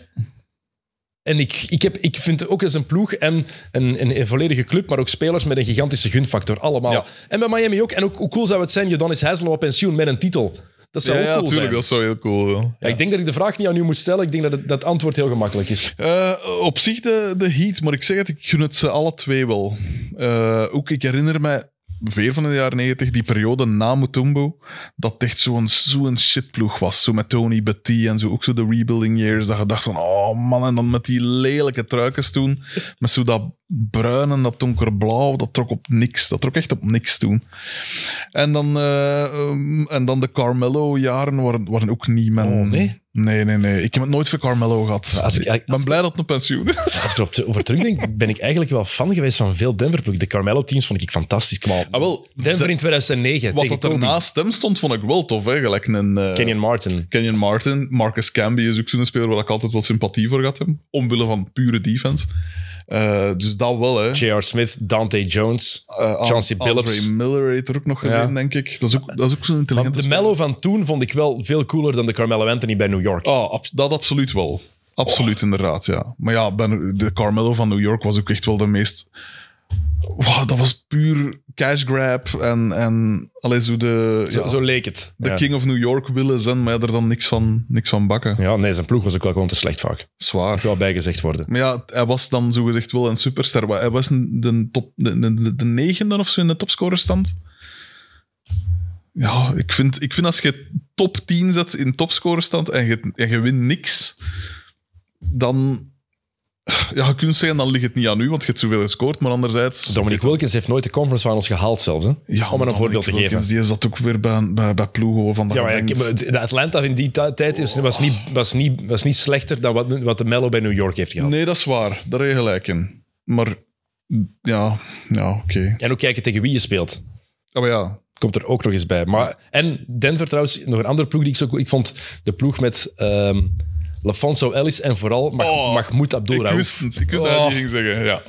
En ik, ik, heb, ik vind ook eens een ploeg en een, een, een volledige club, maar ook spelers met een gigantische gunfactor. Allemaal.
Ja.
En bij Miami ook. En ook, hoe cool zou het zijn, Jodonis Haslem op pensioen met een titel. Dat
Ja,
zou ook
ja,
cool
tuurlijk,
zijn.
dat is wel heel cool. Ja.
Ja, ik denk dat ik de vraag niet aan u moet stellen. Ik denk dat het, dat het antwoord heel gemakkelijk is.
Eh, op zich de, de heat, maar ik zeg het, ik gun het ze alle twee wel. Eh, ook, ik herinner mij weer van de jaren 90, die periode na Mutombo, dat het echt zo'n zo'n shitploeg was. Zo met Tony Betty en zo, ook zo de rebuilding years, dat je dacht van, oh man, en dan met die lelijke truikens toen, met zo dat bruin en dat donkerblauw, dat trok op niks. Dat trok echt op niks toen. En dan, eh, ehm, en dan de Carmelo-jaren waren, waren ook niet mijn...
Oh, nee?
Nee, nee, nee. Ik heb het nooit voor Carmelo gehad.
Als ik-
Ik ben blij dat het een pensioen is.
Als ik erop te- over terugdenk, ben ik eigenlijk wel fan geweest van veel Denver-ploegen. De Carmelo-teams vond ik fantastisch. Maar
Ah, wel,
Denver
ze-
in 2009
Wat
tegen
dat
Kobe.
er naast hem stond, vond ik wel tof. Hè? Gelijk een eh,
Kenyon Martin.
Kenyon Martin. Marcus Camby is ook zo'n speler waar ik altijd wel sympathie voor gehad heb. Omwille van pure defense. Eh, dus dat wel, hè.
J.R. Smith, Dante Jones.
Eh, An-
Chauncey Billups.
Andre Miller heeft er ook nog gezien,
Ja.
denk ik. Dat is ook, dat is ook zo'n intelligente
de Mello van toen vond ik wel veel cooler dan de Carmelo Anthony bij New York.
speler. Ah, abs- dat absoluut wel. Absoluut,
Oh.
inderdaad, ja. Maar ja, ben, de Carmelo van New York was ook echt wel de meest... Wow, dat was puur cash grab en... en allee, zo de...
Zo,
ja.
zo leek het.
de
ja.
King of New York willen zijn, maar ja, er dan niks van, niks van bakken.
ja, nee, zijn ploeg was ook wel gewoon te slecht vaak.
Zwaar.
Moet wel bijgezegd worden.
Maar ja, hij was dan zogezegd wel een superster. maar Hij was een- de, top, de, de, de- de negende of zo in de topscorerstand. Ja, ik vind, ik vind als je top 10 zet in topscorerstand en je, en je wint niks, dan... Ja, je kunt zeggen, dan ligt het niet aan u, want je hebt zoveel gescoord. Maar anderzijds...
Dominique Wilkins heeft nooit de conference finals gehaald zelfs. Hè?
ja,
Om maar een voorbeeld te
Dominic
geven.
Wilkins, Die zat ook weer bij, bij, bij ploegen van
Ja, maar ja, maar de Atlanta in die ti- tijd is- was niet, was niet, was niet slechter dan wat, wat de Mello bij New York heeft gehad.
Nee, dat is waar. Daar heb je gelijk in. Maar ja, ja oké.
En ook kijken tegen wie je speelt.
Ah, maar ja,
Komt er ook nog eens bij. Maar, en Denver trouwens, nog een andere ploeg die ik zo... Ik vond de ploeg met ehm Lafonso Ellis en vooral Mag,
Oh,
Mahmoud
ik
Abdul-Raouf.
wist het. Ik wist
Oh.
dat hij die ging zeggen. Ja.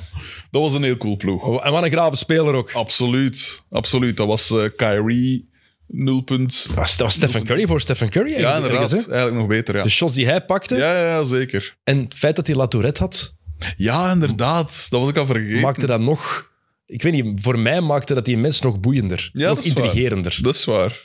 Dat was een heel cool ploeg.
Oh, En wat een grave speler ook.
Absoluut. Absoluut. Dat was eh, Kyrie, nul punt.
Dat was- dat was Stephen Curry voor Stephen Curry
Ja,
eigenlijk.
inderdaad.
ergens, hè?
Eigenlijk nog beter, ja.
De shots die hij pakte
Ja, ja, ja, zeker.
en het feit dat hij Latourette had,
Ja, inderdaad. Dat was ik al vergeten.
maakte dat nog... Ik weet niet, voor mij maakte dat die mens nog boeiender.
Ja,
nog
dat is waar.
intrigerender.
Dat is waar.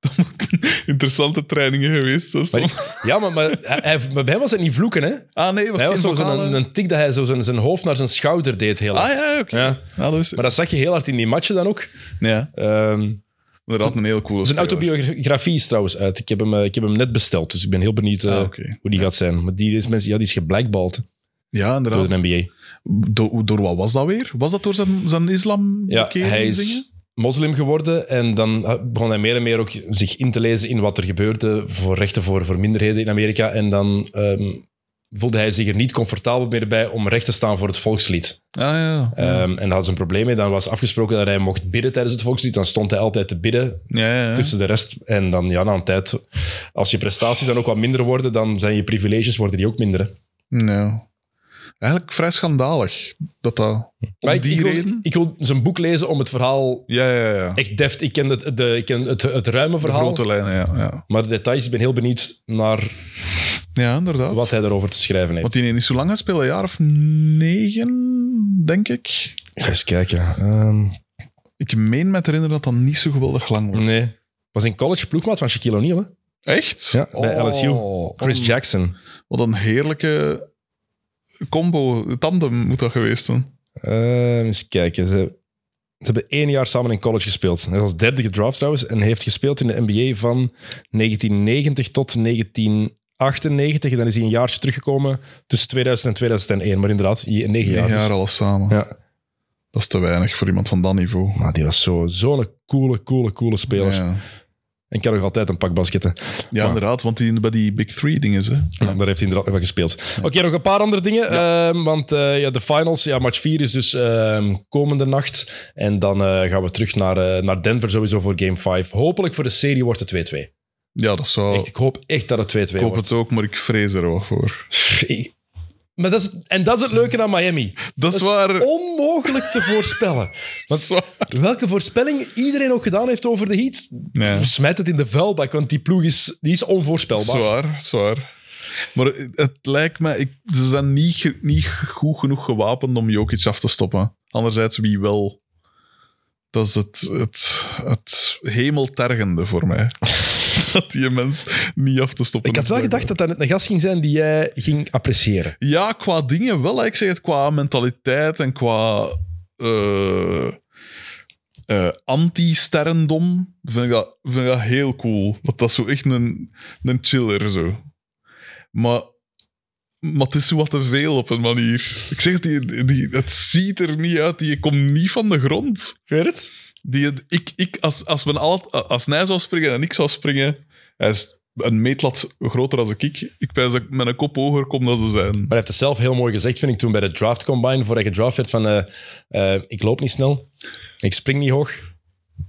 Dat moeten interessante trainingen geweest. zijn
Maar
soms.
ik- ja, maar, maar, hij, hij- maar bij hem was het niet vloeken, hè?
Ah, nee, was
Hij
geen
was zo zo'n
vocale?
een, een tik dat hij zo zijn, zijn hoofd naar zijn schouder deed heel
Ah,
hard.
ja, oké.
Ja.
Ja, dat is...
Maar dat zag je heel hard in die matchen dan ook.
ja,
Ehm,
inderdaad een heel coole
zijn
speler.
autobiografie is trouwens uit. Ik heb, hem, eh, ik heb hem net besteld, dus ik ben heel benieuwd eh,
Ah, oké.
hoe die gaat zijn. Maar die is, mensen, ja, die is geblackballed
Ja, inderdaad.
door de NBA.
Do- door wat was dat weer? Was dat door zijn, zijn islam
Ja, hij is moslim geworden en dan eh, begon hij meer en meer ook zich in te lezen in wat er gebeurde voor rechten voor, voor minderheden in Amerika. En dan ehm, voelde hij zich er niet comfortabel meer bij om recht te staan voor het volkslied.
Ah, ja.
Ehm, en daar had ze een probleem mee. Dan was afgesproken dat hij mocht bidden tijdens het volkslied. Dan stond hij altijd te bidden
ja, ja, ja.
tussen de rest. En dan, ja, na een tijd, als je prestaties dan ook wat minder worden, dan zijn je privileges worden die ook minder. hè.
Nou. Eigenlijk vrij schandalig dat dat...
Maar
Om
ik,
die
ik, wil,
reden?
ik wil zijn boek lezen om het verhaal
Ja, ja, ja.
echt deft. Ik ken het, de, ik ken het, het ruime
De
verhaal.
grote lijnen, ja. ja.
Maar de details, ik ben heel benieuwd naar
Ja, inderdaad.
wat hij daarover te schrijven heeft.
Want die ene is zo lang gaan spelen, een jaar of negen, denk ik.
Ga eens kijken. Ehm,
Ik meen me te herinneren dat dat niet zo geweldig lang was.
nee. Was in college ploegmaat van Shaquille O'Neal, hè? Oh.
Echt?
Ja, bij LSU. Chris
om-
Jackson.
Wat een heerlijke combo, tandem moet dat geweest zijn.
Ehm, eens kijken. Ze, ze hebben één jaar samen in college gespeeld. Hij is als derde gedraft trouwens en heeft gespeeld in de NBA van 1990 tot 1998. En dan is hij een jaartje teruggekomen tussen 2000 en 2001. Maar inderdaad, i- negen jaar.
Negen
dus.
jaar alles samen.
Ja.
Dat is te weinig voor iemand van dat niveau.
Maar die was zo- zo'n coole, coole, coole speler.
Ja,
En kan nog altijd een pak basketten.
ja inderdaad, want die, bij die Big Three dingen, hè.
Ja, daar heeft hij inderdaad nog wel gespeeld. Oké, nog een paar andere dingen. Ehm, want eh, ja, de finals, ja, match 4 is dus ehm, komende nacht. En dan eh, gaan we terug naar, eh, naar Denver sowieso voor game 5. Hopelijk voor de serie wordt het 2-2.
Ja, dat zou...
Echt, ik hoop echt dat het 2-2
Oh. ik hoop
wordt.
het ook, maar ik vrees er wel voor.
Pff, ik- Maar dat is, en dat is het leuke aan Miami.
Dat is waar.
Onmogelijk te voorspellen.
Dat is waar.
Welke voorspelling iedereen ook gedaan heeft over de Heat,
Ja.
smijt het in de vuilbak, want die ploeg is, die is onvoorspelbaar.
Zwaar, zwaar. Maar het lijkt me, ik, ze zijn niet, ge- niet goed genoeg gewapend om Jokic af te stoppen. Anderzijds, wie wel? Dat is het, het, het hemeltergende voor mij. dat die mens niet af te stoppen
Ik had
is,
wel
blijkbaar.
gedacht dat dat net een gast ging zijn die jij ging appreciëren.
Ja, qua dingen wel. hè. Ik zeg het qua mentaliteit en qua eh, eh, anti-sterrendom. Vind ik, dat, vind ik dat heel cool. Want dat is zo echt een, een chiller zo. Maar, maar het is zo wat te veel op een manier. Ik zeg het, die, die, het ziet er niet uit. Die komt niet van de grond.
Ik weet het.
Die, ik, ik, als, als, men al, als hij zou springen en ik zou springen, hij is een meetlat groter dan ik. Ik pijs dat ik met een kop hoger kom dan ze zijn.
Maar hij heeft het zelf heel mooi gezegd, vind ik, toen bij de draft combine, voordat hij gedraft werd, van eh, eh, ik loop niet snel, ik spring niet hoog,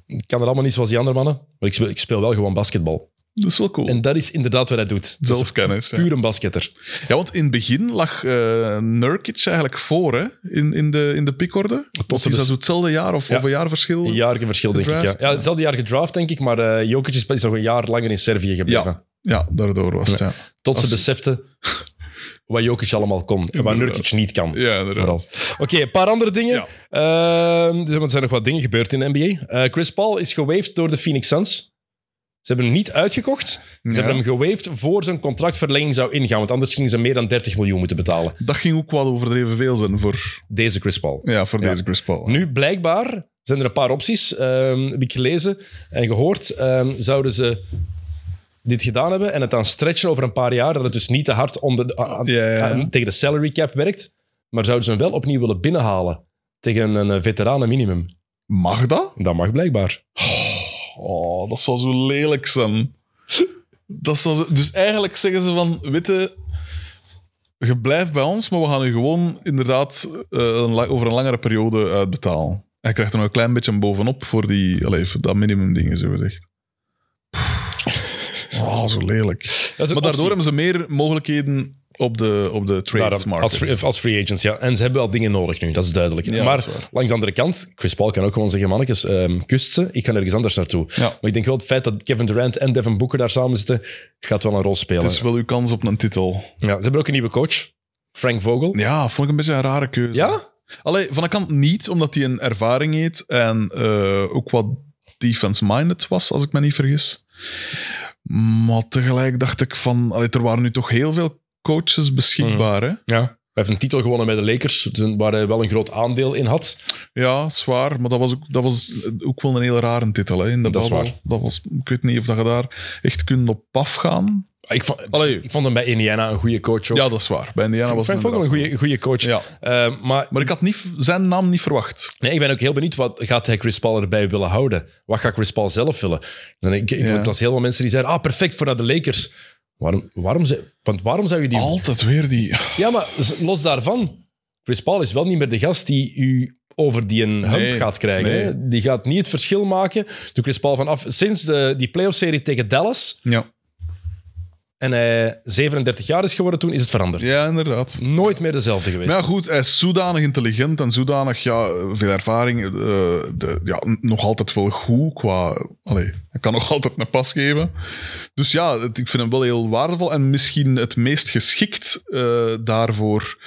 ik kan er allemaal niet zoals die andere mannen, maar ik speel, ik speel wel gewoon basketbal.
Dat is wel cool.
En dat is inderdaad wat hij doet. Dat is
Zelfkennis. Ja.
Puur een basketter.
ja, want in het begin lag eh Nurkic eigenlijk voor hè? In, in, de, in de pickorde. Tot
ze
is dat
dus-
zo hetzelfde jaar of,
Ja.
of een jaar verschil?
Een jaarige verschil, denk ik. Ja.
Gedraft,
Ja,
ja.
hetzelfde jaar gedraft, denk ik, maar eh Jokic is is nog een jaar langer in Servië gebleven.
Ja. Ja, daardoor was het. Ja,
Tot ze
Als-
beseften wat Jokic allemaal kon en wat
Inderdaad.
Nurkic niet kan.
ja
Vooral.
inderdaad.
Oké, een paar andere dingen. Ehm, dus, want er zijn nog wat dingen gebeurd in de NBA. Eh, Chris Paul is gewaved door de Phoenix Suns. Ze hebben hem niet uitgekocht. Ze
Ja.
hebben hem gewaved voor zijn contractverlenging zou ingaan. Want anders gingen ze meer dan 30 miljoen moeten betalen.
Dat ging ook wel overdreven veel zijn voor,
Deze Chris Paul.
ja, voor
Ja.
deze Chris Paul.
Nu, blijkbaar zijn er een paar opties. ehm, heb ik gelezen en gehoord. Ehm, zouden ze dit gedaan hebben en het dan stretchen over een paar jaar, dat het dus niet te hard onder de- a- a-
Ja, ja, ja.
a- Eh, tegen de salary cap werkt, maar zouden ze hem wel opnieuw willen binnenhalen tegen een eh, veteranenminimum?
Mag dat?
Dat mag blijkbaar.
Oh, dat zou zo lelijk zijn. Dat zou zo- Dus eigenlijk zeggen ze van, witte, je blijft bij ons, maar we gaan je gewoon inderdaad eh, een la- over een langere periode uitbetalen. Hij krijgt er nog een klein beetje bovenop voor die, allee, voor dat minimum dingen, zo gezegd. Oh, zo lelijk.
Dat is een
Maar daardoor
optie.
hebben ze meer mogelijkheden op de, op de trade
Daarom, als,
market.
free, als free agents, ja. En ze hebben wel dingen nodig nu, dat is duidelijk.
Ja,
maar
dat is waar.
langs de andere kant, Chris Paul kan ook gewoon zeggen, mannetjes, ehm, kust ze, ik ga ergens anders naartoe.
Ja.
Maar ik denk wel het feit dat Kevin Durant en Devin Booker daar samen zitten, gaat wel een rol spelen.
Het is wel uw kans op een titel.
Ja, ze hebben ook een nieuwe coach, Frank Vogel.
Ja, vond ik een beetje een rare keuze.
Ja?
Allee, van de kant niet, omdat hij een ervaring heeft en eh, ook wat defense-minded was, als ik me niet vergis. Maar tegelijk dacht ik van, allee, er waren nu toch heel veel coaches beschikbaar. Hè?
Ja. Hij heeft een titel gewonnen met de Lakers, waar hij wel een groot aandeel in had.
Ja, zwaar, maar dat was ook, dat was ook wel een heel rare titel. Hè, in de
Dat is
babbel.
waar.
Dat was, ik weet niet of dat je daar echt kunt op afgaan.
Ik vond,
Allee,
ik vond hem bij Indiana een goede coach ook.
ja, dat is waar. Bij Indiana was
Frank
het
Vogel een
inderdaad-
goede, goede coach.
Ja,
Eh, maar
maar ik had niet, zijn naam niet verwacht.
Nee, ik ben ook heel benieuwd, wat gaat hij Chris Paul erbij willen houden? Wat gaat Chris Paul zelf willen? Dan ik, ik,
Ja.
ik las heel veel mensen die zeiden, ah, perfect voor naar de Lakers. Waarom, waarom, ze- want waarom zou je die...
Altijd weer die...
Ja, maar z- los daarvan, Chris Paul is wel niet meer de gast die u over die een hump
Nee,
gaat krijgen.
nee.
hè. Die gaat niet het verschil maken. Toen Chris Paul vanaf... Sinds de, die playoff-serie tegen Dallas
Ja.
en hij 37 jaar is geworden toen, is het veranderd.
Ja, inderdaad.
Nooit meer dezelfde geweest.
Maar ja, goed, hij is zodanig intelligent en zodanig ja, veel ervaring. eh, de, ja, n- nog altijd wel goed qua... Allee, hij kan nog altijd een pas geven. Dus ja, het- ik vind hem wel heel waardevol. En misschien het meest geschikt eh, daarvoor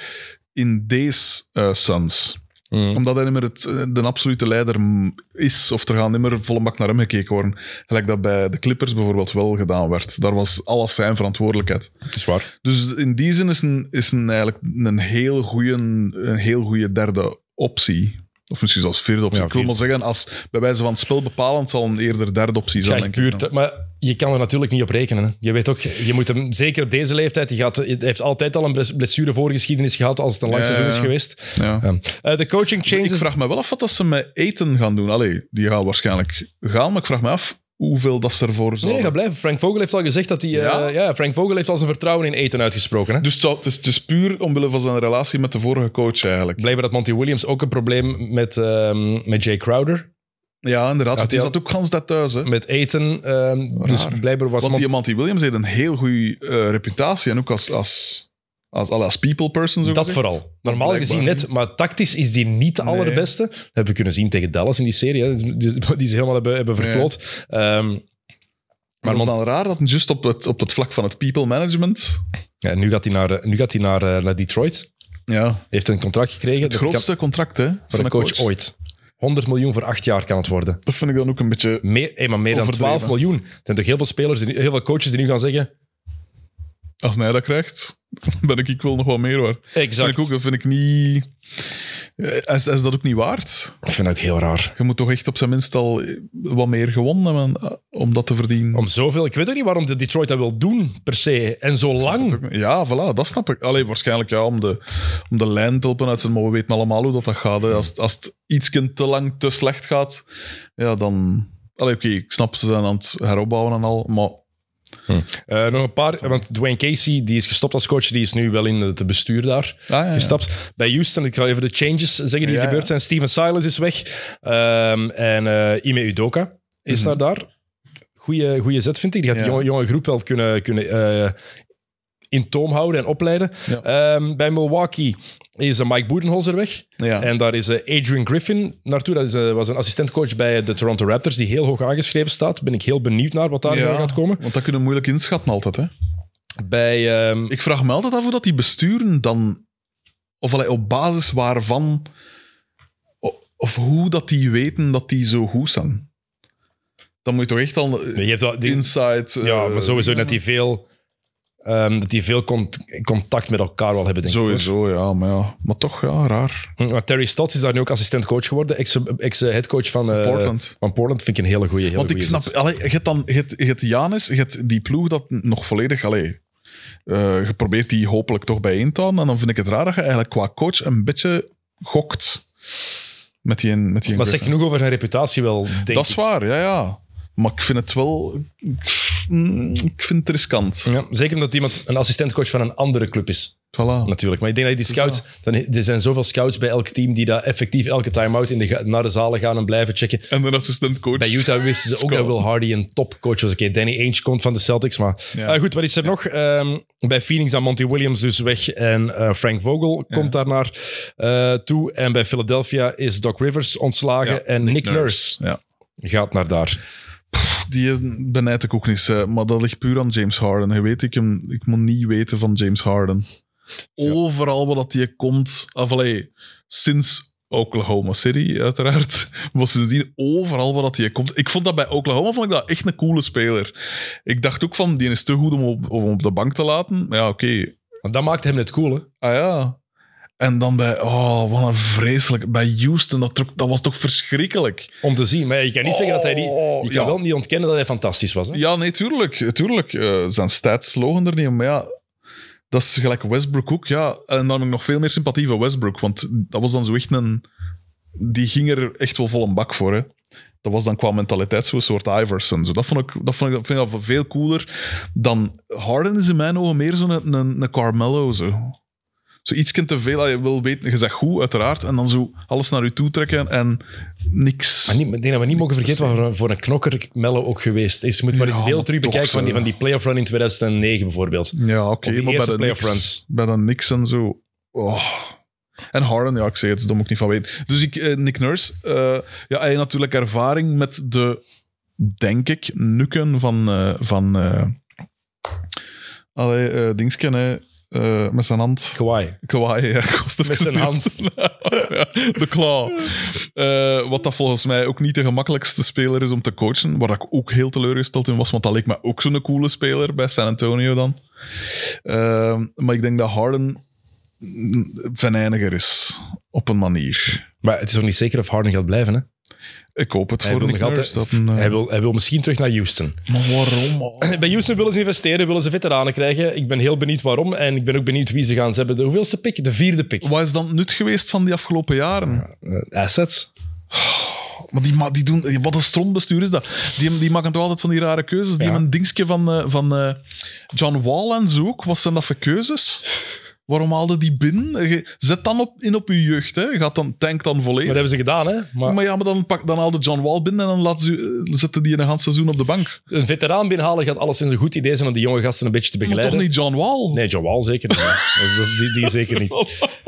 in deze eh Suns.
Mm.
Omdat hij niet meer het, eh, de absolute leider mm, is. Of er gaan niet meer volle bak naar hem gekeken worden. Gelijk dat bij de Clippers bijvoorbeeld wel gedaan werd. Daar was alles zijn verantwoordelijkheid.
Dat is waar.
Dus in die zin is een, is een eigenlijk een heel goede, een heel goede derde optie. Of misschien zelfs vierde optie.
Ja,
ik wil maar
vierde.
zeggen, als bij wijze van het spel bepalend zal een eerder derde optie zijn.
Krijg
denk
puur
ik.
te- maar je kan er natuurlijk niet op rekenen. Hè. Je weet ook, je moet hem zeker op deze leeftijd. Die gaat, hij heeft altijd al een bles- blessure voorgeschiedenis gehad als het een lang
Ja,
seizoen
ja,
is
ja.
geweest.
Ja.
Ja. Eh, de coaching
Ik
changes.
vraag me wel af wat dat ze met eten gaan doen. Allee, die gaan waarschijnlijk gaan, maar ik vraag me af hoeveel dat ze ervoor
Nee,
zullen.
nee, ga blijven. Frank Vogel heeft al gezegd dat hij. eh,
Ja?
ja? Frank Vogel heeft al zijn vertrouwen in eten uitgesproken. Hè?
dus het, zou- het is, het is puur omwille van zijn relatie met de vorige coach eigenlijk.
Blijkbaar had Monty Williams ook een probleem met, ehm, met Jay Crowder,
Ja, inderdaad.
die
die
had-
zat ook gans dat thuis. Hè.
met Eten. ehm, dus blijkbaar was
Want
Mon-
die Monty Williams heeft een heel goede eh, reputatie. En ook als, als, als, als, als people person, zo
dat
gezegd.
vooral. Normaal
blijkbaar
gezien net,
niet.
maar tactisch is die niet de
Nee.
allerbeste. Dat hebben we kunnen zien tegen Dallas in die serie, hè, die die ze helemaal hebben, hebben verkloot. Ehm,
Maar
maar
het
Mon-
is dan raar dat het juist op het, op het vlak van het people management.
ja, nu gaat hij naar, eh, nu gaat hij naar, eh, naar Detroit. Hij
Ja.
heeft een contract gekregen.
Het
Dat
grootste contract hè,
kan-
van
voor een coach, ooit. 100 miljoen voor acht jaar kan het worden.
Dat vind ik dan ook een beetje.
Meer, hé, maar meer dan
Overdreven.
12 miljoen. Er zijn toch heel veel spelers, die nu- heel veel coaches die nu gaan zeggen...
Als hij dat krijgt, ben ik, ik wil nog wel meer waard. Dat
Exact.
vind ik ook, dat vind ik niet. eh, Is, is dat ook niet waard?
Ik vind dat ook heel raar.
Je moet toch echt op zijn minst al eh, wat meer gewonnen hebben eh, om dat te verdienen.
Om zoveel. Ik weet ook niet waarom de Detroit dat wil doen, per se. En zo lang.
Ja, voilà, dat snap ik. Allee, waarschijnlijk ja, om de, om de lijn te helpen uit zijn, maar we weten allemaal hoe dat, dat gaat. hè. Als, het- als het iets te lang te slecht gaat, ja, dan... Allee, oké, ik snap, ze zijn aan het heropbouwen en al, maar
Eh, nog een paar. Want Dwayne Casey die is gestopt als coach. Die is nu wel in het bestuur daar.
ja, ja.
Gestapt. Bij Houston, ik ga even de changes zeggen die
Ja,
gebeurd
ja.
zijn. Steven Silas is weg. Ehm, en eh Ime Udoka is
Mhm.
naar daar. Goeie, goeie zet, vind ik. Die gaat
Ja.
die jonge, jonge groep wel kunnen, kunnen eh, in toom houden en opleiden.
Ja.
Ehm, bij Milwaukee is eh, Mike Budenholzer weg.
ja.
En daar is eh, Adrian Griffin naartoe. Dat is, eh, was een assistentcoach bij eh, de Toronto Raptors, die heel hoog aangeschreven staat. Ben ik heel benieuwd naar wat daar
Ja,
gaat komen.
Want dat kunnen we moeilijk inschatten altijd, hè.
Bij, ehm,
Ik vraag me altijd af hoe dat die besturen dan... Of allee, op basis waarvan... o- Of hoe dat die weten dat die zo goed zijn. Dan moet je toch echt al...
je hebt wel, die-
Inside...
ja,
eh,
maar sowieso
dingen.
dat die veel, ehm, dat die veel cont- contact met elkaar wel hebben, denk ik. hoor.
Sowieso, ja, maar ja. Maar toch, ja, raar.
Hm, Maar Terry Stotts is daar nu ook assistentcoach geworden. Ex-headcoach van, eh,
Portland.
van Portland vind ik een hele goede.
Want ik snap... Allee, je hebt dan... Je hebt, je hebt Janis, je hebt die ploeg dat nog volledig... Allee, eh, je probeert die hopelijk toch bijeen te houden. En dan vind ik het raar dat je eigenlijk qua coach een beetje gokt. Met die, met die
Maar zeg
Griffin.
genoeg over zijn reputatie wel, denk
Dat is
ik.
waar, ja, ja. Maar ik vind het wel... mm, Ik vind het riskant.
Ja, zeker omdat iemand een assistentcoach van een andere club is.
Voilà.
Natuurlijk, maar ik denk dat die scouts... Dan, er zijn zoveel scouts bij elk team die daar effectief elke time-out in de, ga- naar de zalen gaan en blijven checken.
En een assistentcoach.
Bij Utah wisten ze ook
Scout.
dat Will Hardy een topcoach was. Oké, Danny Ainge komt van de Celtics, maar...
Ja.
Eh, goed, wat is er nog? Ehm, bij Phoenix aan Monty Williams dus weg en eh, Frank Vogel komt daarnaar eh, toe. En bij Philadelphia is Doc Rivers ontslagen
Ja,
en Nick, Nurse
Ja.
gaat naar daar.
Die is- benijd ik ook niet, eh, maar dat ligt puur aan James Harden. Je weet, ik, hem, ik moet niet weten van James Harden. Overal waar dat die komt, of allee, sinds Oklahoma City uiteraard, was sindsdien overal waar dat die komt. Ik vond dat bij Oklahoma vond ik dat echt een coole speler. Ik dacht ook van, die is te goed om op, om op de bank te laten. Maar ja, oké.
Want dat maakt hem net cool, hè?
Ah ja. En dan bij, oh, wat een vreselijk. Bij Houston, dat, trok- dat was toch verschrikkelijk.
Om te zien. Maar je kan niet zeggen dat hij... Die, je
Oh,
kan
ja.
wel niet ontkennen dat hij fantastisch was, hè?
Ja, nee, tuurlijk. tuurlijk. Eh, zijn stats slogen er niet om, maar ja... Dat is gelijk Westbrook ook, ja. En dan heb ik nog veel meer sympathie voor Westbrook, want dat was dan zo echt een... Die ging er echt wel vol een bak voor, hè. Dat was dan qua mentaliteit zo'n soort Iverson. Zo, dat vond ik, dat vond ik, vind ik dat veel cooler dan... Harden is in mijn ogen meer zo'n een, een Carmelo, zo. zo iets te veel dat je wil weten. Je zegt goed, uiteraard. En dan zo alles naar je toe trekken en niks.
Maar niet, ik denk dat we niet mogen vergeten wat voor een- voor een knokker Melle ook geweest is. Je moet maar eens
Ja,
beeld
maar
terug
toch,
bekijken van die,
eh.
van die playoff run in 2009 bijvoorbeeld.
Ja, oké.
Of die
maar bij
eerste
de,
playoff
niks,
runs.
bij de niks en zo. Oh. En Harden, ja, ik zeg het, daar moet ik niet van weten. Dus ik, eh, Nick Nurse, eh, ja, hij heeft natuurlijk ervaring met de, denk ik, nukken van. eh van eh allee, eh, Dingsken, hè, eh, met zijn hand.
Kawhi.
Kawhi, ja, kost
Met zijn hand.
de klaw. Eh, wat dat volgens mij ook niet de gemakkelijkste speler is om te coachen. Waar ik ook heel teleurgesteld in was, want dat leek me ook zo'n coole speler bij San Antonio dan. Ehm, maar ik denk dat Harden mm, venijniger is, op een manier.
Maar het is nog niet zeker of Harden gaat blijven. Hè?
Ik hoop het
Hij
voor
wil
Nick
nog
Nurse.
altijd-
Dat een, eh,
Hij, wil, hij wil misschien terug naar Houston.
Maar waarom? man?
Bij Houston willen ze investeren, willen ze veteranen krijgen. Ik ben heel benieuwd waarom en ik ben ook benieuwd wie ze gaan. Ze hebben de hoeveelste pick? De vierde pick.
Wat is dan het nut geweest van die afgelopen jaren?
Eh, Assets.
Maar die, ma- die doen, wat een strontbestuur is dat. Die, die maken toch altijd van die rare keuzes. Die
Ja.
hebben een dingetje van, eh, van eh, John Wall en zo ook. Wat zijn dat voor keuzes? Waarom haalde die binnen? Eh, je- Zet dan op, in op je jeugd. Hè. Je Gaat dan, tank dan volledig.
Maar dat hebben ze gedaan, hè? Maar
Maar ja, maar dan, pak, dan haalde John Wall binnen en dan laat ze, eh, zetten die een hele seizoen op de bank.
een veteraan binnenhalen gaat alleszins een goed idee zijn om die jonge gasten een beetje te
Maar
begeleiden.
toch niet John Wall?
Nee, Jawal zeker niet. hè. Dat is- dat is- die, die zeker niet.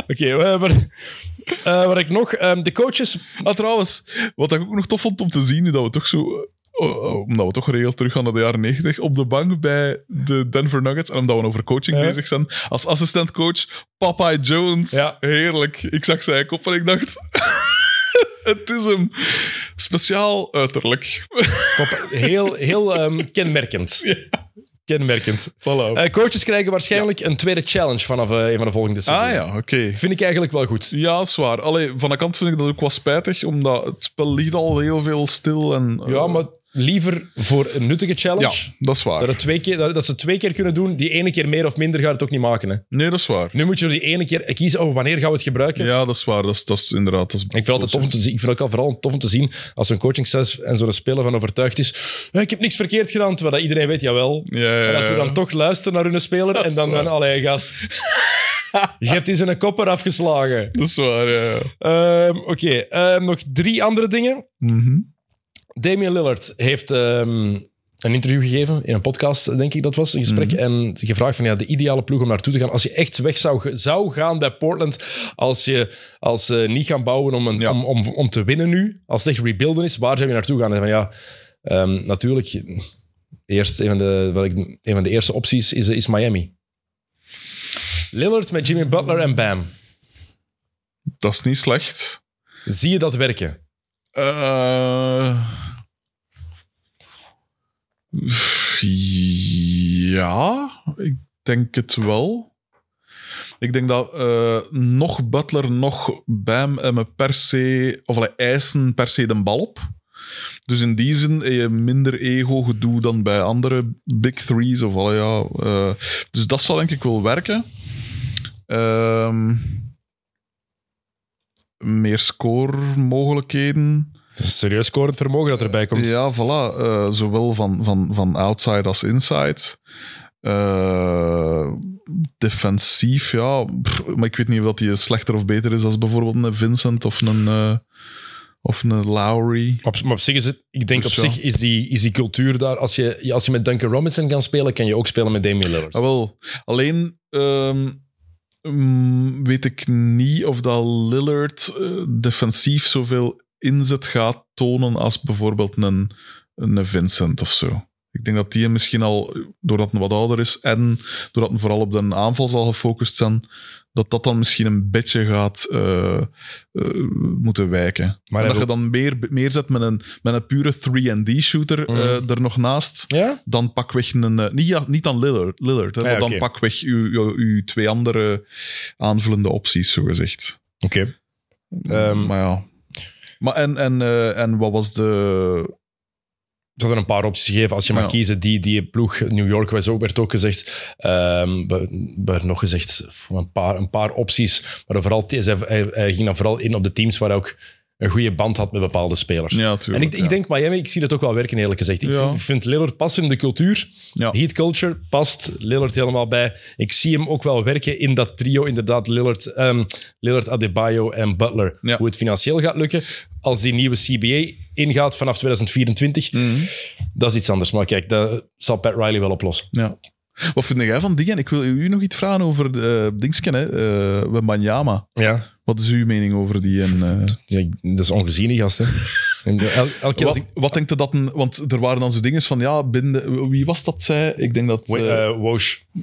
Oké, eh, maar, eh, wat ik nog... ehm, de coaches...
Ah, trouwens, wat ik ook nog tof vond om te zien, nu dat we toch zo... eh, oh, oh, omdat we toch geregeld terug gaan naar de jaren 90 op de bank bij de Denver Nuggets. En omdat we over coaching
Ja.
bezig zijn. Als assistentcoach, Papa Jones.
Ja.
Heerlijk. Ik zag zijn kop en ik dacht... Het is hem. Speciaal uiterlijk.
Papa- Heel, heel ehm, kenmerkend. Kenmerkend.
Voilà.
Eh, coaches krijgen waarschijnlijk een tweede challenge vanaf eh, een van de volgende seizoenen.
ah ja, oké.
Vind ik eigenlijk wel goed.
Ja, zwaar. Allee, van de kant vind ik dat ook wel spijtig, omdat het spel ligt al heel veel stil. En, eh,
Ja, maar liever voor een nuttige
Ja,
challenge.
dat is waar.
Dat, het twee keer, dat, dat ze het twee keer kunnen doen. Die ene keer meer of minder gaat het ook niet maken. Hè.
Nee, dat is waar.
Nu moet je die ene keer kiezen. Oh, wanneer gaan we het gebruiken?
Ja, dat is waar. Dat is, dat is inderdaad... Dat is
Ik vind, het altijd tof om te zien, ik vind het ook al vooral tof om te zien als een coaching staff en zo'n speler van overtuigd is. "Eh, Ik heb niks verkeerd gedaan, terwijl dat iedereen weet, jawel.
Ja, ja,
En als ze
ja.
dan toch luisteren naar hun speler en
is
dan
waar.
van, allee gast, je hebt eens een kopper afgeslagen.
Dat is waar, ja. ja.
Ehm, Oké, ehm, nog drie andere dingen. Damian Lillard heeft ehm, een interview gegeven in een podcast, denk ik dat was, een gesprek. En gevraagd van ja, de ideale ploeg om naartoe te gaan. Als je echt weg zou, zou gaan bij Portland, als je als ze niet gaan bouwen om, een,
Ja.
om, om, om te winnen nu, als het echt rebuilden is, waar zou je naartoe gaan? En van ja, ehm, natuurlijk, eerst een van, de, wat ik, een van de eerste opties is, is Miami. Lillard met Jimmy Butler en Bam.
Dat is niet slecht.
Zie je dat werken?
Eh, pff, ja, ik denk het wel. Ik denk dat eh, nog Butler, nog Bam en me per se, of allee, eisen per se de bal op. Dus in die zin heb je minder ego-gedoe dan bij andere big threes. Of, allee, ja, eh, dus dat zal denk ik wel werken. Ehm, meer score-mogelijkheden.
Serieus scorend vermogen dat erbij komt.
Ja, voilà. Eh, zowel van, van, van outside als inside. Eh, defensief, ja. Pff, maar ik weet niet of dat die slechter of beter is als bijvoorbeeld een Vincent of een, eh, of een Lowry.
Op, maar op zich is het, ik denk
Dus
op
ja.
zich is die, is die cultuur daar. Als je, ja, als je met Duncan Robinson kan spelen, kan je ook spelen met Damian Lillard.
Ah, wel. Alleen ehm, mm, weet ik niet of dat Lillard eh, defensief zoveel inzet gaat tonen als bijvoorbeeld een, een Vincent of zo. Ik denk dat die hem misschien al, eh, doordat hij wat ouder is en doordat hij vooral op de aanval zal gefocust zijn, dat dat dan misschien een beetje gaat eh, eh, moeten wijken.
Maar
Maar dat
hij
je dan meer, meer zet met een, met een pure 3D-shooter
Mhm.
eh, er nog naast
Ja?
dan pakweg een... eh, niet, ja, niet aan Lillard, Lillard hè,
Ah, ja,
maar dan
oké.
pakweg uw, uw, uw twee andere aanvullende opties, zogezegd.
Oké. Ehm,
maar ja. Maar en, en, eh, en wat was de...
Ze hadden een paar opties gegeven. Als je mag
Ja.
kiezen, die, die ploeg, New York was ook, werd ook gezegd. ehm we- we hebben nog gezegd, een paar, een paar opties. Maar dan vooral, hij, zei- hij, hij ging dan vooral in op de teams waar ook een goede band had met bepaalde spelers.
Ja,
en
tuurlijk.
ik, ik
ja.
denk Miami, ik zie dat ook wel werken eerlijk gezegd. Ik
Ja.
vind, vind Lillard past in de cultuur.
Ja.
Heat culture past Lillard helemaal bij. Ik zie hem ook wel werken in dat trio, inderdaad, Lillard, ehm, Lillard Adebayo en Butler.
Ja.
Hoe het financieel gaat lukken. Als die nieuwe CBA ingaat vanaf 2024,
Mm. Mhm,
dat is iets anders. Maar kijk, dat zal Pat Riley wel oplossen.
Ja. Wat vind jij van dingen? Ik wil u nog iets vragen over de Dingsken, hè? eh Wembanyama.
Ja.
Wat is uw mening over die? En, eh,
Dus dat is ongezien, die gast. Hè. En eh, el- elke keer als
wat,
ik...
wat denkt er dat een. Want er waren dan zo dingen van. Ja, binnen. Wie was dat zij? Ik denk dat.
Wa-
eh,
eh, Woj.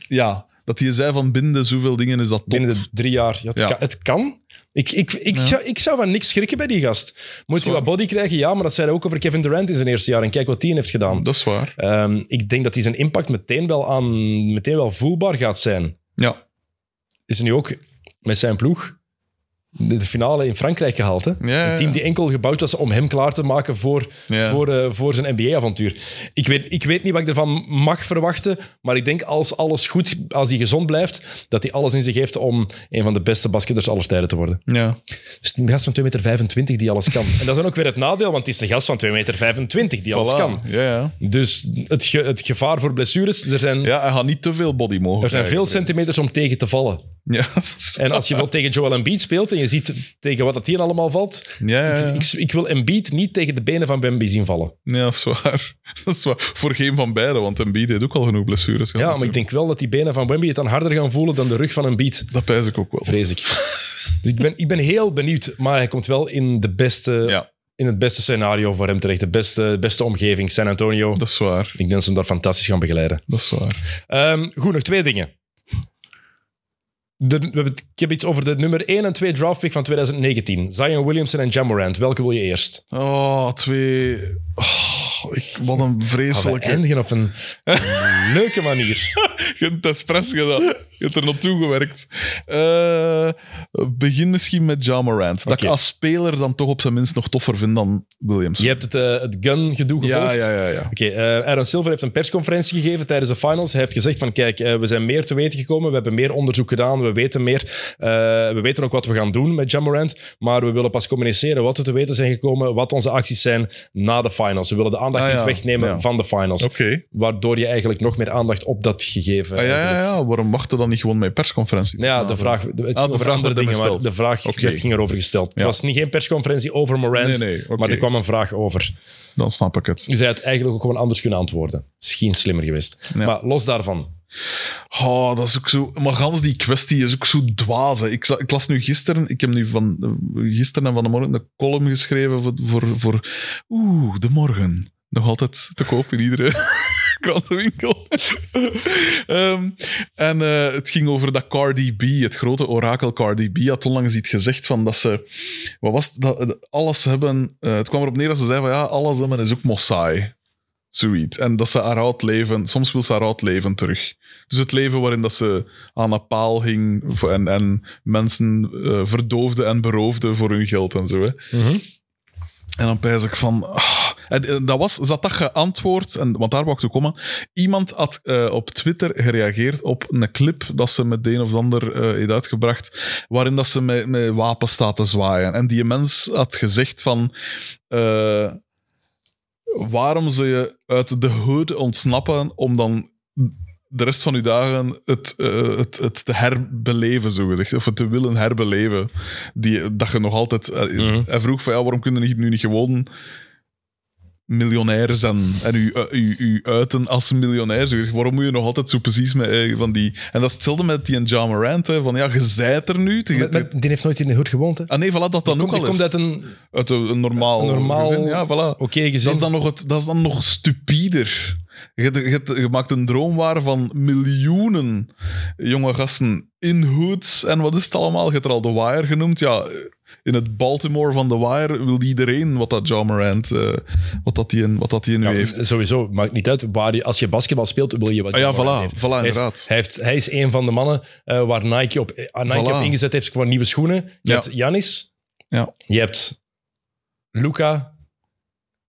ja, dat die zei van binnen de zoveel dingen is dat top.
Binnen de drie jaar. Ja, het,
Ja.
Kan, het kan. Ik, ik, ik, ga- ik zou van niks schrikken bij die gast. Moet hij wat
Zwaar.
body krijgen? Ja, maar dat zei hij ook over Kevin Durant in zijn eerste jaar. En kijk wat die heeft gedaan.
Dat is waar.
Ehm, ik denk dat die zijn impact meteen wel, aan, meteen wel voelbaar gaat zijn.
Ja,
Is nu ook met zijn ploeg de, de finale in Frankrijk gehaald. Hè?
ja,
Een team
ja.
die enkel gebouwd was om hem klaar te maken voor,
Ja.
voor, eh, voor zijn NBA-avontuur. Ik weet, ik weet niet wat ik ervan mag verwachten, maar ik denk als alles goed, als hij gezond blijft, dat hij alles in zich heeft om een van de beste basketters aller tijden te worden.
ja.
Dus een gast van 2,25 meter die alles kan. En dat is dan ook weer het nadeel, want het is de gast van 2,25 meter die alles
Voilà.
kan.
Ja, ja.
Dus het, ge- het gevaar voor blessures, er zijn,
ja, hij gaat niet te veel body mogen
er zijn veel
krijgen.
centimeters om tegen te vallen.
Ja, dat is-
En als je wel tegen Joel Embiid speelt en je ziet tegen wat dat hier allemaal valt,
ja, ja, ja.
ik, ik wil Embiid niet tegen de benen van Bambi zien vallen.
Ja, dat is waar. Dat is waar. Voor geen van beiden, want Embiid heeft ook al genoeg blessures
Ja,
gehad.
maar ik denk wel dat die benen van Wemby het dan harder gaan voelen dan de rug van Embiid,
Dat pijs ik ook wel.
vrees ik. Dus ik ben, ik ben heel benieuwd, maar hij komt wel in, de beste,
Ja,
in het beste scenario voor hem terecht. De beste, beste omgeving, San Antonio.
dat is waar.
Ik denk dat ze hem daar fantastisch gaan begeleiden.
Dat is waar.
Ehm, goed, nog twee dingen. De- we hebben het- ik heb iets over de nummer 1 en 2 draftpick van 2019. Zion Williamson en Jam Morant. Welke wil je eerst?
Oh, twee... Oh, ik, wat een
Gaan we
vreselijke...
eindigen op een leuke manier.
Je hebt het expres gedaan. Je hebt er naartoe gewerkt. Eh, begin misschien met Ja Morant. Dat
Oké.
ik als speler dan toch op zijn minst nog toffer vind dan Williams.
Je hebt het, eh, het gun-gedoe gevolgd.
ja, ja, ja, ja.
Oké, eh, Aaron Silver heeft een persconferentie gegeven tijdens de finals. Hij heeft gezegd van, kijk, eh, we zijn meer te weten gekomen, we hebben meer onderzoek gedaan, we weten meer, eh, we weten ook wat we gaan doen met Jamorant, maar we willen pas communiceren wat we te weten zijn gekomen, wat onze acties zijn na de finals. We willen de aandacht
Ah,
niet
ja,
wegnemen
ja.
van de finals,
Oké.
waardoor je eigenlijk nog meer aandacht op dat gegeven...
Ah, ja, ja,
eigenlijk-
ja. Waarom wachten dan niet gewoon mijn persconferentie?
Ja,
Nou,
de vraag, het ging
vraag
over andere
werd hem
dingen, maar
gesteld.
de vraag
Oké.
werd, ging erover gesteld. Het
Ja.
was niet geen persconferentie over Morant,
Nee, nee, oké.
maar er kwam een vraag over.
Dan snap ik het.
Dus hij had eigenlijk ook gewoon anders kunnen antwoorden. Misschien slimmer geweest.
Ja.
Maar los daarvan.
Oh, dat is ook zo. Maar gans die kwestie is ook zo dwaas. hè. Ik, za- ik las nu gisteren, ik heb nu van eh, gisteren en vanmorgen een column geschreven voor, voor, voor Oeh, de morgen. Nog altijd te koop in iedere krantenwinkel. Ehm, en eh, het ging over dat Cardi B, het grote orakel Cardi B, had onlangs iets gezegd van dat ze. Wat was het? dat, dat alles hebben. eh, het kwam erop neer dat ze zei van ja, alles hebben is ook mosaai. Zoiets. En dat ze haar oud leven, soms wil ze haar oud leven terug. Dus het leven waarin dat ze aan een paal hing voor- en, en mensen eh, verdoofde en beroofde voor hun geld en zo. Hè. En dan pijs ik van... ah. En, eh, dat was, zat dat geantwoord, en, want daar wou ik toe komen. Iemand had eh, op Twitter gereageerd op een clip dat ze met de een of ander eh, heeft uitgebracht, waarin dat ze met, met wapens staat te zwaaien. En die mens had gezegd van... eh, waarom zou je uit de hood ontsnappen om dan de rest van je dagen het, eh, het, het te herbeleven, zogezegd. Of het te willen herbeleven. Die, dat je nog altijd... eh,
Mhm.
Hij vroeg van, ja, waarom kunnen je nu niet gewoon miljonair zijn en u, u, u, uiten als miljonair. zogezegd? Waarom moet je nog altijd zo precies met eh, van die... En dat is hetzelfde met die en Ja Morant, hè, van ja, je zijt er nu. Te, te-
die heeft nooit in de hoed gewoond, hè?
ah nee, voilà, dat dan ook
Komt, die
al
komt
is.
uit een
Uit een, een normaal,
Een normaal-
gezin, Ja, voilà.
oké gezin.
Dat is dan nog, het, dat is dan nog stupider. Je, hebt- je, hebt- je maakt een droom waar van miljoenen jonge gasten in hoods en wat is het allemaal? Je hebt er al The Wire genoemd. Ja, eh, in het Baltimore van The Wire wil iedereen wat dat John Morant, eh, wat dat die, in- wat dat die nu
Ja,
heeft.
Sowieso, maakt niet uit. Waar je, als je basketbal speelt, wil je wat
Ah, ja,
Jamal
voilà,
Murray heeft.
voilà,
Hij heeft-
inderdaad.
Hij, heeft, hij is een van de mannen eh, waar Nike op, eh, Nike
Voilà.
op ingezet heeft qua nieuwe schoenen. Je
Ja.
hebt Janis.
Ja.
Je hebt Luca,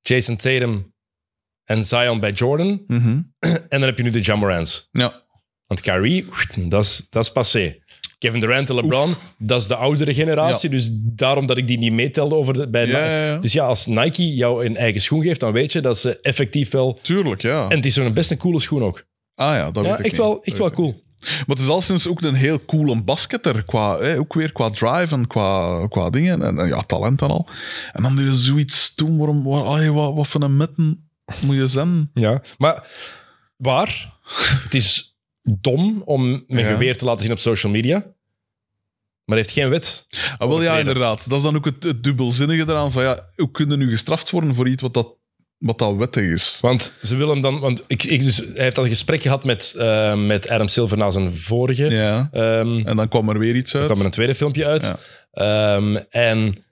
Jason Tatum en Zion bij Jordan.
Mhm.
En dan heb je nu de Jamorans.
Ja,
Want Kyrie, dat is- dat is passé. Kevin Durant en LeBron, dat is de oudere generatie. Dus daarom dat ik die niet meetelde over de, bij
Ja,
Nike.
ja, ja.
Dus ja, als Nike jou een eigen schoen geeft, dan weet je dat ze effectief wel...
Tuurlijk, ja.
En het is een best een coole schoen ook.
ah ja, dat
Ja,
weet ik
echt
niet.
wel,
Dat
echt
weet
wel
ik
cool.
Maar het is al sinds ook een heel coole basketter. Qua, hè, ook weer qua drive en qua, qua dingen. En, en ja, talent en al. En dan doe je zoiets doen. Waarom, waar, allee, wat, wat voor een metten moet je zijn?
Ja, maar waar? Het is dom om mijn
Ja.
geweer te laten zien op social media. Maar heeft geen wet.
Ah, wel, ja,
Overtreden.
inderdaad. Dat is dan ook het, het dubbelzinnige eraan. Van, ja, hoe kunnen nu gestraft worden voor iets wat dat, wat dat wettig is?
Want ze willen hem dan. Want ik, ik, dus, hij heeft al een gesprek gehad met, eh, met Adam Silver na zijn vorige.
Ja.
Ehm,
En dan kwam er weer iets
er
uit.
kwam er een tweede filmpje uit.
Ja.
Ehm, en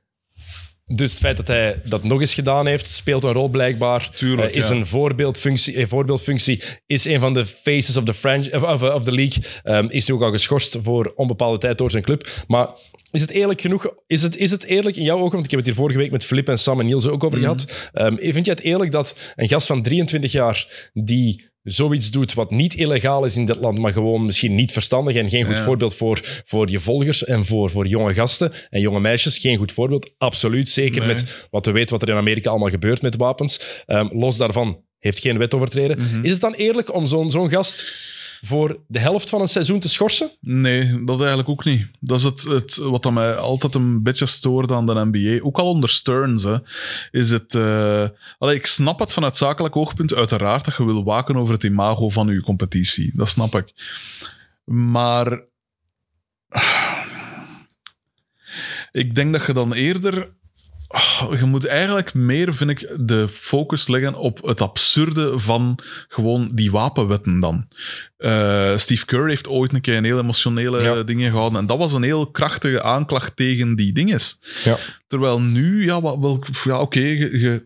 dus het feit dat hij dat nog eens gedaan heeft, speelt een rol blijkbaar.
Tuurlijk,
Eh, is
ja.
een voorbeeldfunctie, een voorbeeldfunctie. Is een van de faces of the, franch- of, of, of the league. Ehm, is nu ook al geschorst voor onbepaalde tijd door zijn club. Maar is het eerlijk genoeg? Is het, is het eerlijk in jouw ogen? Want ik heb het hier vorige week met Filip en Sam en Niels ook over
Mm.
gehad. Ehm, vind jij het eerlijk dat een gast van 23 jaar die zoiets doet wat niet illegaal is in dit land, maar gewoon misschien niet verstandig en geen goed
Ja.
voorbeeld voor, voor je volgers en voor, voor jonge gasten en jonge meisjes. Geen goed voorbeeld, absoluut. Zeker
Nee.
met wat we weten wat er in Amerika allemaal gebeurt met wapens. Ehm, los daarvan heeft geen wet overtreden. Is het dan eerlijk om zo'n zo'n gast voor de helft van een seizoen te schorsen?
Nee, dat eigenlijk ook niet. Dat is het, het, wat dat mij altijd een beetje stoort aan de NBA. Ook al onder Stearns, hè, is het... eh, allee, ik snap het vanuit zakelijk oogpunt uiteraard dat je wil waken over het imago van je competitie. Dat snap ik. Maar... Ik denk dat je dan eerder... Ah, Je moet eigenlijk meer, vind ik, de focus leggen op het absurde van gewoon die wapenwetten dan. Eh, Steve Kerr heeft ooit een keer een heel emotionele
Ja.
eh, dingen gehouden. En dat was een heel krachtige aanklacht tegen die dinges.
Ja.
Terwijl nu, ja, wat, wel, ja oké, je, je-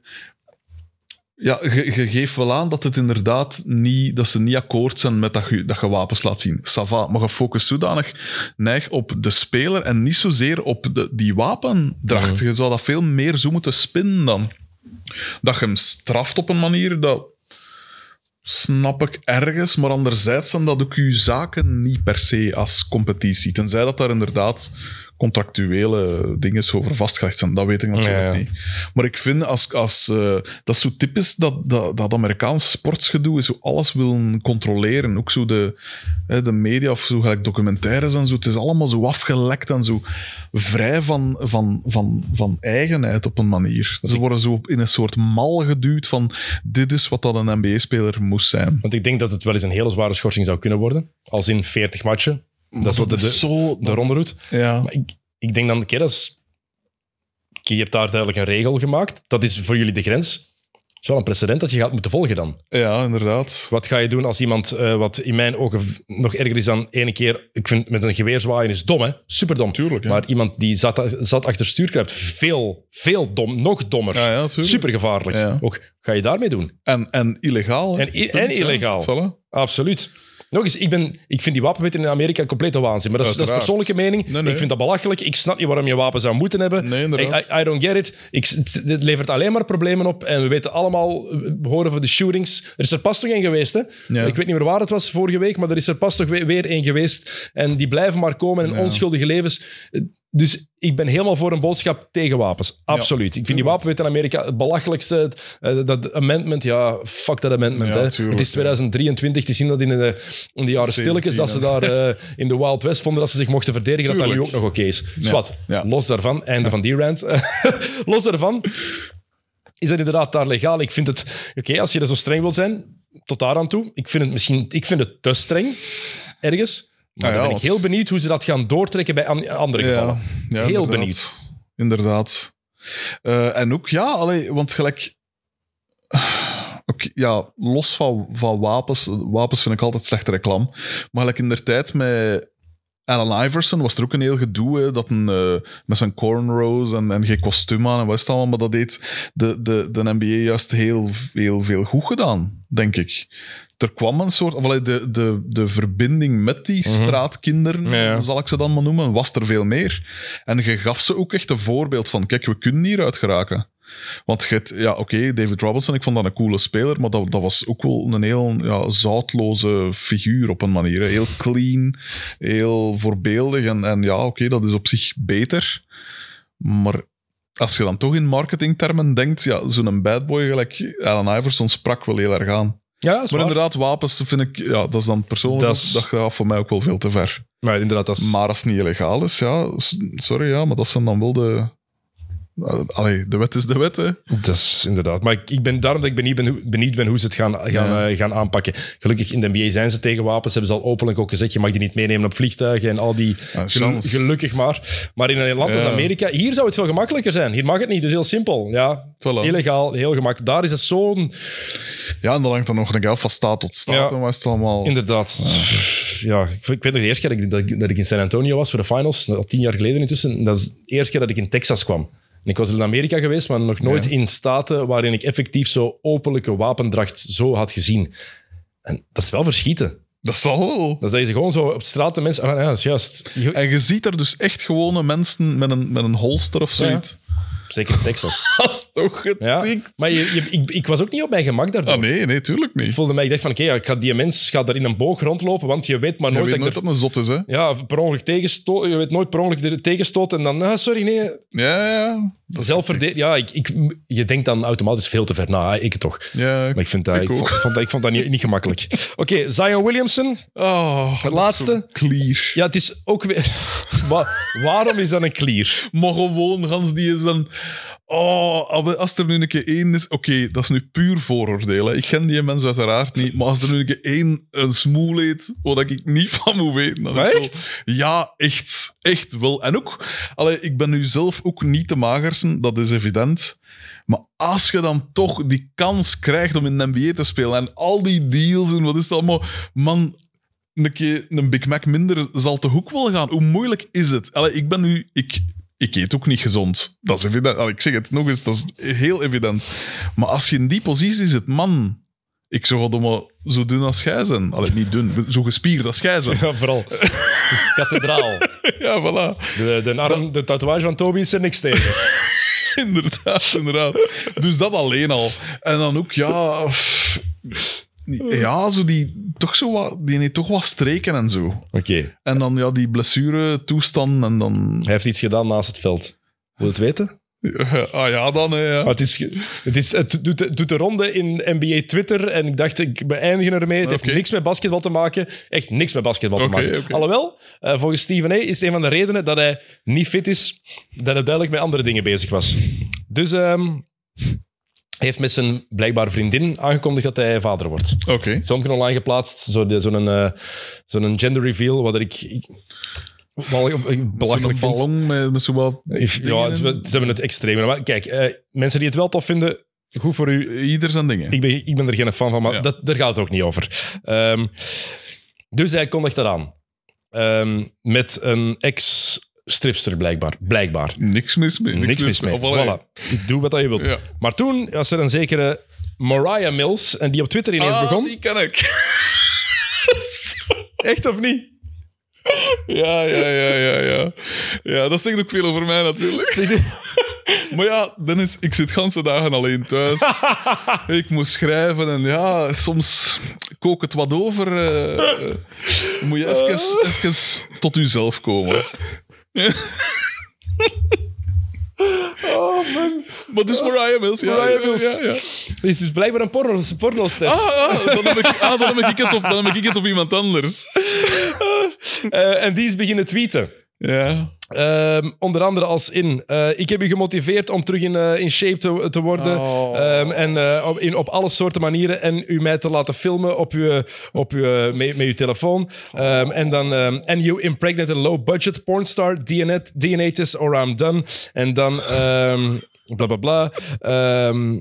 ja, je, je geeft wel aan dat het inderdaad niet, dat ze niet akkoord zijn met dat je, dat je wapens laat zien. Sava, maar je focust zodanig neig op de speler en niet zozeer op de, die
Mhm.
wapendracht. Je zou dat veel meer zo moeten spinnen dan. Dat je hem straft op een manier dat snap ik ergens, maar anderzijds zijn dat ook uw zaken niet per se als competitie. Tenzij dat daar inderdaad contractuele dingen over vastgelegd zijn. Dat weet ik natuurlijk
Ja, ja.
niet. Maar ik vind als... als eh, dat is zo typisch dat, dat, dat Amerikaans sportsgedoe is. Zo alles willen controleren. Ook zo de, hè, de media of zo, gelijk documentaires en zo. Het is allemaal zo afgelekt en zo vrij van, van, van, van eigenheid op een manier. Ze worden zo in een soort mal geduwd van dit is wat dat een NBA-speler moest zijn.
Want ik denk dat het wel eens een hele zware schorsing zou kunnen worden. Als in 40 matchen. Dat is wat de, de,
zo...
de ronde doet.
ja.
Maar ik, ik denk dan, oké, dat is... oké, je hebt daar duidelijk een regel gemaakt. Dat is voor jullie de grens. Het is wel een precedent dat je gaat moeten volgen dan.
ja, inderdaad.
Wat ga je doen als iemand, eh, wat in mijn ogen v- nog erger is dan ene keer... Ik vind met een geweer zwaaien is dom, hè? Superdom.
Tuurlijk, ja.
Maar iemand die zat, zat achter stuurkruipt, veel, veel dom, nog dommer.
Ja, ja, tuurlijk.
Supergevaarlijk.
Ja.
Ook, ga je daarmee doen?
En, en illegaal. hè.
En i- en
Punt, ja.
illegaal.
Voilà.
Absoluut. Nog eens, ik, ben, ik vind die wapenwetten in Amerika een complete waanzin. Maar dat is, dat is
Uiteraard.
persoonlijke mening.
Nee, nee.
Ik vind dat belachelijk. Ik snap niet waarom je een wapen zou moeten hebben.
Nee, inderdaad.
I, I- I don't get it. Ik, s- het, dit levert alleen maar problemen op. En we weten allemaal, we horen van de shootings. Er is er pas nog één geweest, hè?
Ja.
Ik weet niet meer waar het was vorige week, maar er is er pas nog we- weer één geweest. En die blijven maar komen en
Ja.
onschuldige levens. Dus ik ben helemaal voor een boodschap tegen wapens. Absoluut. ik vind die wapenwet in Amerika het belachelijkste. Het- eh, dat amendment, ja, fuck dat amendment.
Ja,
hè.
tuurlijk,
het is
ja.
2023, te zien dat in de, in de jaren
17,
stilletjes, dat ze daar eh, in de Wild West vonden dat ze zich mochten verdedigen, dat dat nu
Tuurlijk.
ook nog oké is. Zwat,
ja.
los daarvan, einde van die rant. los daarvan, is dat inderdaad daar legaal? Ik vind het, oké, als je er zo streng wilt zijn, tot daar aan toe. Ik vind het misschien, ik vind het te streng, ergens. Maar
Ah,
dan
ja,
ben ik
want-
heel benieuwd hoe ze dat gaan doortrekken bij an- andere gevallen.
Ja,
Heel
inderdaad.
benieuwd.
Inderdaad. Eh, en ook, ja, allee, want gelijk... Oké, ja, los van, van wapens. Wapens vind ik altijd slechte reclame. Maar gelijk in de tijd met Allen Iverson was er ook een heel gedoe. hè, dat een, eh, met zijn cornrows en, en geen kostuum aan en wat is het allemaal. Maar dat deed de, de, de NBA juist heel, heel veel goed gedaan, denk ik. Er kwam een soort... Of, allee, de, de, de verbinding met die
Mhm.
straatkinderen,
Ja, ja.
zal ik ze dan maar noemen, was er veel meer. En je gaf ze ook echt een voorbeeld van, kijk, we kunnen hieruit geraken. Want je hebt- ja, oké, David Robinson, ik vond dat een coole speler, maar dat, dat was ook wel een heel ja, zoutloze figuur op een manier. hè. Heel clean, heel voorbeeldig en, en ja, oké, dat is op zich beter. Maar als je dan toch in marketingtermen denkt, ja, zo'n bad boy gelijk Allen Iverson sprak wel heel erg aan.
Ja, dat is
Maar
waar.
inderdaad, wapens vind ik, ja, dat is dan persoonlijk,
Dat
dat,
is-
gaat voor mij ook wel veel te ver.
Maar inderdaad, dat is...
Maar als het niet illegaal is, ja, s- sorry, ja, maar dat zijn dan wel de... eh, Allee, de wet is de wet, hè.
Dat is inderdaad. Maar ik, ik ben daarom dat ik benieuwd ben, hoe- benieuwd ben hoe ze het gaan, gaan,
Ja.
eh, gaan aanpakken. Gelukkig in de NBA zijn ze tegen wapens. Hebben ze al openlijk ook gezegd: je mag die niet meenemen op vliegtuigen en al die.
Ah,
Gel-
chance.
gelukkig maar. Maar in een land als
Ja.
Amerika, hier zou het veel gemakkelijker zijn. Hier mag het niet, dus heel simpel. Ja,
Voilà.
illegaal, heel gemakkelijk. Daar is het zo'n.
Ja, en dan hangt dan nog een af van staat tot staat.
Ja.
En wat is het allemaal...
Inderdaad. Ja, ik, ik weet nog de eerste keer dat ik, dat ik in San Antonio was voor de finals, al tien jaar geleden intussen. Dat was de eerste keer dat ik in Texas kwam. En ik was in Amerika geweest, maar nog nooit
Ja.
in staten waarin ik effectief zo openlijke wapendracht zo had gezien. En dat is wel verschieten.
Dat zal wel.
Dat is gewoon zo op straat de mensen. Ah, ja, dat is juist. Eh, Je-
En je ziet er dus echt gewone mensen met een, met een holster of zoiets.
Zeker in Texas.
Dat is toch
Ja.
getikt?
Maar je, je- ik, ik was ook niet op mijn gemak daardoor.
Ah, nee, nee, tuurlijk niet.
Ik voelde mij, ik dacht van, oké, ja, ik ga die mens gaat daar in een boog rondlopen, want je weet maar
Je
nooit
weet
dat ik
nooit
er-
dat het een zot is, hè.
ja, per ongeluk tegenstoot, je weet nooit per ongeluk de tegenstoot en dan, ah, sorry, nee,
Ja, ja, ja.
zelfverdediging. Ja, ik, ik, je denkt dan automatisch veel te ver na, ik toch.
Ja,
Maar ik, vind dat, ik,
Ik ook.
vond, ik vond dat, ik vond dat niet, niet gemakkelijk. Oké, Zion Williamson.
Oh,
Het laatste.
Clear.
Ja, het is ook weer... Wa- waarom is dat een clear?
Maar gewoon, Hans, die is dan... Oh, als er nu een keer één is... Oké, dat is nu puur vooroordelen. Ik ken die mensen uiteraard niet. Maar als er nu een keer één een smoel eet, wat ik niet van moet weten... Dan is
Maar
het wel-
echt?
Ja, echt. Echt wel. En ook... Allee, ik ben nu zelf ook niet de magersen, dat is evident. Maar als je dan toch die kans krijgt om in de NBA te spelen en al die deals en wat is dat allemaal... Man, een keer een Big Mac minder zal te hoek wel gaan. Hoe moeilijk is het? Allee, ik ben nu... Ik, ik eet ook niet gezond. Dat is evident. Allee, ik zeg het nog eens, dat is heel evident. Maar als je in die positie zit, man... Ik zou het allemaal zo dun als jij zijn. Allee, niet dun, zo gespierd als jij zijn.
Ja, vooral. Kathedraal.
Ja, voilà.
De, de, arm, de tatoeage van Toby is er niks tegen.
Inderdaad, inderdaad. Dus dat alleen al. En dan ook, ja... pff, Ja, zo die, toch zo wat, die heeft toch wat streken en zo.
Oké,
En dan ja, die blessuretoestand en dan...
hij heeft iets gedaan naast het veld. Wil je het weten?
Ah ja, dan hè, ja.
Maar het, is, ge- het, is, het doet, het doet de ronde in NBA Twitter en ik dacht, ik beëindig ermee. Het heeft
Oké.
niks met basketbal te maken. Echt niks met basketbal te
Oké,
maken.
oké.
Alhoewel, eh, volgens Steven A. is een van de redenen dat hij niet fit is, dat hij duidelijk met andere dingen bezig was. Dus ehm, hij heeft met zijn blijkbare vriendin aangekondigd dat hij vader wordt.
Oké.
Filmpje online geplaatst, zo de- zo'n eh, zo'n gender reveal, wat ik... ik wel- belachelijk vind.
Zo'n ballon met, met zo wat...
Ja, ze, ze hebben het extreem. Maar kijk, eh, mensen die het wel tof vinden, goed voor u.
Ieder zijn dingen.
Ik ben, ik ben er geen fan van, maar
Ja.
dat, daar gaat het ook niet over. Ehm, dus hij kondigt dat aan. Ehm, met een ex-stripster, blijkbaar. Blijkbaar.
Niks mis mee.
Niks mis mee.
Of allee.
Voilà. Doe wat dat je wilt.
Ja.
Maar toen was er een zekere Mariah Mills, en die op Twitter ineens
Ah,
begon.
die ken ik.
Echt of niet?
Ja, ja, ja, ja, ja. Ja, dat zegt ook veel over mij natuurlijk. Maar ja, Dennis, ik zit ganse dagen alleen thuis. ik moet schrijven en ja, soms kook het wat over. eh, eh, moet je even, even tot uzelf komen.
Oh man.
Maar dus Mariah Mills. Ja,
Mariah
ja,
Mills.
Ja, ja.
Dit is dus blijkbaar een porno, pornoster.
Ah, ah, dan heb ik, ah, dan heb ik het op, dan heb ik het op iemand anders.
Eh, en die is beginnen tweeten.
Ja.
Ehm, onder andere als in, eh, ik heb u gemotiveerd om terug in, eh, in shape te, te worden.
Oh.
Ehm, en eh, op, in, op alle soorten manieren. En u mij te laten filmen op uw, op uw, eh, met, met uw telefoon. Ehm, en dan, ehm and you impregnate a low budget pornstar, DNA, DNA test or I'm done. En dan... ehm Bla bla bla. Ehm,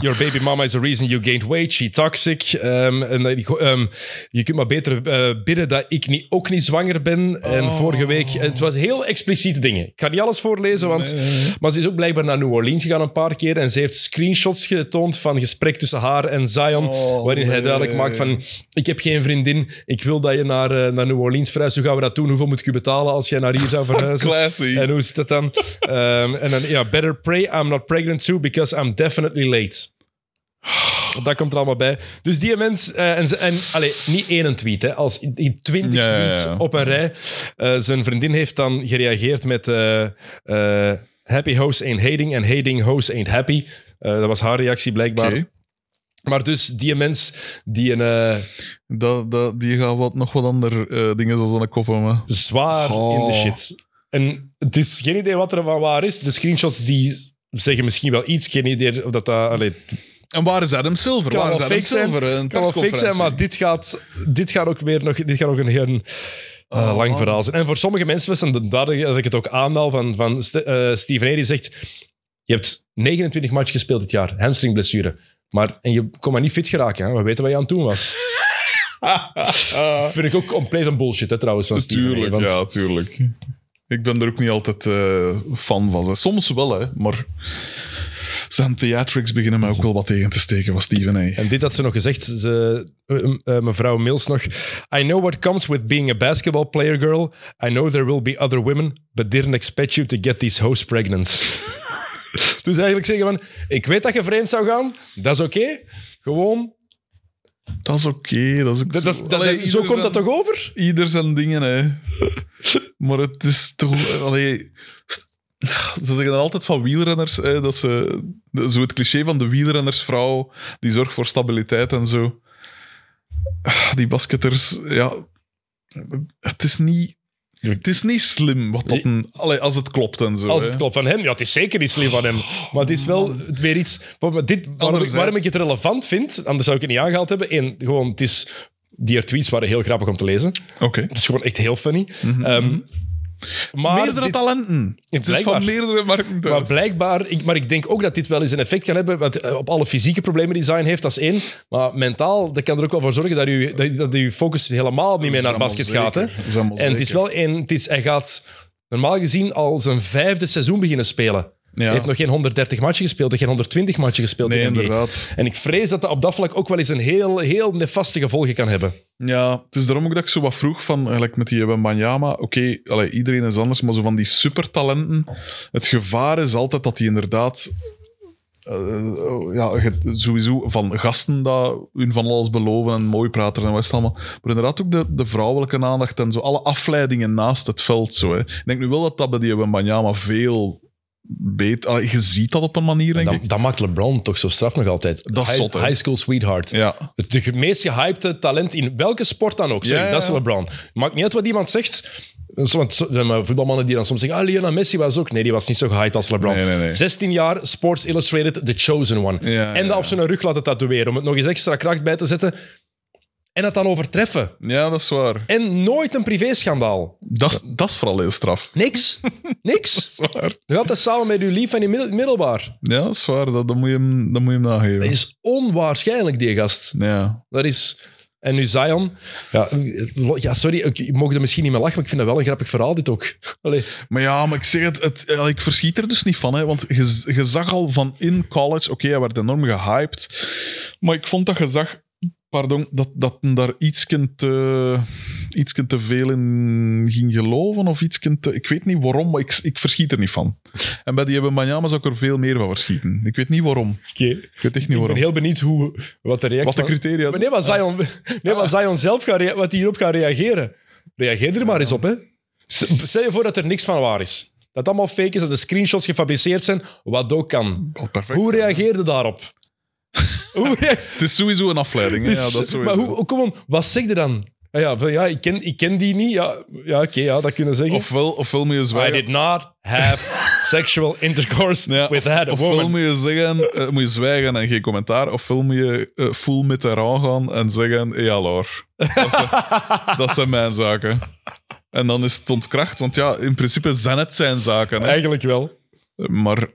your baby mama is the reason you gained weight. She toxic. Ehm, en, dan die go- ehm,
Oh.
je kunt maar beter eh, bidden dat ik niet, ook niet zwanger ben. En vorige week. Het was heel expliciet expliciete dingen. Ik ga niet alles voorlezen, want... Maar ze is ook blijkbaar naar New Orleans gegaan een paar keer en ze heeft screenshots getoond van gesprek tussen haar en Zion,
Oh,
waarin hij
nee.
duidelijk maakt van ik heb geen vriendin, ik wil dat je naar, eh, naar New Orleans verhuist, hoe gaan we dat doen? Hoeveel moet ik u betalen als jij naar hier zou verhuizen?
Classy.
En hoe zit dat dan? Ehm, en dan, ja, better pray I'm not pregnant too, because I'm definitely late. Dat komt er allemaal bij. Dus die mens, eh, en, ze- en allee, niet één tweet, hè, als in- in twintig
Ja, ja, ja.
tweets op een rij. Eh, zijn vriendin heeft dan gereageerd met eh, eh, happy host ain't hating en hating host ain't happy. Eh, dat was haar reactie blijkbaar.
Oké.
Maar dus die mens die een eh,
Dat, dat, die gaan wat, nog wat andere eh, dingen zoals aan de koppen. Maar.
zwaar
Oh.
in de shit. En het is geen idee wat er van waar is. De screenshots die zeggen misschien wel iets. Geen idee of dat... dat allee, het
En waar is Adam Silver?
Kan
waar is
wel
Adam
fake zijn.
Silver? Een
kan wel fake zijn,
persconferentie.
maar dit gaat, dit gaat ook weer nog, dit gaat ook een heel eh,
Oh,
lang
man.
verhaal zijn. En voor sommige mensen was het daar dat ik het ook aanhaal van, van Ste- eh, Steven A. Die zegt, je hebt 29 matchen gespeeld dit jaar. Hamstringblessure. Maar, en je kon maar niet fit geraken. Hè? We weten wat je aan het doen was. Vind ik ook compleet een bullshit, hè, trouwens, van Steven A.
Ah, Tuurlijk,
Ah, want-
ja, tuurlijk. Ik ben er ook niet altijd eh, fan van. hè. Soms wel, hè, maar zijn theatrics beginnen mij ook wel wat tegen te steken, was Steven. hè.
En dit had ze nog gezegd, ze, eh, eh, mevrouw Mills nog. I know what comes with being a basketball player girl. I know there will be other women, but didn't expect you to get these hoes pregnant. dus eigenlijk zeggen van, ik weet dat je vreemd zou gaan, dat is oké. Gewoon,
Dat is oké. dat is ook
dat, dat, is-
zo
dat-
Allee,
zo
ieder
komt dat
zijn-
toch over?
Ieder zijn dingen, hè. maar het is toch... Allee, st- ze zeggen dan altijd van wielrenners, hè, dat ze... de- Zo het cliché van de wielrennersvrouw, die zorgt voor stabiliteit en zo. Ah, Die basketters, ja... Het is niet... Het is niet slim wat dat een... Allee, als het klopt en zo.
Als
hè.
het klopt van hem, ja, het is zeker niet slim van hem. Maar het is wel weer iets. Maar dit, waarom, ik,
Anderzijds-
waarom ik het relevant vind, anders zou ik het niet aangehaald hebben. Eén, gewoon, het is. Die haar tweets waren heel grappig om te lezen.
Oké.
Het is gewoon echt heel funny. Ehm, maar
Mhm, Meerdere
dit-
talenten. Het is
blijkbaar.
van meerdere markten thuis.
Maar blijkbaar, ik, maar ik denk ook dat dit wel eens een effect kan hebben. Want eh, op alle fysieke problemen die Zion heeft, dat is één. Maar mentaal, dat kan er ook wel voor zorgen dat je dat, dat uw focus helemaal niet meer naar basket gaat. Hè? En het is wel één, het is, hij gaat normaal gezien al zijn vijfde seizoen beginnen spelen.
Ja.
Hij heeft nog geen 130 matchen gespeeld, en geen 120 matchen gespeeld
Nee,
in de NBA.
inderdaad.
En ik vrees dat dat op dat vlak ook wel eens een heel, heel nefaste gevolgen kan hebben.
Ja, het is daarom ook dat ik zo wat vroeg van, eigenlijk met die Banyama, oké, allee, iedereen is anders, maar zo van die supertalenten, het gevaar is altijd dat die inderdaad, eh, ja, ge- sowieso van gasten dat hun van alles beloven en mooi praten en wat is het allemaal, maar inderdaad ook de, de vrouwelijke aandacht en zo, alle afleidingen naast het veld zo. Hè. Ik denk nu wel dat dat bij die Banyama veel beter, allee, je ziet dat op een manier, denk
Dat,
ik.
dat maakt LeBron toch zo straf nog altijd.
Dat is
high,
zot, hè?
high school sweetheart.
Ja.
Het de meest gehypte talent in welke sport dan ook. Sorry,
Ja, ja,
dat is
ja.
LeBron. Maakt niet uit wat iemand zegt. Want zo- er zijn voetbalmannen die dan soms zeggen, ah, Lionel Messi was ook. Nee, die was niet zo gehyped als LeBron.
Nee, nee, nee.
16 jaar, Sports Illustrated, The Chosen One.
Ja,
en dat
ja,
op zijn rug laten tatoeëren, om het nog eens extra kracht bij te zetten. En dat dan overtreffen.
ja, dat is waar.
En nooit een privéschandaal.
Dat, is- dat is vooral heel straf.
Niks. Niks.
Dat is waar.
Nu altijd samen met uw lief en in middel- middelbaar.
Ja, dat is waar. Dat, dat, moet, je hem, dat moet je hem
Dat
nageven.
is onwaarschijnlijk, die gast.
Ja.
Dat is... En nu Zion. Ja, eh, lo- ja sorry, ik, ik mocht er misschien niet meer lachen, maar ik vind dat wel een grappig verhaal, dit ook. Allee,
Maar ja, maar ik zeg het, het eh, ik verschiet er dus niet van. Hè, want je, je zag al van in college, oké, hij werd enorm gehyped. Maar ik vond dat je zag, pardon, dat, dat hem daar iets te, ietsken te veel in ging geloven. Of iets te, ik weet niet waarom, maar ik, ik verschiet er niet van. En bij die Banyama zou ik er veel meer van verschieten. Ik weet niet waarom. Ik weet echt niet
Ik ben
waarom.
heel benieuwd hoe, wat de reactie...
Wat de Ah.
van-
criteria
Maar
zijn.
nee, wat Zion, nee, wat Zion zelf gaat rea- wat hij hierop gaat reageren. Reageer er maar eens op, hè. S- Stel je voor dat er niks van waar is. Dat het allemaal fake is, dat de screenshots gefabriceerd zijn, wat ook kan.
Oh, perfect.
Hoe reageerde daarop? Hoe rea-
Het is sowieso een afleiding. hè.
Dus,
ja, dat is sowieso.
maar hoe, kom on, wat zeg je dan? Ah Ja, van, ja, ik, ken, ik ken die niet. Ja, ja oké, ja, dat kunnen zeggen.
ofwel, ofwel moet je
I
zwijgen.
did not have sexual intercourse
Ja,
with that
of
woman.
ofwel moet je zeggen, eh, moet je zwijgen en geen commentaar, ofwel moet je eh, full met eraan gaan en zeggen, ja lor. Dat, zijn- dat zijn mijn zaken. En dan is het ontkracht, want ja, in principe zijn het zijn zaken. Hè?
Eigenlijk wel.
Maar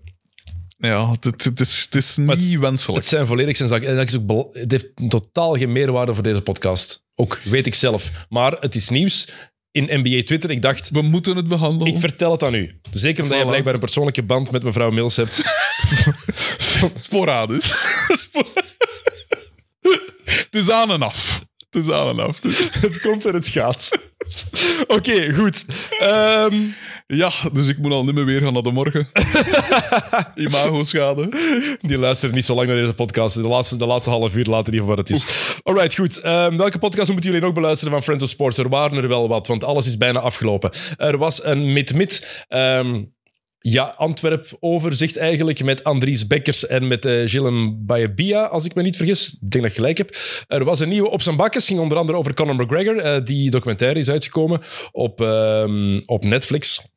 ja, het, het- het is, het is niet
het-
wenselijk.
Het zijn volledig zijn zaken. En dat is ook bel- het heeft totaal geen meerwaarde voor deze podcast. Ook, weet ik zelf. Maar het is nieuws. in NBA Twitter. Ik dacht,
We moeten het behandelen.
ik vertel het aan u. Zeker omdat je
Voilà.
blijkbaar een persoonlijke band met mevrouw Mills hebt.
Sporadisch. Spor- het is aan en af. Het is aan en af. Dus- Het is-
het komt en het gaat. Oké, goed. Ehm,
Ja, dus ik moet al niet meer weer gaan naar de morgen. Imago-schade.
die luisteren niet zo lang naar deze podcast. De laatste, de laatste half uur laten die van wat het is. Alright, goed. Ehm, welke podcast moeten jullie nog beluisteren van Friends of Sports? Er waren er wel wat, want alles is bijna afgelopen. Er was een mid-mid. ehm, ja, Antwerp overzicht eigenlijk met Andries Bekkers en met eh Gillen Bayabia, als ik me niet vergis. Ik denk dat ik gelijk heb. Er was een nieuwe op zijn bakkes, ging onder andere over Conor McGregor. Eh, die documentaire is uitgekomen op, ehm, op Netflix.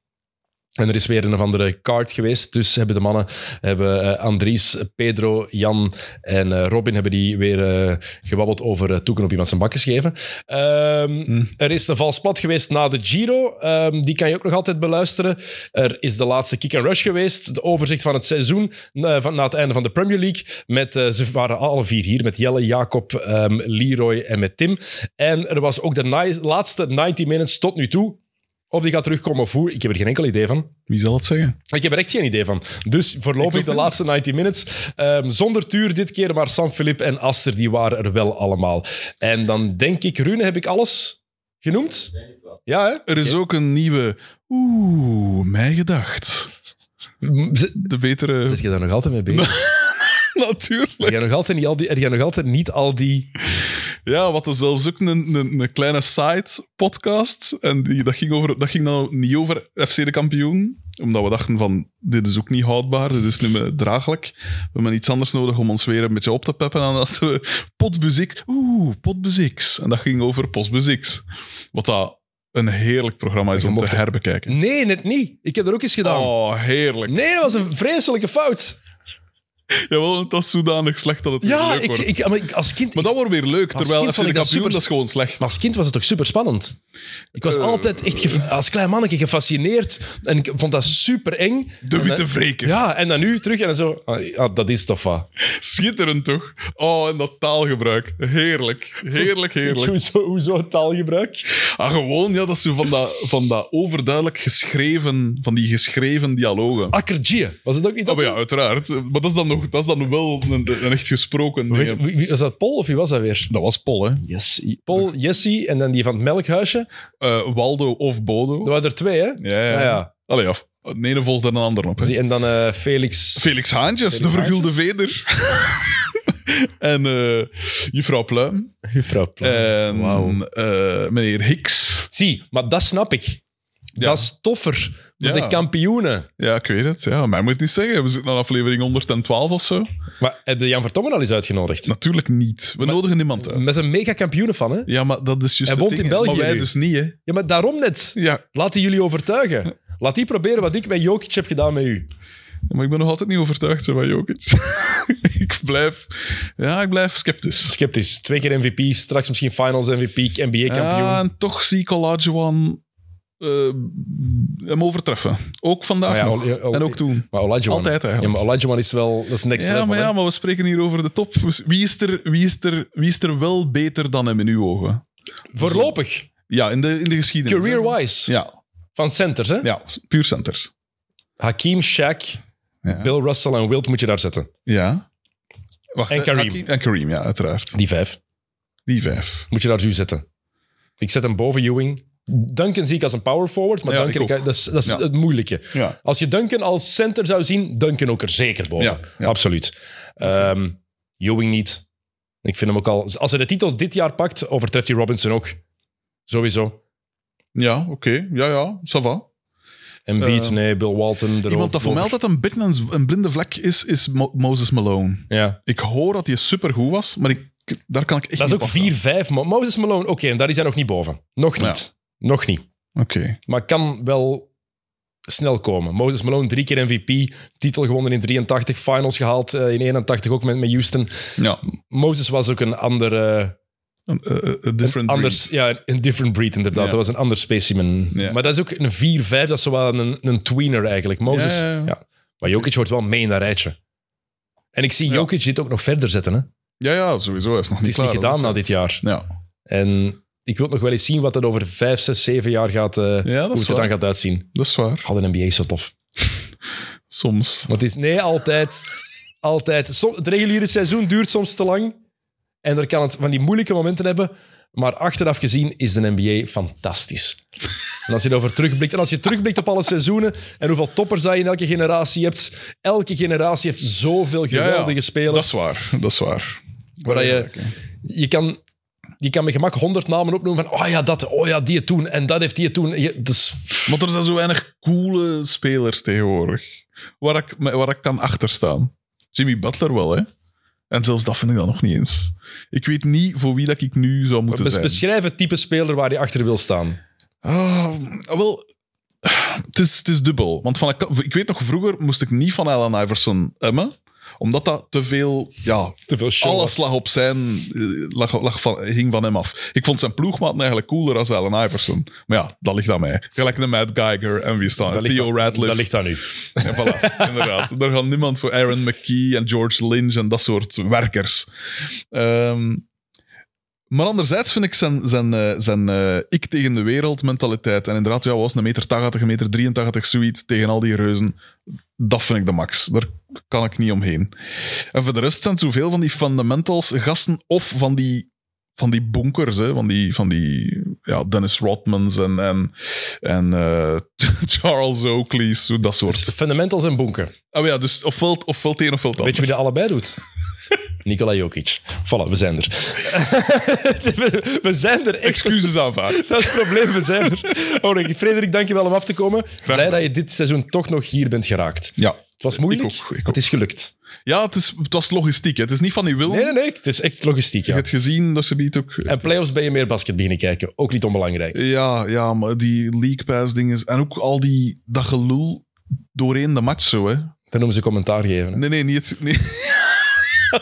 En er is weer een of andere kaart geweest. Dus hebben de mannen, hebben eh, Andries, Pedro, Jan en eh, Robin, hebben die weer eh, gebabbeld over eh, toeken op iemand zijn bakjes geven. Ehm,
Hm,
Er is de vals plat geweest na de Giro. Ehm, die kan je ook nog altijd beluisteren. Er is de laatste kick and rush geweest. De overzicht van het seizoen na, van, na het einde van de Premier League. Met, eh, ze waren alle vier hier met Jelle, Jacob, ehm, Leroy en met Tim. En er was ook de ni- laatste 90 minutes tot nu toe. Of die gaat terugkomen of hoe, ik heb er geen enkel idee van.
Wie zal het zeggen?
Ik heb er echt geen idee van. Dus
Ik
voorlopig
ook
de
niet.
laatste 90 minutes. ehm, zonder Tuur dit keer, maar Sam, Philip en Aster, die waren er wel allemaal. En dan denk ik, Rune, heb ik alles genoemd? Ja, hè?
Er is ook een nieuwe... Oeh, mij gedacht.
M- z-
De betere...
Zit je daar nog altijd mee bezig?
Natuurlijk.
Er jij nog altijd niet al die, er jij nog altijd niet al die
Ja, wat er zelfs ook een, een, een kleine side-podcast. En die, dat, ging over, dat ging nou niet over FC de kampioen. Omdat we dachten van, dit is ook niet houdbaar. Dit is niet meer draaglijk. We hebben iets anders nodig om ons weer een beetje op te peppen. En dat we potbuzix... Oeh, potbuzix. En dat ging over postbuzix. Wat dat een heerlijk programma is
Je
om te
mocht- Nou.
herbekijken.
Nee, net niet. Ik heb dat ook eens gedaan.
Oh, heerlijk.
Nee, dat was een vreselijke fout.
Jawel, want dat is zodanig slecht dat het
Ja,
weer leuk
ik,
wordt.
ik, maar ik- als kind...
maar dat wordt weer leuk.
Als
Terwijl
kind
FC de
vond ik dat
kampioen,
super-
dat is gewoon slecht.
Maar als kind was het toch super spannend. Ik was
Eh.
altijd echt ge- als klein mannetje gefascineerd. En ik vond dat super eng.
De witte vreken.
Ja, en dan nu terug en dan zo. ah, ah, dat is toch wat.
Schitterend toch? Oh, en dat taalgebruik. Heerlijk, heerlijk, heerlijk.
Hoezo, hoezo taalgebruik?
Ah, gewoon, ja, dat is zo van dat, van dat overduidelijk geschreven, van die geschreven dialogen.
Ah, Akkergie. Was het ook niet dat?
Oh, maar ja, uiteraard. Maar dat is dan, nog, dat is dan wel een, een echt gesproken
Weet-
ding.
wie- wie- was dat Paul of wie was dat weer?
Dat was Pol, hè?
Yes. Paul, Jesse en dan die van het melkhuisje.
Eh, Waldo of
Er
Bodo.
waren er twee, hè?
Ja, ja.
Nou ja.
Allee, ja. De ene volgt er een ander op. Hè.
Zie, En dan eh, Felix.
Felix Haantjes,
Felix
de vergulde veder. en eh juffrouw Pluim.
Juffrouw Plan.
En
Wauw.
Ehm, eh, meneer Hicks.
Zie, maar dat snap ik.
Ja.
Dat is toffer. Met
Ja.
de kampioenen.
Ja, ik weet het. Ja, maar je moet het niet zeggen. We zitten aan aflevering 112 of zo.
Maar heb je Jan Vertongen al eens uitgenodigd?
Natuurlijk niet. We nodigen niemand uit.
Met een mega kampioenen van, hè?
Ja, maar dat is juist
Hij
het
woont
ding,
in
hè.
België
Maar wij
nu.
dus niet, hè.
Ja, maar daarom net.
Ja,
Laat die jullie overtuigen. Laat die proberen wat ik met Jokic heb gedaan met u.
maar ik ben nog altijd niet overtuigd hè, van Jokic. ik blijf... Ja, ik blijf sceptisch.
Sceptisch. Twee keer MVP, straks misschien finals MVP, NBA-kampioen.
Ja, en toch zie ik Olajuwon eh, hem overtreffen. Ook vandaag
Maar Oh ja,
nog.
Ol- Ol-
en ook toen.
maar Olajuwon...
Altijd
Ja,
eigenlijk.
maar Olajuwon is wel... Dat is next
Ja,
level,
maar,
hè?
ja, maar we spreken hier over de top. Dus Wie is er, wie is er, wie is er wel beter dan hem in uw ogen?
Voorlopig.
Ja, in de, in de geschiedenis. hè.
Career-wise.
Ja,
Van centers, hè?
Ja, puur centers.
Hakim, Shaq,
Ja.
Bill Russell en Wilt moet je daar zetten.
ja. Wacht,
En
eh,
Kareem.
Hakim- En Kareem, ja, uiteraard.
Die vijf.
Die vijf.
Moet je daar zo zetten. Ik zet hem boven Ewing. Duncan zie ik als een power forward, maar
Ja,
Duncan...
ik ook.
ik- dat is, dat is
Ja.
het moeilijke.
Ja.
Als je Duncan als center zou zien, Duncan ook er zeker boven.
Ja, ja.
Absoluut. Ehm Ewing niet. Ik vind hem ook al... Als hij de titel dit jaar pakt, overtreft hij Robinson ook. Sowieso.
Ja, oké. Ja, ja, ça va.
Embiid,
Eh,
nee, Bill Walton. erover-
Iemand dat voor mij altijd een beetje een, z- een blinde vlek is, is Mo- Moses Malone.
Ja,
Ik hoor dat hij supergoed was, maar ik, daar kan ik echt
dat is
niet
ook
op afgaan.
4-5. Maar Moses Malone, oké, en daar is hij nog niet boven. Nog niet. Nog niet.
Oké.
Maar kan wel snel komen. Moses Malone, drie keer MVP. Titel gewonnen in 83. Finals gehaald eh, in 81 ook met, met Houston.
Ja.
Moses was ook een andere...
Een, eh, eh, a different
anders,
breed.
Ja, een different breed inderdaad.
Ja.
Dat was een ander specimen.
Ja.
Maar dat is ook een 4-5, dat is zowel een, een tweener eigenlijk. Moses,
Ja,
ja,
ja, ja.
Maar Jokic hoort wel mee in dat rijtje. En ik zie
Ja.
Jokic dit ook nog verder zetten. Hè?
Ja, ja, sowieso. Hij is nog
Het
niet
is niet
klaar,
gedaan na
hoor.
dit jaar.
Ja.
En ik wil nog wel eens zien wat dat over vijf, zes, zeven jaar gaat, eh, hoe
Ja, dat is
het er
waar.
dan gaat uitzien.
Dat is waar.
Had een NBA zo tof.
Soms.
Want het is, nee, altijd. altijd. Som- het reguliere seizoen duurt soms te lang. En er kan het van die moeilijke momenten hebben. Maar achteraf gezien is de NBA fantastisch. En als je erover terugblikt, en als je terugblikt op alle seizoenen en hoeveel toppers dat je in elke generatie hebt. Elke generatie heeft zoveel
Ja, ja.
geweldige spelers.
Dat is waar. Dat is waar.
Waar je, je, kan, je kan met gemak honderd namen opnoemen van oh ja, dat, oh ja, die toen en dat heeft die toen. Je, dus dat is-
Maar er zijn zo weinig coole spelers tegenwoordig. Waar ik, waar ik kan achterstaan. Jimmy Butler wel, hè. En zelfs dat vind ik dan nog niet eens. Ik weet niet voor wie dat ik nu zou moeten
bes-
zijn.
beschrijf het type speler waar je achter wil staan.
Ah, wel, het is, het is dubbel. Want van, ik weet nog, vroeger moest ik niet van Allen Iverson emmen. Omdat dat te veel... Ja,
Te veel show.
alles lag op zijn... eh, Lag, lag van, hing van hem af. Ik vond zijn ploegmaat eigenlijk cooler als Allen Iverson. Maar ja, dat ligt aan mij. Gelijk een Matt Geiger en wie staan er?
ligt
Theo
aan-
Radcliffe.
Dat ligt aan u.
En voilà, inderdaad. Daar gaat niemand voor Aaron McKee en George Lynch en dat soort werkers. Ehm, maar anderzijds vind ik zijn, zijn, eh, zijn eh, ik tegen de wereld mentaliteit. En inderdaad, ja, was een meter 80, een meter 83, zoiets tegen al die reuzen. Dat vind ik de max. Daar kan ik niet omheen. En voor de rest zijn het zoveel van die fundamentals gasten of van die, van die bonkers, hè, van die, van die ja, Dennis Rodmans en, en, en eh, Charles Oakley's, zo dat soort.
Dus Fundamentals en bunker.
Oh ja, dus ofwel, ofwel het een ofwel het
Weet
ander.
je wie dat allebei doet? Nikola Jokic. Voilà, we zijn er. we, we zijn er. Echt.
Excuses aanvaard.
Dat is het probleem, we zijn er. Oh, nee, Frederik, dank je wel om af te komen. Blij dat je dit seizoen toch nog hier bent geraakt.
Ja.
Het was moeilijk,
Ik ook, ik ook.
het is gelukt.
Ja, het, is, het was logistiek. Hè. Het is niet van die wil.
Nee, nee, nee, het is echt logistiek.
Je
Ja.
hebt gezien dat ze biedt ook.
En playoffs ben je meer basket beginnen kijken. Ook niet onbelangrijk.
Ja, ja, maar die league pass dingen. En ook al die dat gelul doorheen de match zo, hè.
Dan noemen ze commentaar geven. hè.
Nee, nee, niet. Nee.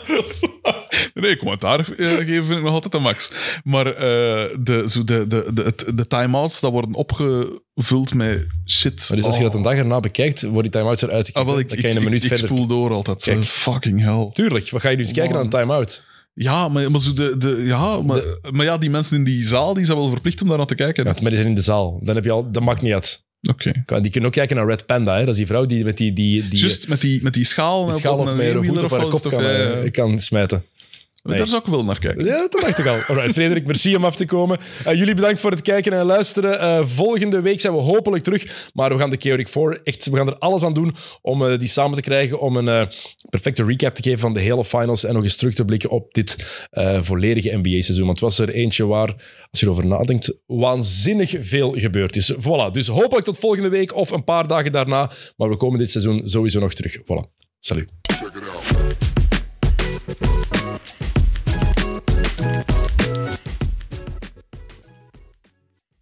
Dat is waar. Nee, commentaar eh, geven vind ik nog altijd een max. Maar eh, de, zo de, de, de, het- de time-outs dat worden opgevuld met shit.
Maar dus als je
Oh.
dat een dag erna bekijkt, wordt die time-out eruit geknipt,
Ah, wel,
hè.
ik,
Dan
ik,
kan je een
ik-
minuut
ik
verder.
spoel door altijd. hè.
Kijk.
Fucking hell.
Tuurlijk, wat ga je nu eens kijken naar een time-out?
Ja, maar, maar, zo de, de, ja, maar, maar ja, die mensen in die zaal die zijn wel verplicht om daar naar te kijken.
Ja, maar die zijn in de zaal. Dan heb je al, dat maakt niet uit.
Oké.
Die kunnen ook kijken naar Red Panda. Hè? Dat is die vrouw die met die, die, die,
Juist met die, met die schaal,
die schaal
op
op met haar voet
vierwieler
op haar
wel
kop
eens
kan,
toch, ja,
eh,
ja.
kan smijten. nee.
Daar zou ik wel naar kijken.
Ja, dat dacht ik al. Alright, Frederik, merci om af te komen. Eh, jullie bedankt voor het kijken en luisteren. Eh, volgende week zijn we hopelijk terug. Maar we gaan de Chaotic 4 echt, we gaan er alles aan doen om eh, die samen te krijgen. Om een eh, perfecte recap te geven van de hele finals. En nog eens terug te blikken op dit eh, volledige NBA-seizoen. Want het was er eentje waar, als je erover nadenkt, waanzinnig veel gebeurd is. Voilà, dus hopelijk tot volgende week of een paar dagen daarna. Maar we komen dit seizoen sowieso nog terug. Voilà, salut.
Check it out.